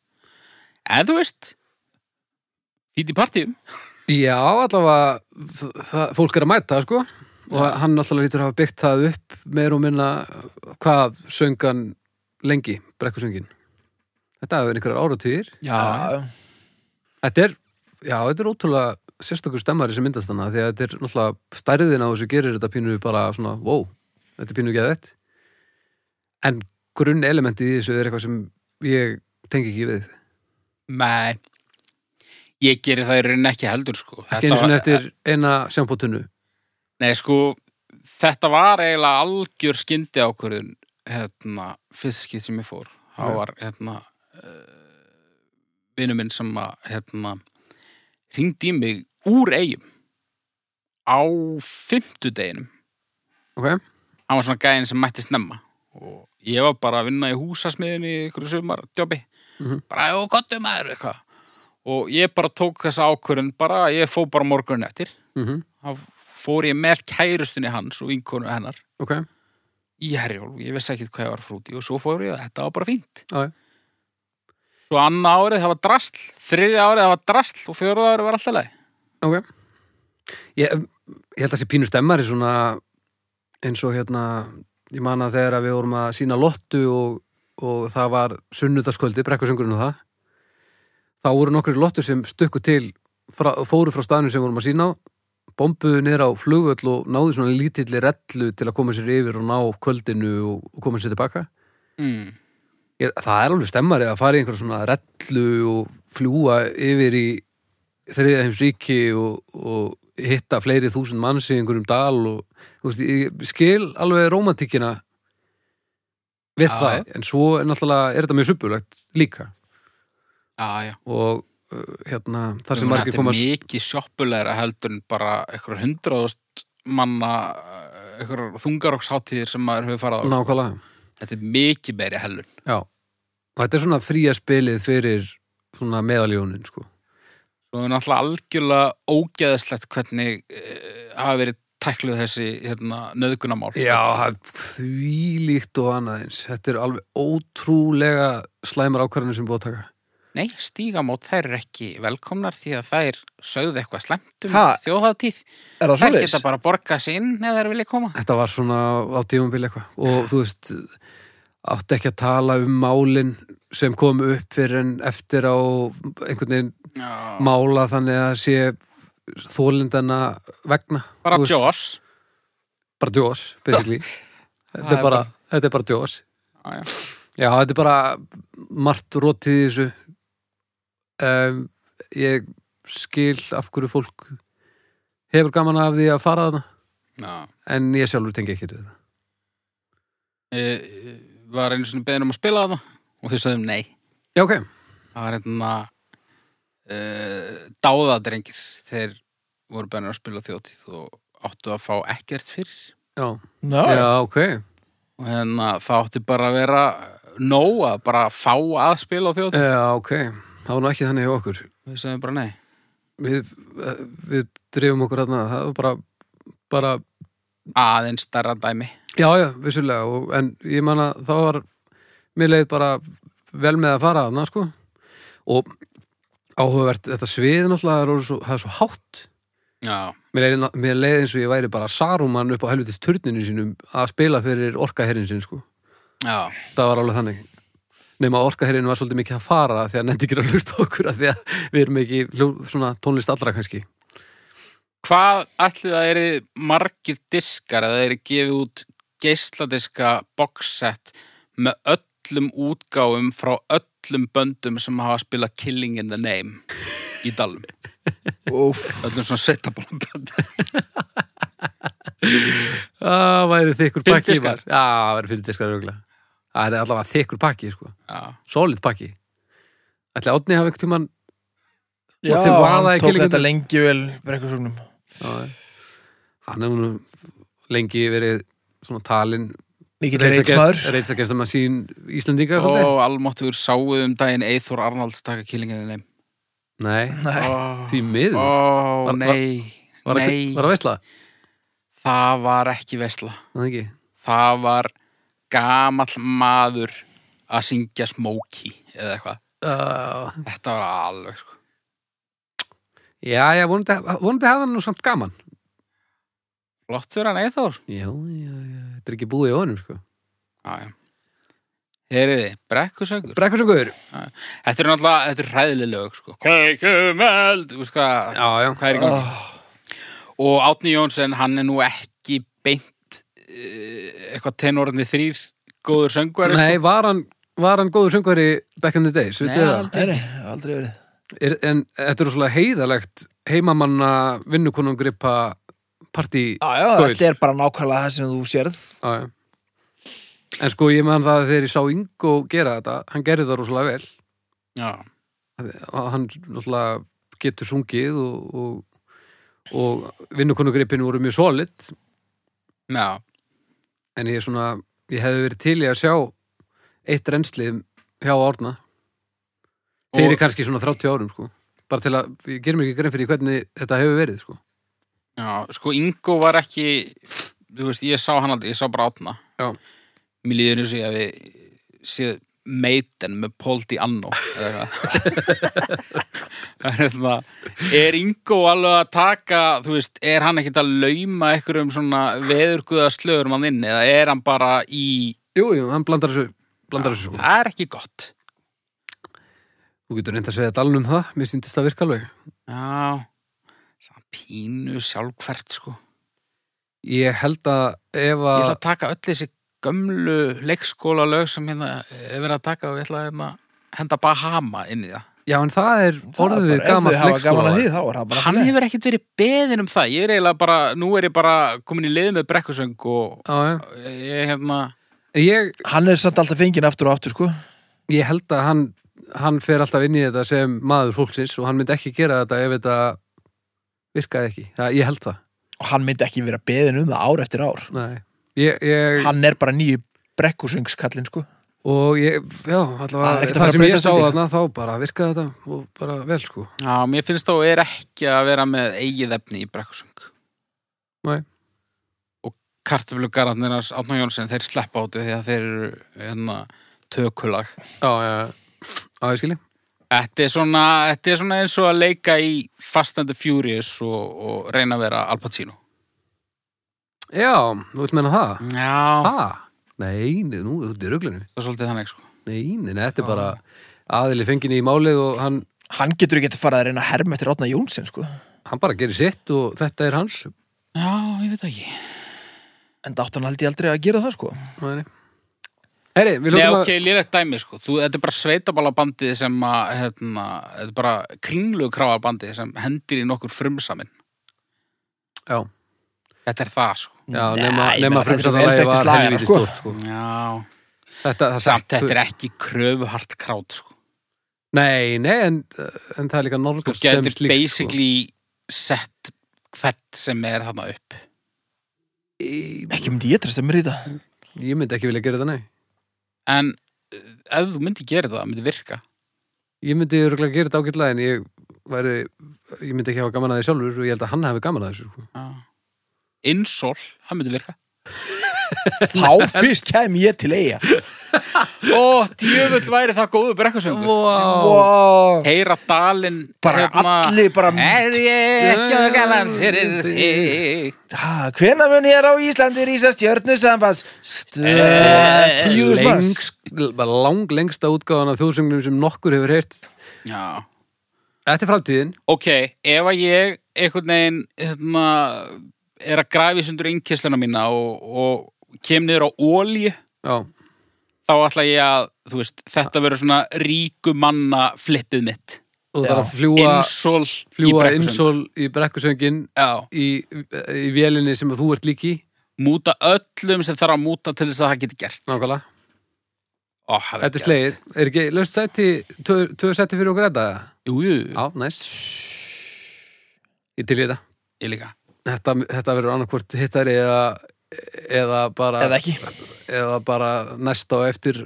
Speaker 2: En þú veist, fýtt í partíum.
Speaker 3: Já, allavega þ- það, fólk er að mæta, sko og hann náttúrulega lítur að hafa byggt það upp meir og minna hvað söngan lengi, brekkusöngin Þetta hefur verið einhverjar áratugir
Speaker 1: Já,
Speaker 3: Þetta er, já, þetta er ótrúlega sérstakur stemmari sem myndast hana því að þetta er náttúrulega stærðin á þessu gerir þetta pínu bara svona, wow, þetta er pínu geðvett en grunn elementið í þessu er eitthvað sem ég tengi ekki við
Speaker 2: Nei, ég geri það í rauninni ekki heldur, sko.
Speaker 3: ekki einu svona eftir eina sjampótunnu
Speaker 2: Nei, sko, þetta var eiginlega algjör skyndi ákvörðun hérna, fiskið sem ég fór. Það
Speaker 3: Já.
Speaker 2: var, hérna, uh, vinnu minn sem að, hérna, hringdi í mig úr eigum á fimmtudeginum.
Speaker 3: okay?
Speaker 2: Hann var svona gæðin sem mætti snemma og ég var bara að vinna í húsasmiðinni í ykkur sumar djópi bara, jú, gottum maður eitthvað og ég bara tók þessa ákvörðun bara, ég fó bara morgun eftir
Speaker 3: Mhm.
Speaker 2: þá fór ég með kærustunni hans og vinkonu hennar
Speaker 3: ok,
Speaker 2: í herjólf, ég vissi ekkert hvað ég var frúti og svo fór ég að þetta var bara fínt
Speaker 3: já, já.
Speaker 2: svo annað árið það var drasl, þriðja árið það var drasl og fjóruða árið var alltaf leið
Speaker 3: ok ég, ég held að þessi pínu stemmari svona eins og hérna ég man að þegar að við vorum að sína lottu og, og það var sunnudaskvöldi, brekkusöngurinn og það þá voru nokkur lottur sem stukku til frá, fóru frá staðnum sem vorum að sína á bombuðu niður á flugvöll og náðu svona lítilli rellu til að koma sér yfir og ná kvöldinu og, og koma sér tilbaka
Speaker 2: mm.
Speaker 3: Ég, það er alveg stemmari að fara í einhver svona rellu og fljúa yfir í þriðja heims ríki og, og hitta fleiri þúsund manns í einhverjum dal og þú veist, ég skil alveg rómantíkina við
Speaker 2: Já.
Speaker 3: það, en svo er náttúrulega er þetta mjög subbulegt líka
Speaker 2: Já, já.
Speaker 3: og uh, hérna, þar sem
Speaker 2: Ég meina,
Speaker 3: margir
Speaker 2: þetta
Speaker 3: komast
Speaker 2: er mikið sjoppulegra heldur en bara einhver hundraðust manna einhver þungaroksháttíðir sem maður hefur farað á
Speaker 3: nákvæmlega
Speaker 2: þetta er mikið meiri hellun
Speaker 3: Já, og þetta er svona fría spilið fyrir svona meðaljónin sko.
Speaker 2: svo er náttúrulega algjörlega ógeðislegt hvernig eh, hafa verið tækluð þessi hérna, nöðgunamál
Speaker 3: Já, því líkt og annað eins Þetta eru alveg ótrúlega slæmar ákvarðanir sem er búið að taka
Speaker 2: nei, stígamót þær eru ekki velkomnar því að þær sögðu eitthvað slæmt um
Speaker 1: Ha?
Speaker 2: þjóðháttíð
Speaker 1: Er það
Speaker 2: þær
Speaker 1: svoleiðis?
Speaker 2: geta bara borgað sér inn ef þær vilja koma
Speaker 3: Þetta var svona á tímumbil eitthvað og þú veist, átti ekki að tala um málin sem kom upp fyrir en eftir á einhvern veginn
Speaker 2: Já.
Speaker 3: mála þannig að sé þólindana vegna
Speaker 2: bara
Speaker 3: Þú veist,
Speaker 2: Joss
Speaker 3: Bara djós, basically
Speaker 2: Það
Speaker 3: Þetta
Speaker 2: er
Speaker 3: er bara, þetta er bara djós
Speaker 2: Já, já.
Speaker 3: Já, þetta er bara margt rótið í þessu um, Ég skil af hverju fólk hefur gaman af því að fara þarna
Speaker 2: Já.
Speaker 3: en ég sjálfur tengi ekki við það
Speaker 2: Eh, var einu sinni beðin um að spila það og þau sögðum nei
Speaker 3: Já, ok,
Speaker 2: það var hérna uh, dáðadrengir þeir voru bennir að spila þjótið og áttu að fá ekkert fyrr
Speaker 3: já,
Speaker 1: Ná,
Speaker 3: já, ok
Speaker 2: og hérna það átti bara að vera nóg að bara fá að spila á þjótið
Speaker 3: Já, ok, það var nú ekki þannig hjá okkur
Speaker 2: við sagðum bara nei
Speaker 3: Við, við drifum okkur þarna það var bara, bara
Speaker 2: aðeins stærra dæmi
Speaker 3: já, já, vissulega og, en ég man að það var mér leið bara vel með að fara þarna, sko og áhugavert, þetta svið náttúrulega er orðið svo, það er svo hátt
Speaker 2: já,
Speaker 3: Mér leið, mér leið eins og ég væri bara Saruman upp á helvitis turninu sínum að spila fyrir orkaherrin sinn sko.
Speaker 2: já,
Speaker 3: Það var alveg þannig. Nefn að orkaherrin var svolítið mikið að fara því að nefndi ekki að hlusta á okkur að því að við erum ekki hljó, svona tónlist allra kannski.
Speaker 2: hvað ætli það eru margir diskar að það eru gefið út geisladiska boxset með öllum útgáfum frá öllum böndum sem hafa spilað Killing in the Name í dalum,
Speaker 1: úf,
Speaker 2: öllum svona sveitabóndbönd
Speaker 3: Það væri þykkur
Speaker 2: Fimm
Speaker 3: pakki.
Speaker 2: diskar.
Speaker 3: var- Já, það væri fyrir diskar auðvitað. Það er allavega þykkur pakki sko.
Speaker 2: já,
Speaker 3: Solid pakki. Ætli Átni hafa einhvern tímann
Speaker 1: já,
Speaker 3: til vaða
Speaker 1: hann
Speaker 3: í
Speaker 1: tók
Speaker 3: killingum.
Speaker 1: þetta lengi vel brekkursögnum
Speaker 3: hann hefur nú lengi verið svona talin
Speaker 1: Mikill reitsmaður
Speaker 3: reitsagestar maður sín Íslendinga svolítið.
Speaker 2: og almáttuður sáuð um daginn Eithor Arnalds taka Killing in the Name
Speaker 3: Nei,
Speaker 1: Nei,
Speaker 2: ó,
Speaker 3: því miður.
Speaker 2: ó,
Speaker 3: Var-
Speaker 2: nei,
Speaker 3: Var það
Speaker 2: nei
Speaker 3: var að veistla?
Speaker 2: það var ekki vesla
Speaker 3: Það ekki.
Speaker 2: það var gamall maður að syngja Smokey eða eitthvað,
Speaker 3: Uh,
Speaker 2: þetta var alveg sko.
Speaker 3: já, já, vonandi, vonandi hafa hann nú samt gaman.
Speaker 2: flott fyrir hann Eithor
Speaker 3: Já, já, já, þetta er ekki búið í honum, sko.
Speaker 2: Heriði, brekkusöngur
Speaker 3: Brekkursöngur.
Speaker 2: Þetta er náttúrulega, þetta er hræðileg lög sko. Kveikjum eld þú veist hvað,
Speaker 3: Já, já.
Speaker 2: hvað er í gangi og Átni Jónsson, hann er nú ekki beint eh, eitthvað tenorðinni þrýr góður söngur
Speaker 3: Nei, var hann, var hann góður söngvari back in the days,
Speaker 2: Nei,
Speaker 3: vitið þið það?
Speaker 2: aldrei.
Speaker 1: nei, aldrei verið
Speaker 3: Er, en þetta er svona heiðalegt heimamanna vinnukonungripa
Speaker 1: Já,
Speaker 3: partí.
Speaker 1: já,
Speaker 3: Gaul.
Speaker 1: þetta er bara nákvæmlega það sem þú sérð
Speaker 3: Já, já. En sko, ég meðan það að þegar ég sá Ingo gera þetta, hann gerði það rosalega vel.
Speaker 2: Já,
Speaker 3: að hann náttúrulega getur sungið og, og, og vinnukonugrippin voru mjög solid
Speaker 2: já,
Speaker 3: en ég er svona ég hefði verið til í að sjá eitt rennsli hjá Árna
Speaker 2: Og-
Speaker 3: fyrir kannski svona 30 árum sko. bara til að, ég ger mér ekki grein fyrir því hvernig þetta hefur verið sko.
Speaker 2: Já, sko Ingo var ekki þú veist, ég sá hann aldrei, ég sá bara átna
Speaker 3: Já.
Speaker 2: Mér líður eins og ég hafi séð meiten með Poldi Anno eða eitthvað Það er hérna, Er Ingo alveg að taka þú veist, er hann ekkert að lauma einhverjum svona veðurguða slöður mann inn eða er hann bara í
Speaker 3: jú, jú, hann blandar þessu, blandar þessu sko.
Speaker 2: Það er ekki gott
Speaker 3: þú getur reynd að segja dalnum það mér sýndist það virka alveg
Speaker 2: Já, samt pínu sjálfkvært sko
Speaker 3: ég held að ef
Speaker 2: Ég
Speaker 3: að
Speaker 2: ætla að taka öll þessi gömlu leikskóla lög sem hérna er verið að taka og ég ætla að hérna, henda Bahama inn í það.
Speaker 3: já, en það er
Speaker 1: Það er
Speaker 3: orðið
Speaker 1: bara-
Speaker 3: gamalt
Speaker 1: Ef þau hafa gaman
Speaker 3: leikskóla
Speaker 1: að því, þá er það bara
Speaker 2: Hann hefur ekkert verið beðin um það. Ég er eiginlega bara, nú er ég bara komin í lið með brekkusöng og
Speaker 3: já,
Speaker 2: ég hérna,
Speaker 3: já. ég
Speaker 1: Hann er samt alltaf fenginn aftur og aftur, sko
Speaker 3: ég held að hann hann fer alltaf inn í þetta sem maður fólksins og hann myndi ekki gera þetta ef þetta virkaði ekki, það, ég held það
Speaker 1: og hann myndi ekki vera beðin um það ár eftir ár
Speaker 3: Nei. ég, ég,
Speaker 1: Hann er bara nýju brekkusöngskallinn, sko
Speaker 3: og ég, já, allavega
Speaker 1: Það er ekkert að
Speaker 3: það
Speaker 1: fara
Speaker 3: sem
Speaker 1: að
Speaker 3: ég
Speaker 1: breytast
Speaker 3: sá
Speaker 1: í því.
Speaker 3: þarna þá bara virkaði þetta og bara vel sko
Speaker 2: já, mér finnst þá er ekki að vera með eigið efni í brekkusöng.
Speaker 3: Nei.
Speaker 2: Og kartöflugararnir hans, Átna Jónsson, þeir sleppa áti því að þeir eru hérna tökulag.
Speaker 3: já, já, já, ég skilji
Speaker 2: Þetta er, svona, þetta er svona eins og að leika í Fast and the Furious og, og reyna að vera Al Pacino.
Speaker 3: já, þú vilt menna það?
Speaker 2: Já,
Speaker 3: ha? nei, nei, nú, þú ert í ruglunum
Speaker 2: það er svolítið þannig sko.
Speaker 3: nei, nei, nei, þetta er bara aðili fengin í málið og hann,
Speaker 1: Hann getur ekki að fara að reyna að herma eftir Átna Jónsson, sko
Speaker 3: hann bara gerir sitt og þetta er hans
Speaker 2: Já, ég veit það ekki.
Speaker 1: En dátt hann held ég aldrei að gera það, sko
Speaker 3: Nei. herri, við
Speaker 2: Nei,
Speaker 3: lókum
Speaker 2: ok, lýrætt dæmi sko. Þú, þetta er bara sveitabalabandið sem að, hérna, þetta er bara kringlu kráarbandið sem hendir í nokkur frumsamin.
Speaker 3: að já
Speaker 2: Þetta er það sko.
Speaker 3: Já,
Speaker 1: Nei,
Speaker 3: nema,
Speaker 1: ég
Speaker 3: nema
Speaker 1: meina, þetta er svo
Speaker 3: frumstæðalagi
Speaker 1: velþekkti
Speaker 3: var
Speaker 1: slagarar,
Speaker 3: helviti
Speaker 1: sko.
Speaker 3: stort sko.
Speaker 2: Já,
Speaker 3: Þetta, það
Speaker 2: samt þetta er ekki kröfuhart krát sko.
Speaker 3: Nei, nei, en, en það er líka
Speaker 2: Þú
Speaker 3: nálgast sem
Speaker 2: getur
Speaker 3: slíkt sko.
Speaker 2: basically sett hvert sem er þarna upp.
Speaker 3: Ég
Speaker 1: Ekki myndi ég treysta mér í það
Speaker 3: ég myndi ekki vilja gera þetta, nei
Speaker 2: En eh, ef þú myndi gera það, það myndi virka.
Speaker 3: Ég myndi örgulega gera þetta ágætlega en ég, væri, ég myndi ekki hafa gaman að því sjálfur og ég held að hann hafi gaman að þessu sko.
Speaker 2: Insól, það myndi virka.
Speaker 1: Þá fyrst kem ég til eiga
Speaker 2: Ó, djöfull væri það góðu brekkusöngur
Speaker 3: wow.
Speaker 1: wow.
Speaker 2: Heyra dalinn hérna,
Speaker 1: Bara allir bara-
Speaker 2: Er ég ekki að gaman fyrir þig
Speaker 1: Hvena mun ég á Íslandi rísa stjörnusambands Stöð Tíu þúsund manns
Speaker 3: Lengs, bara lang lengsta útgáðan af þjóðsögnum sem nokkur hefur heyrt
Speaker 2: Já
Speaker 3: Þetta er framtíðin
Speaker 2: Ok, ef að ég einhvern veginn hérna, er að grafi sundur innkisluna mína og, og kem niður á ólíu
Speaker 3: Já,
Speaker 2: þá ætla ég að, þú veist, þetta verður svona ríku manna flippið mitt
Speaker 3: og það er að fljúa,
Speaker 2: Insól í
Speaker 3: fljúa
Speaker 2: brekkusöng
Speaker 3: insól í brekkusöngin
Speaker 2: Já,
Speaker 3: í, í vélinni sem að þú ert líki
Speaker 2: múta öllum sem þarf að múta til þess að það geti gert
Speaker 3: Nákvæmlega
Speaker 2: Ó, það
Speaker 3: Þetta er
Speaker 2: geggjað.
Speaker 3: slegið, er ekki löst sæti tvö tvö sæti fyrir okkur þetta?
Speaker 2: Jú, jú,
Speaker 3: Já, næst Ég til í þetta
Speaker 2: ég líka
Speaker 3: Þetta, þetta verður annarkvort hittari eða, eða bara
Speaker 1: Eða ekki
Speaker 3: eða bara næsta og eftir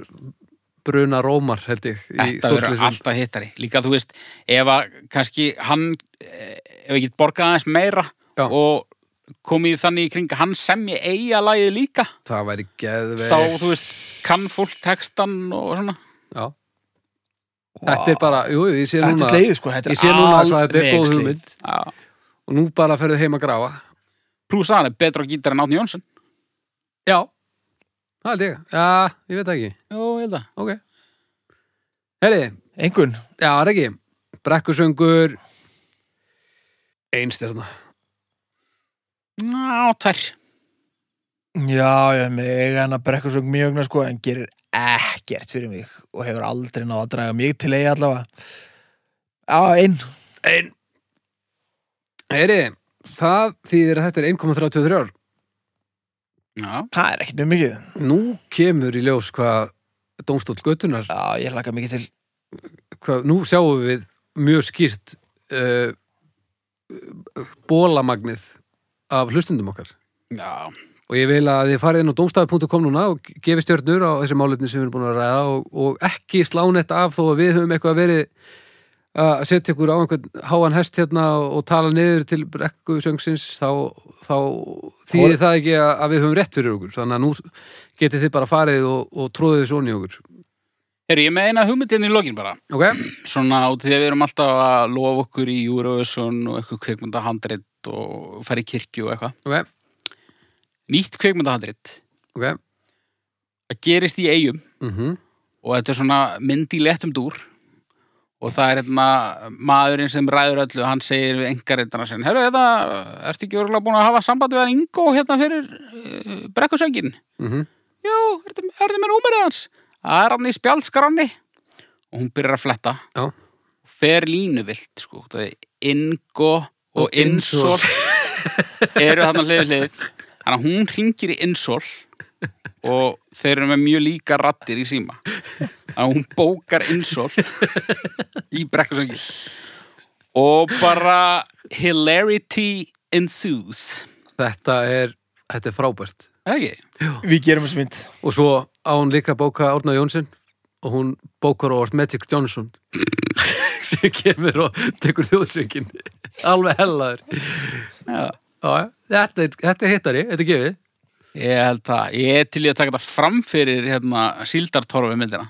Speaker 3: bruna rómar held ég í
Speaker 2: Þetta verður
Speaker 3: stórslysum.
Speaker 2: alltaf hittari. Líka þú veist, ef að kannski hann, eh, ef ég get borgað aðeins meira
Speaker 3: Já.
Speaker 2: og komið þannig í kring að hann semji eiga lagið líka,
Speaker 3: Það væri
Speaker 2: þá
Speaker 3: geðveik
Speaker 2: þú veist, kann fólk textan og svona.
Speaker 3: Já. Þetta er bara, jú, jú, ég sé
Speaker 1: Þetta
Speaker 3: núna
Speaker 1: er slegið sko Þetta
Speaker 3: Ég
Speaker 1: er
Speaker 3: sé núna hvað þetta er
Speaker 1: alveg
Speaker 3: góð
Speaker 1: slegið.
Speaker 3: hugmynd
Speaker 2: Já.
Speaker 3: og nú bara ferðu heim að grafa
Speaker 2: Plús að hann er betra á gítar en Átni Jónsson.
Speaker 3: Já, það held ég Já, ég veit það ekki,
Speaker 2: Jó, ég held að.
Speaker 3: ok Herri,
Speaker 1: Engun
Speaker 3: Já, það er ekki. Brekkusöngur, einstjarna.
Speaker 2: Ná, tvær.
Speaker 1: Já, já, mig hann að brekkusöng mjög ögna sko en gerir ekkert fyrir mig og hefur aldrei náð að draga mig til eiga allavega Já, einn
Speaker 3: Einn. Heyri, það þýðir að þetta er 1,33 ár.
Speaker 2: Já.
Speaker 1: Það er ekkert mjög mikið
Speaker 3: Nú kemur í ljós hvað dómstóll göttunar,
Speaker 1: Já, ég hlaka mikið til
Speaker 3: hvað, nú sjáum við mjög skýrt uh, bólamagnið af hlustundum okkar.
Speaker 2: Já.
Speaker 3: og ég vil að þið farið inn á domstafi.com núna og gefi stjörnur á þessi málefni sem við erum búin að ræða og, og ekki slán þetta af þó að við höfum eitthvað verið að setja ykkur á einhvern háan hest hérna og tala niður til brekku söngsins þá, þá þýðir það ekki að, að við höfum rétt fyrir okkur þannig að nú getið þið bara farið og, og tróðið þessu onni okkur
Speaker 2: Heru, ég er með eina hugmyndin í lokin bara
Speaker 3: ok,
Speaker 2: svona út af því að við erum alltaf að lofa okkur í Eurovision og eitthvað kveikmyndahandrit og fara í kirkju og eitthvað
Speaker 3: ok,
Speaker 2: nýtt kveikmyndahandrit
Speaker 3: ok
Speaker 2: að gerist í eigum
Speaker 3: mhm
Speaker 2: og þetta er svona mynd í léttum dúr og það er hérna maðurinn sem ræður öllu, hann segir við engaritana sinni, herru þetta, hérna, ertu ekki örugglega búin að hafa samband við hann Ingo hérna fyrir uh, brekkusöngin?
Speaker 3: Mhm.
Speaker 2: Jú, ertu, ertu með númerið hans? Það er hann í spjaldskránni og hún byrjar að fletta
Speaker 3: Já.
Speaker 2: fer línuvilt, sko það er Ingo og,
Speaker 3: Og Insol.
Speaker 2: Insol eru þarna hlið við hlið þannig að hún hringir í Insol og þeir eru með mjög líka rattir í síma þannig að hún bókar Insol í brekkusöngin og bara hilarity ensues
Speaker 3: Þetta er, þetta er frábært.
Speaker 2: Er það ekki?
Speaker 1: Við gerum þessu mynd
Speaker 3: Og svo á hún líka að bóka Árna Jónsson og hún bókar á Magic Johnson sem kemur og tekur þjóðsöngin. Alveg hellaður.
Speaker 2: Já.
Speaker 3: Já, já. þetta, er- þetta er hittari, þetta er gefið.
Speaker 2: Ég held það, ég er til í að taka þetta fram fyrir hérna, síldartorfi myndina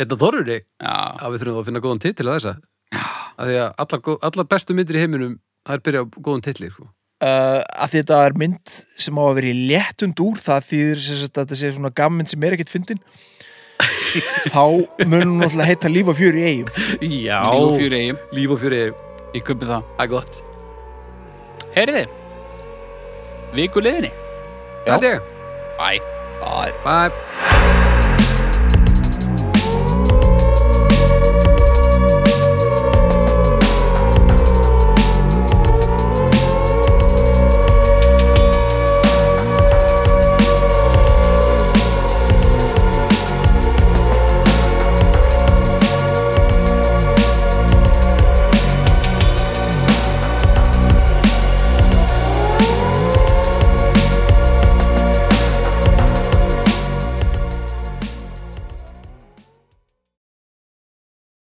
Speaker 3: Þetta þorður þig.
Speaker 2: Já,
Speaker 3: Já, við þurfum þá að finna góðan titil að þessa. Af því að allar, gó- allar bestu myndir í heiminum þær byrja á góðan titli. Sko.
Speaker 1: uh, að því þetta er mynd sem á að vera í léttum dúr það þýðir sem sagt, að þetta sé svona gammynd sem er ekkert fyndin þá munum hún náttúrulega heita líf og fjör í eigum
Speaker 3: Já.
Speaker 2: líf og fjúri eigum,
Speaker 3: Líf og fjöri er,
Speaker 2: ég köpi það
Speaker 3: það er gott.
Speaker 2: Heyriði, viku liðinni
Speaker 1: Já.
Speaker 3: Þetta er,
Speaker 2: Bye
Speaker 3: bæ.